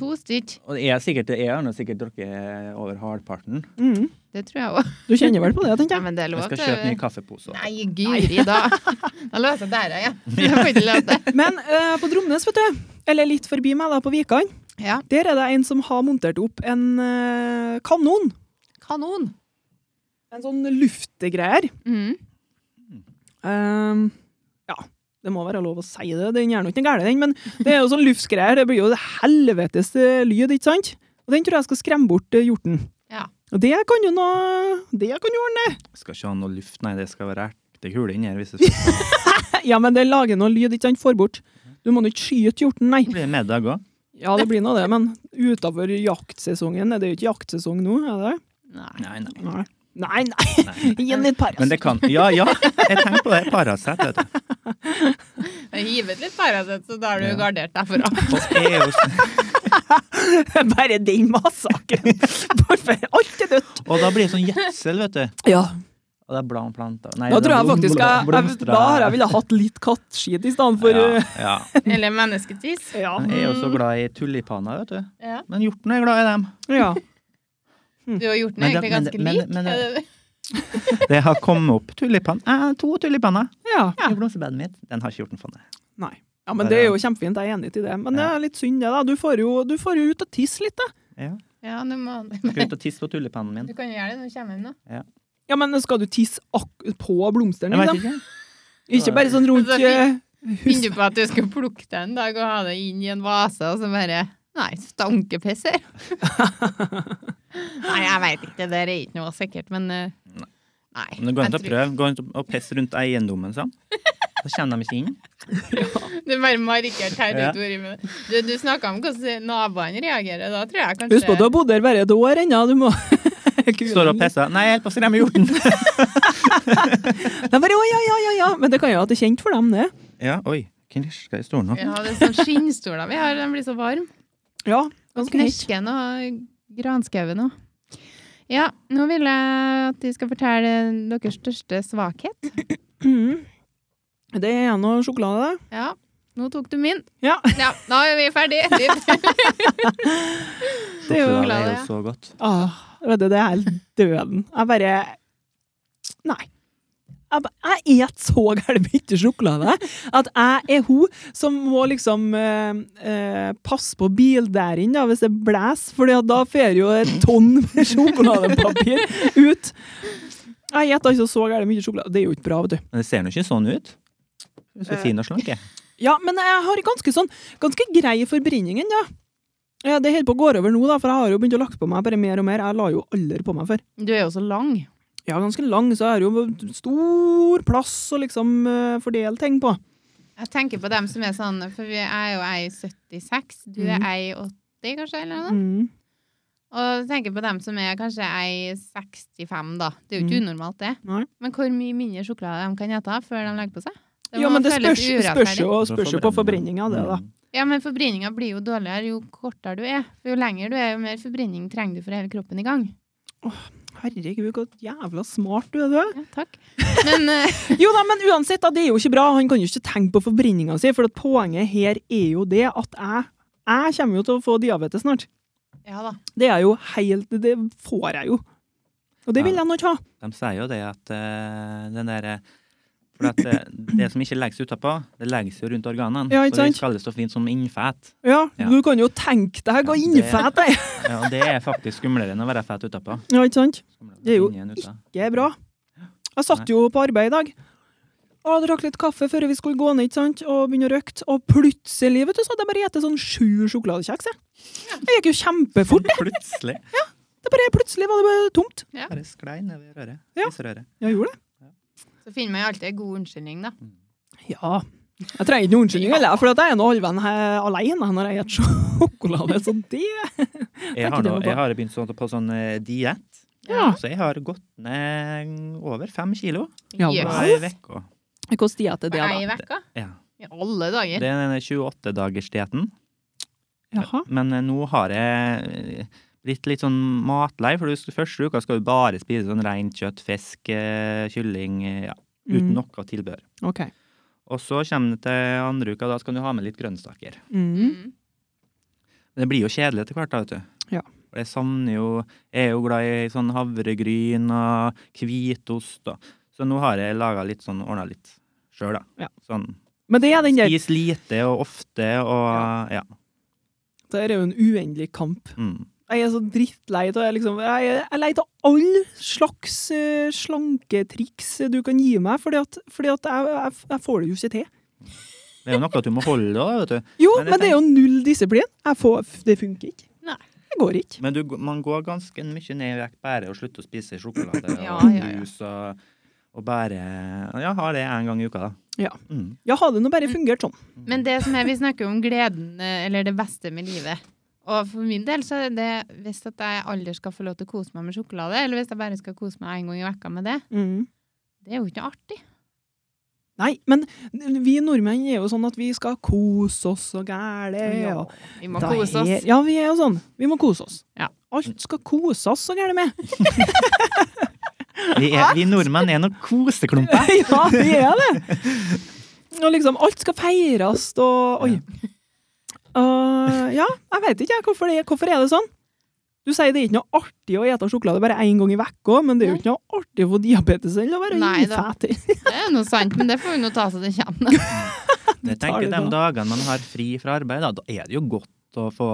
To stykk.
Og det er sikkert, jeg har nå sikkert drukket over halvparten.
Mm.
Det tror jeg òg.
Du kjenner vel på det, tenker jeg.
Ja, men det er
Jeg
lov
skal
til
kjøpe ny kaffepose.
Nei, guri, da. Da låser jeg døra igjen. Jeg får ikke lov til.
Men eh, på Dromnes, vet du, eller litt forbi meg da, på Vikan,
Ja.
der er det en som har montert opp en eh, kanon.
Kanon.
En sånn luftegreier.
Mm.
Ehm, ja, det må være lov å si det. Den gjør nok den gærne, den. Men det er jo sånn luftgreier. Det blir jo det helvetes eh, lyd, ikke sant? Og den tror jeg skal skremme bort eh, hjorten.
Ja.
Og det kan jo noe Det kan jo ordne.
Skal ikke ha noe luft, nei, det skal være ertekule inni her. Hvis det skal
Ja, men det lager noe lyd, ikke sant? Får bort. Du må nå ikke skyte hjorten, nei.
bli middag òg.
Ja, det blir nå det, men utafor jaktsesongen Det er jo ikke jaktsesong nå, er det?
Nei.
Nei, nei.
Nei, nei.
nei.
Gi den litt Paracet.
Men det kan Ja, ja! Jeg tenkte på det. Paracet, vet du.
Jeg hiver litt Paracet, så da har du
Ja.
gardert deg for alt.
Og jeg er jo sånn-
Bare den massakren. Bare- Alt er dødt.
Og da blir det sånn gjødsel, vet du.
Ja.
Og det er blant planter. Nei,
Da
det er
tror jeg
blom-
faktisk jeg, jeg,
blomstrer.
da har jeg ville hatt litt kattskit i stedet for eh,
ja,
ja.
ja.
Eller mennesketiss.
Ja.
Men Jeg er jo så glad i tulipaner, vet du.
Ja.
Men hjorten er glad i dem.
ja.
Du og hjorten
Men
er
det-
egentlig
men
ganske
det- men-
lik.
men det- Det har kommet opp tulipan. Eh, to tulipaner
Ja.
i blomsterbedet mitt. Den har ikke hjorten funnet.
Nei. Ja, men Det er jo kjempefint, jeg er enig i det. Men det er litt synd, det. da. Du får jo, du får jo ut og tisse litt, da.
Ja.
Ja, du må
Skal ut og tisse på tulipanen min.
Du kan jo gjøre det når du kommer hjem, da.
Ja, men skal du tisse ak på blomsteren?
Jeg vet
Liksom?
ikke.
Ikke bare sånn rundt
Altså,
eh,
Finner du på at du skal plukke det en dag og ha det inn i en vase, og så bare Nei, stankepiss her. nei, jeg veit ikke. Det der er ikke noe sikkert, men eh, Nei.
Men det går an
jeg
til å
tror-
prøve. Gå an til å pisse rundt eiendommen sånn. Da kjenner de ikke inn.
Det er bare markert
Ja.
territoriet. med det. Du, du snakka om hvordan naboene reagerer. Da tror jeg kanskje
Husk på at du har bodd der bare et år ennå. Du må
Står og pisser. Nei, jeg holder på å skremme hjorten.
De bare, «Å, ja, ja, ja, ja. Men det kan jo at det er kjent for dem, det.
Ja, oi. Knirska i stolen nå.
Ja, det er sånn skinnstoler vi har. De blir så varme.
Ja, ganske hett.
Knesken og granskauen òg. Ja, nå vil jeg at de skal fortelle deres største svakhet.
Mhm. Det er noe sjokolade, det.
Ja, nå tok du min.
Ja.
Ja, da er vi ferdig. Ditt.
Det er jo-
Sjokolade er jo så godt.
Åh, vet du, det er helt døden. Jeg bare Nei. Jeg, ba- jeg et så gæren bitte sjokolade at jeg er hun som må liksom eh, eh, passe på bildæren da, hvis det blåser, for da fer jo et tonn med sjokoladepapir ut. Jeg spiser altså så gæren mye sjokolade. Det er jo ikke bra, vet du.
Men det ser jo ikke sånn ut. Du er så
Eh.
fin og slank. jeg.
Ja, men jeg har ganske, sånn, ganske grei forbrenningen, ja. Eh, Det holder på å gå over nå, da, for jeg har jo begynt å lagt på meg bare mer og mer. Jeg la jo aldri på meg før.
Du er jo så lang.
Ja, ganske lang, så jeg har jo stor plass å liksom eh, fordele ting på.
Jeg tenker på dem som er sånn, for vi er jo ei 76, du er
Mhm.
ei 80 kanskje, eller noe.
Mm.
Og jeg tenker på dem som er kanskje ei 65 da. Det er jo ikke unormalt det.
Mm. Nei.
Men hvor mye mindre sjokolade de kan gjette før de legger på seg?
ja,
må
men det
føles
spørs, spørs,
urettferdig.
jo, spørs jo på forbrenninga, det, da.
Mm.
Ja, men forbrenninga blir jo dårligere jo kortere du er. For jo lenger du er, jo mer forbrenning trenger du for hele kroppen i gang.
Herregud, hvor jævla smart du er, du.
Ja, takk. Men eh,
Jo da, men uansett, da, det er jo ikke bra. Han kan jo ikke tenke på forbrenninga si, for at poenget her er jo det at jeg, jeg kommer jo til å få diabetes snart.
ja da.
Det er jo helt Det får jeg jo. Og det vil jeg nå ikke ha.
De sier jo det at eh, den der eh, For at det, det som ikke legges utapå, det legges jo rundt organene.
Ja, ikke
så
sant?
det kalles så fint som innfett.
Ja,
Ja.
du kan jo tenke deg å
Ja, det-
innfete deg!
Ja, og det er faktisk skumlere enn å være fett utapå.
Ja, ikke sant?
Skumlere
Det er jo
inni enn ute.
Det er bra. Jeg satt jo på arbeid i dag. Og jeg drakk litt kaffe før vi skulle gå ned, ikke sant? og begynne å røkte. Og plutselig vet du, så hadde jeg bare spist sånn sju sjokoladekjeks. jeg. Det gikk jo kjempefort.
Plutselig.
Det bare Plutselig var det bare tomt.
Bare sklei nedover røret.
Ja.
Spiserøret.
Jeg gjorde det.
Så finner man jo alltid en god unnskyldning, da.
Ja. Jeg trenger ikke noen unnskyldning, heller, for at jeg er nå halvveis he- alene når jeg spiser sjokolade. Så det
Jeg har,
ikke det
nå,
noe bra.
jeg har begynt sånn, på sånn eh, diett,
Ja.
så jeg har gått ned over fem kilo
Ja,
Jøs.
på
Hva?
ei uke.
Hvordan tid er det,
På ei
da?
uke?
Ja.
I alle
Det
dager.
er den 28-dagersdietten.
Jaha.
Men eh, nå har jeg eh, blitt litt sånn matlei, for du, skal- første uka skal du bare spise sånn rent kjøtt, fisk, eh, kylling, eh, ja, uten
Mm.
noe tilbehør.
OK.
Og så kommer det til andre uka, da skal du ha med litt grønnsaker.
Mm.
Mm.
Men Det blir jo kjedelig etter hvert, da, vet du.
Ja.
Og Jeg savner jo Jeg er jo glad i sånn havregryn og hvitost og Så nå har jeg laga litt sånn, ordna litt sjøl, da.
Ja.
Sånn
Men det er den der.
spis lite og ofte og Ja.
Det er jo en uendelig kamp.
mm.
Jeg er så drittlei av jeg liksom, jeg, jeg er lei av alle slags eh, slanketriks du kan gi meg, fordi at, fordi at jeg, jeg, jeg får det jo ikke til.
Det er jo noe du må holde, da, vet du.
Jo,
Men
men,
det
det er jo null disiplin. Jeg får, det funker ikke.
Nei.
Det går ikke.
Men du, man går ganske mye ned i vekt bare å slutte å spise sjokolade og
Ja, ja, ja.
brus og, og bare Ja, har det én gang i uka, da.
Ja.
Mm.
Ja, hadde det nå bare fungert sånn.
Men det som er, vi snakker om gleden, eh, eller det beste med livet. Og for min del så er det hvis at jeg aldri skal få lov til å kose meg med sjokolade, eller hvis jeg bare skal kose meg en gang i vekka med det, det er jo ikke noe artig.
Nei, men vi nordmenn er jo sånn at vi skal kose oss og gæle.
Ja,
og-
Vi må
Da
kose
er-
oss.
Ja, vi er jo sånn. Vi må kose oss.
Ja.
Alt skal kose oss så gæle med.
Vi, er, vi nordmenn er noen koseklumper.
ja, vi er det. Og liksom, alt skal feires, og Oi. Og, ja, jeg vet ikke jeg, hvorfor, det, hvorfor er det sånn. Du sier det er ikke noe artig å ete sjokolade bare én gang i vekka, men det er jo ikke noe artig å få diabetes eller å være
Nei da.
innfet.
Det er noe sant, men det får vi nå ta så det kommer. da.
Jeg
tar
tenker
det
de
da.
dagene man har fri fra arbeid, da, da er det jo godt å få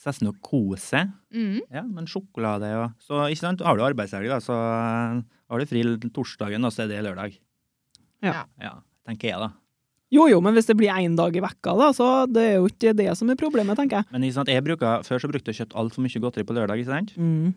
seg noe kose seg.
Mm.
Ja, men sjokolade og Så ikke sant, har du arbeidshelg, da, så eh, har du fri torsdagen, og så er det lørdag.
Ja.
Ja, tenker jeg, da.
Jo jo, men hvis det blir én dag i vekka, da, så det er jo ikke det som er problemet, tenker jeg.
Men ikke sant, jeg bruker, før så brukte jeg kjøpt altfor mye godteri på lørdag, ikke sant.
Mm.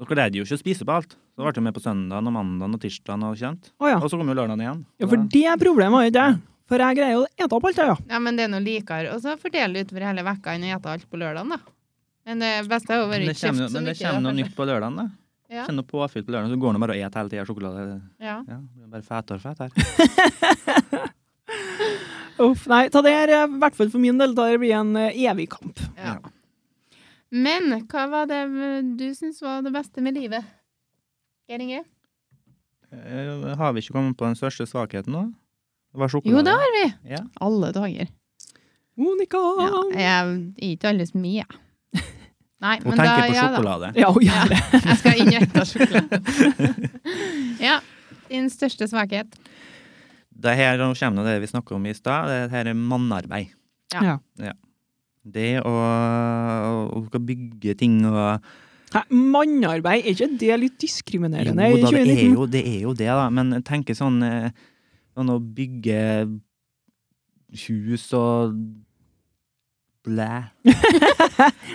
Så greide jeg jo ikke å spise på alt. Så ble det med på søndagen og mandagen og tirsdagen og ikke sant.
Å ja.
Ah.
Og så kom jo lørdagen igjen.
ja. For det er problemet, ikke jeg? For jeg greier å ete opp alt, jeg, ja.
Ja, men det er noe likere. Og så fordele utover hele vekka enn å gjette alt på lørdagen, da. Men det beste er jo å
Men
være
det
ikke kjeft
kommer, jo-
så
men det
mye.
kommer
da,
noe
kanskje.
nytt på lørdagen, da.
Ja.
Kjenner påfylt på lørdagen, så går det bare og et hele tida sjokolade.
Ja.
Ja, blir bare fetere og fetere.
Uff, nei, ta det her, i hvert fall for min del, da det blir en eh, evig kamp.
Ja. Men hva var det du syns var det beste med livet? Geir Inge?
Eh, Har vi ikke kommet på den største svakheten nå? Det var sjokolade.
Jo, det har vi.
Ja.
Alle dager.
Monica!
Ja, jeg er ikke alle som jeg. Nei,
Hun
men da,
tenker på
ja da.
sjokolade.
Ja, hun gjør det.
Jeg skal inn i ekte sjokolade. Ja. Din største svakhet.
Det her nå kommer det vi snakket om i stad. Det her er mannarbeid.
Ja.
Ja.
Det å, å skal bygge ting og
Hæ, Mannarbeid, er ikke det litt diskriminerende i
Jo da, det er
2019?
jo det, er jo det da. Men jeg tenker sånn, eh, sånn å bygge hus og blæ.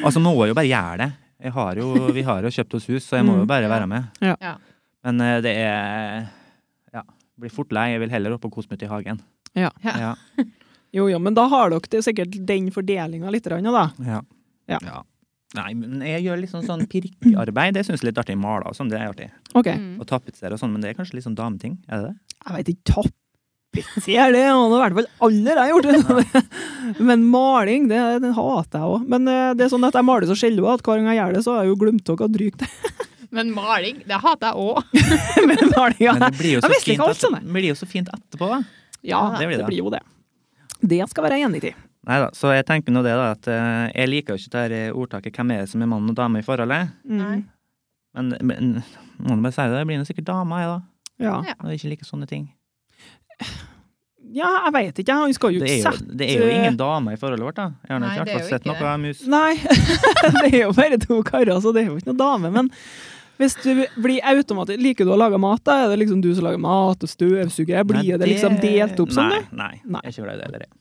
altså, må jeg jo bare gjøre det. Jeg har jo, vi har jo kjøpt oss hus, så jeg må jo
Mm.
bare
Ja.
være med.
Ja.
Ja.
Men eh, det er Ja, blir fort lei. Jeg vil heller opp og kose meg ute i hagen.
Ja.
Ja.
ja.
Jo, jo, men da har dere det sikkert den fordelinga litt, grann, da.
Ja.
Ja.
Nei, men jeg gjør litt sånn, sånn pirkearbeid. Det syns jeg er litt artig. Male og sånn, det er artig.
OK.
Mm.
Og tapetsere og sånn, men det er kanskje litt sånn dameting? Er det det?
Jeg vet ikke, tapetser det har nå i hvert fall aldri jeg gjort. det. Men maling, det, den hater jeg òg. Men eh, det er sånn at jeg maler så sjelden at hver gang jeg gjør det, så har jeg jo glemt av hva drygt det
Men maling, det hater jeg òg.
er med
Men
malinga.
det blir jo
Jeg
så,
visste
fint,
ikke alt,
at,
skjønner jeg.
det blir jo så fint etterpå, da.
Ja,
det blir det.
det blir jo det. Det skal være jeg enig i.
Nei da, så jeg tenker nå det, da, at eh, jeg liker jo ikke det her eh, ordtaket 'hvem er det som er mann og dame i forholdet',
Mm.
Nei.
men, men må du bare si det, jeg blir nå sikkert dama, jeg, da.
Ja.
Når jeg ikke liker sånne ting.
Ja, jeg veit ikke. Han skal jo
Det
ikke
er jo,
sette
det er jo ingen damer i forholdet vårt, da. Jeg har nå
Nei,
ikke i
det er
hvert fall
jo
sett
ikke
noe av mus.
Nei, det er jo bare to karer, så det er jo ikke noe dame. Men hvis du blir automatisk Liker du å lage mat, da? Er det liksom du som lager mat og støvsuger? Blir
Nei,
det liksom delt opp sånn,
Nei,
det?
nei.
Nei.
Jeg er ikke glad i det heller. jeg.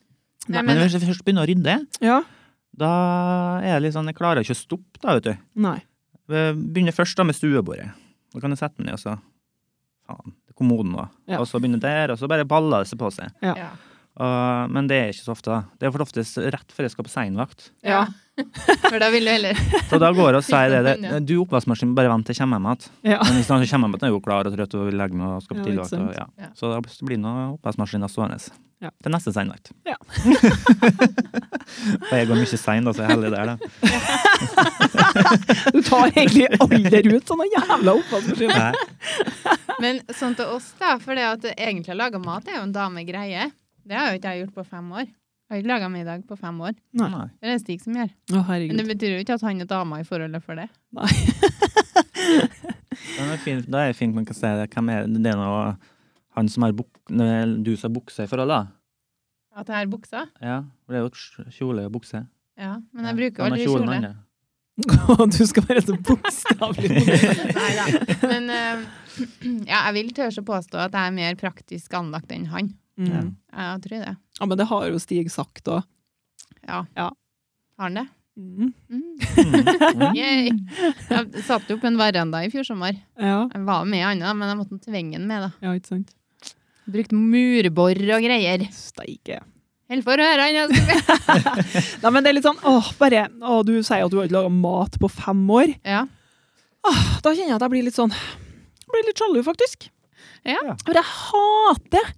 Nei,
Men
men,
hvis jeg først begynner å rydde,
Ja?
da er det litt sånn Jeg klarer ikke å stoppe, da, vet du.
Nei.
Begynner først da med stuebordet. Da kan jeg sette meg ned, og så Faen. det er Kommoden, da.
Ja.
Og så begynner der, og så bare baller det seg på seg.
ja.
Og- men det er ikke så ofte, da. Det er for oftest rett før jeg skal på seinvakt.
ja. For da vil du heller
Så da går jeg og sier det.
Ja.
det du, oppvaskmaskinen, bare vent til jeg kommer hjem igjen.
Ja.
Men hvis han kommer hjem igjen, er jeg jo klar og trøtt og vil legge meg og skal på
Ja,
tidligvakt.
ikke sant.
og- Ja.
Ja.
Så da blir det noen oppvaskmaskiner stående
Ja.
til neste seinvakt.
Ja.
og jeg går mye sein, da, så jeg er heldig der, da.
Du tar egentlig alle ut sånne jævla oppvaskmaskiner.
Nei.
Men sånn til oss, da. For det at egentlig å lage mat er jo en damegreie. Det har jo ikke jeg gjort på fem år. Jeg har ikke laga middag på fem år.
Nei.
Nei.
Det er det Stig som gjør.
Å,
Men det
herregud.
betyr jo ikke at han er dama i forholdet for det.
Men det er fint- Da er det fint man kan si det. Hvem er det? Det er noe han som har buk, nei, du som har bukse i forhold, da.
At jeg har buksa.
Ja, for det er jo kj- kjole og bukse.
Ja, men jeg
Ja.
bruker
Han har
aldri
kjolen,
kjole.
han, ja.
du skal være så bokstavelig
Nei da. Men eh, ja, jeg vil tørre å påstå at jeg er mer praktisk anlagt enn han.
Ja.
mm.
Jeg tror det.
Ja, men det har jo Stig sagt òg.
Ja.
Ja.
Har han det?
Mm.
Mm.
Mm.
Yay. Jeg satte opp en veranda i fjor sommer.
Ja.
Jeg var med i annet, men jeg måtte tvinge den med, da.
ja, ikke sant?
Brukt murbor og greier.
Steike.
Helt for ørene! jeg skulle-
Nei, men det er litt sånn åh, bare åh, Du sier at du har ikke laga mat på fem år.
Ja.
Da kjenner jeg at jeg blir litt sånn jeg Blir litt sjalu, faktisk.
Ja.
For jeg hater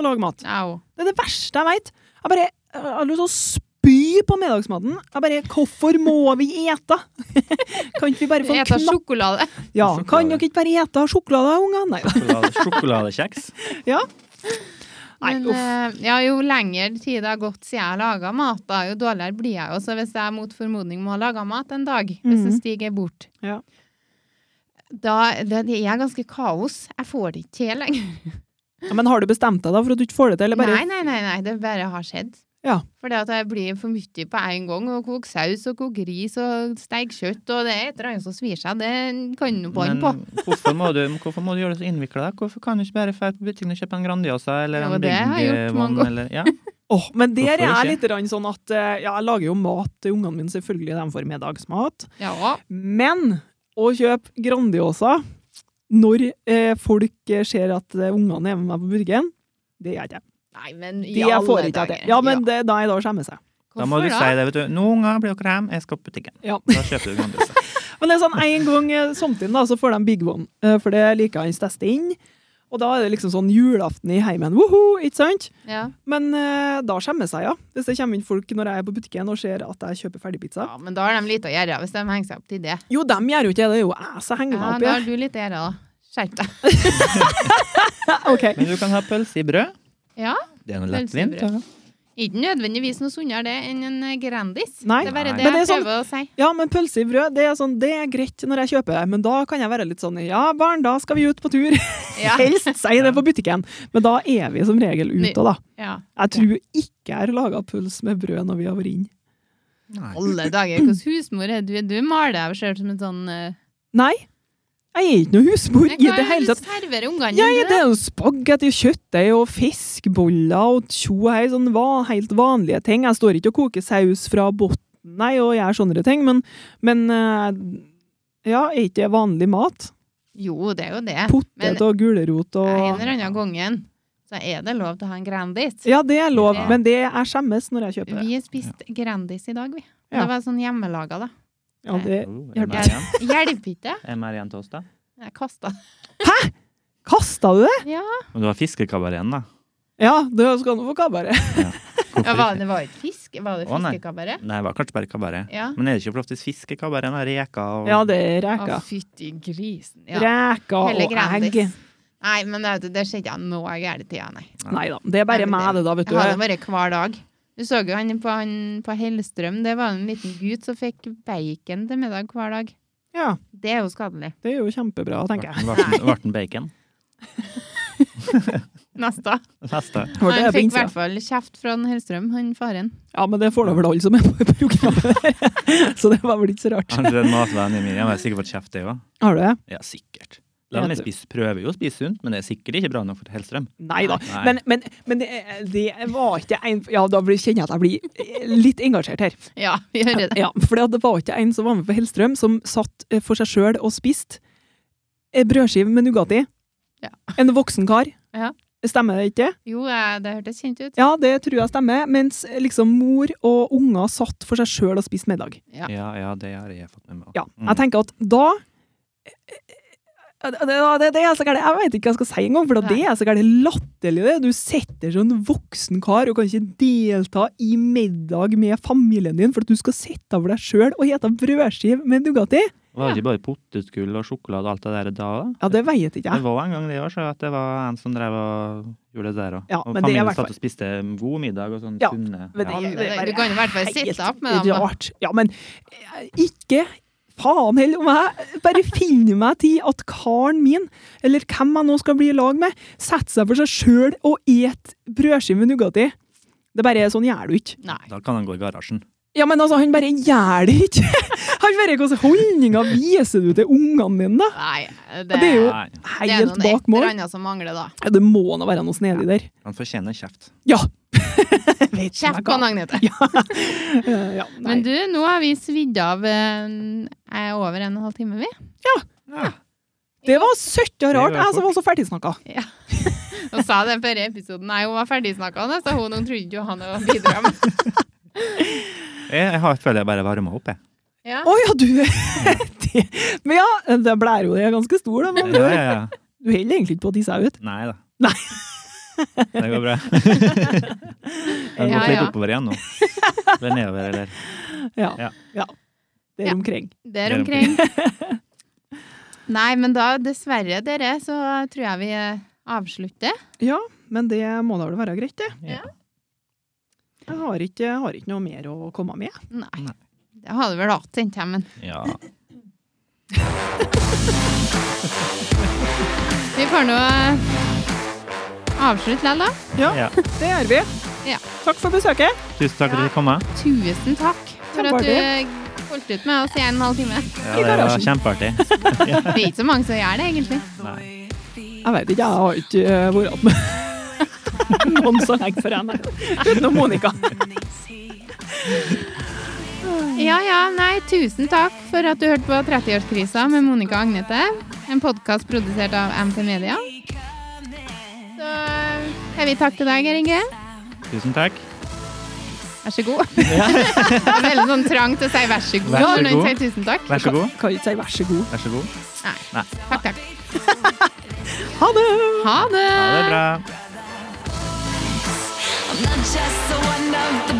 å lage mat.
Au.
Det er det verste jeg veit. Jeg bare jeg har lyst til å spy på middagsmaten. Jeg bare Hvorfor må vi ete? kan ikke vi bare få en
Eta
knapp
sjokolade.
Ja, kan dere ikke bare ete sjokolade, unger? Nei da.
Sjokolade- Sjokoladekjeks.
Nei,
Men
uff.
eh, ja, jo lengre tid det har gått siden jeg laga mat, da, jo dårligere blir jeg. Og så hvis jeg mot formodning må ha laga mat en dag, hvis
Mhm.
det stiger bort
Ja.
Da det, det er ganske kaos. Jeg får det ikke til lenger.
Ja, eh, men har du bestemt deg da for at du ikke får det til? Eller bare
Nei, nei, nei, nei, det bare har skjedd.
Ja.
For det at jeg blir for mye på en gang. Å koke saus og koke ris og steke kjøtt og det er et eller annet som svir seg. Det kan du
Men
bånd på.
hvorfor må, du, hvorfor må du gjøre det så innvikla? Hvorfor kan du ikke bare dra på butikken og kjøpe en Grandiosa eller
Jo,
en
det har jeg gjort mange
Bingvann?
ganger.
Eller, ja.
Åh, men der er
Hvorfor
jeg
ikke?
litt grann sånn at eh, ja, jeg lager jo mat til ungene mine, selvfølgelig, de får middagsmat.
Ja.
Men å kjøpe Grandiosa når eh, folk eh, ser at eh, ungene er med meg på burgeren, det gjør ikke jeg.
Nei, men i
Det jeg får
alle
ikke jeg
dager.
til. Ja, men det, nei, da skjemmer jeg seg.
Da må du
Hvorfor
si det, vet du. Nå unger blir dere hjem, jeg skal på butikken.
Ja.
Da kjøper du Grandiosa.
Men det er sånn en gang eh, samtidig da, så får de Big One, eh, for det liker hans teste inn. Og da er det liksom sånn julaften i heimen, woho, ikke sant?
Ja.
Men eh, da skjemmer jeg seg, ja. Hvis det kommer inn folk når jeg er på butikken og ser at jeg kjøper ferdigpizza.
ja, men da har de lite å gjøre hvis de henger seg opp til det.
Jo, dem gjør jo ikke det, det er jo jeg som henger
Ja,
meg opp
da
i.
har du litt å gjøre, da. Skjerp deg.
Ok.
Men du kan ha pølse i brød.
Ja.
Det er noe
Pølse i
lettvint.
brød.
da.
Ikke nødvendigvis noe sunnere det enn en eh, Grandis.
Nei.
Det er bare
Nei.
det jeg
Men det er sånn-
prøver å si.
Ja, men pølse i brød, det er, sånn, det er greit når jeg kjøper det, men da kan jeg være litt sånn Ja, barn, da skal vi ut på tur.
Ja.
Helst si det på butikken. Men da er vi som regel ute, da.
Ja.
Jeg tror ikke jeg har laga puls med brød når vi har vært inne.
Nei.
Alle dager, hvordan husmor er du? Du maler deg selv som en sånn eh, Nei,
Nei, jeg er ikke noe husmor i
hva
det
er
hele
det
tatt.
du serverer ungene
Ja, ja,
dine,
det er jo spagetti og kjøttdeig og fiskeboller og tjo og hei, sånn va- helt vanlige ting. Jeg står ikke og koker saus fra bunnen, nei, og gjør sånne ting, men, men eh, ja, er ikke det vanlig mat?
da? Jo, det er jo det. Men
Potet og gulrot og
en eller annen gangen så er det lov til å ha en Grandis.
Ja, det er lov,
Ja.
men det er skjemmes når jeg kjøper det.
Vi spiste Grandis i dag, vi.
Ja.
Det var sånn hjemmelaga, da.
Ja, det
Oh,
Ja,
Er mer igjen?
Hjelper ikke.
Er mer igjen til oss, da?
Jeg kasta.
Kasta du det?
Ja.
Men du har fiskekabareten, da.
Ja, det skal du få kabaret.
Ja,
Hvorfor
var,
ikke?
det var ikke fisk? Var det
Å, nei.
fiskekabaret?
Nei, det var kanskje bare kabaret.
Ja.
Men er det ikke for ofte fiskekabaret? da? Reker og
Ja, det er
Å,
reker.
fytti grisen. Ja.
Reker
Hele
og egg.
Grandis. Nei, men det, det skjedde ikke noe gærent i tida, nei.
Nei da, det er bare
Nei, men
meg det, da, vet
Jeg har det
du.
vært hver dag. Du så jo han på, han på Hellstrøm, det var en liten gutt som fikk bacon til middag hver dag.
Ja,
Det er jo skadelig.
det er jo kjempebra, tenker jeg.
Varten, varten bacon.
Neste.
Neste.
Hørte
Han
jeg på
fikk i
innsida.
hvert fall kjeft fra han Hellstrøm, han faren.
Ja, men det får da vel alle som er på programmet. så det var vel ikke så rart.
Kanskje den matvennen min. Jeg har sikkert fått kjeft, jeg òg.
Har du det?
Ja, sikkert. La meg spise, prøver jo å spise sunt, men det er sikkert ikke bra nok for Hellstrøm.
Nei da.
Nei.
Men, men, men det, er- det var ikke en Ja, da blir- kjenner jeg at jeg blir litt engasjert her.
Ja, vi hører det.
Ja, For det var ikke en som var med på Hellstrøm, som satt eh, for seg sjøl og spiste en brødskive med Nugatti.
Ja.
En voksen kar.
Ja.
Stemmer det ikke?
Jo, eh, det hørtes kjent ut.
Ja, det tror jeg stemmer. Mens liksom mor og unger satt for seg sjøl og spiste middag.
Ja.
Ja, ja, det har jeg fått med meg.
Ja,
Mm.
jeg tenker at da eh, det, det, det er så gærent. Jeg vet ikke hva jeg skal si engang, for det er så gærent latterlig. det. Du setter sånn voksen kar og kan ikke delta i middag med familien din for at du skal sitte over deg sjøl og hete brødskive med Nugatti.
Var det ikke bare potetgull og sjokolade og alt det der da? da?
Ja, det vet ikke
Det
jeg.
var en gang det òg, så at det var en som drev og gjorde det der òg.
Ja,
og
men det er i
familien
hvert
satt og spiste god middag og sånn
Ja,
sunne.
men det
Ja.
er bare
Du kan i hvert fall sitte opp med
Helt
dem. da.
Rart. Ja, men eh, ikke faen heller om jeg bare finner meg til at karen min, eller hvem jeg nå skal bli i lag med, setter seg for seg sjøl og et brødskive med Nugatti. Det bare er sånn gjør du ikke.
Nei.
Da kan han gå i garasjen.
Ja, men altså, han bare gjør det ikke! Han bare, Hvilke holdninger viser du til ungene dine, da?
Nei, det,
Det er jo
Nei,
det er
Helt
noen
bak
et eller
mål.
annet som mangler, da.
Ja, det må da være noe snedig der.
han fortjener kjeft.
Ja! Jeg vet ikke om
Kjeft
jeg
på
kan-
Agnete.
Eh, Ja, nei.
Men du, nå har vi svidd av eh, er over en og en halv time, vi.
Ja.
det var søtta rart.
Det var
Jeg som var så ferdigsnakka.
Hun sa det før i episoden. Nei, hun var ferdigsnakkende, så hun, hun trodde ikke hun hadde noe å bidra med.
Jeg, jeg har, føler jeg bare varmer opp, jeg.
Ja.
Å ja, du det. Men ja, det blærer jo det er ganske stor, da. Men
Ja, ja, ja.
du holder egentlig ikke på å tisse deg ut.
Nei da.
Nei.
Det går bra. Jeg har
Ja,
gått litt
ja.
oppover igjen nå. Eller nedover, eller
Ja.
Ja.
ja. Der
Ja.
omkring.
Der
Der
omkring. Nei, men da, dessverre, dere, så tror jeg vi eh, avslutter.
Ja, men det må da vel være greit, det.
Ja.
Jeg har ikke, jeg har ikke noe mer å komme med.
Nei.
Nei.
Det hadde vel hatt, tenkte jeg, men
Ja.
vi får nå eh, avslutte likevel, da.
ja.
Det gjør vi.
Ja.
Takk for besøket.
Tusen takk for at du kom. med.
Tusen takk for
Bare
at
det.
du holdt ut med oss i en halv time.
Ja,
I
det var
garasjen.
kjempeartig.
Det er ikke så mange som gjør det, egentlig.
Nei.
Jeg vet ikke, jeg har ikke eh, vært med noen så lenge for henne. Utenom Monica.
Ja, ja, nei, tusen takk for at du hørte på 30-årskrisa med Monica og Agnete. En podkast produsert av MT Media. Så jeg vil takke til deg, Geir Inge.
Tusen takk.
Vær så god. Det er veldig sånn trang til å si vær så god
Vær så
når noen
god.
sier tusen takk.
Vær så god.
Kan ikke si vær så god.
Vær så god.
Nei.
Nei.
Takk, takk.
Ha det!
Ha det!
Ha det bra.
I'm not just the one of the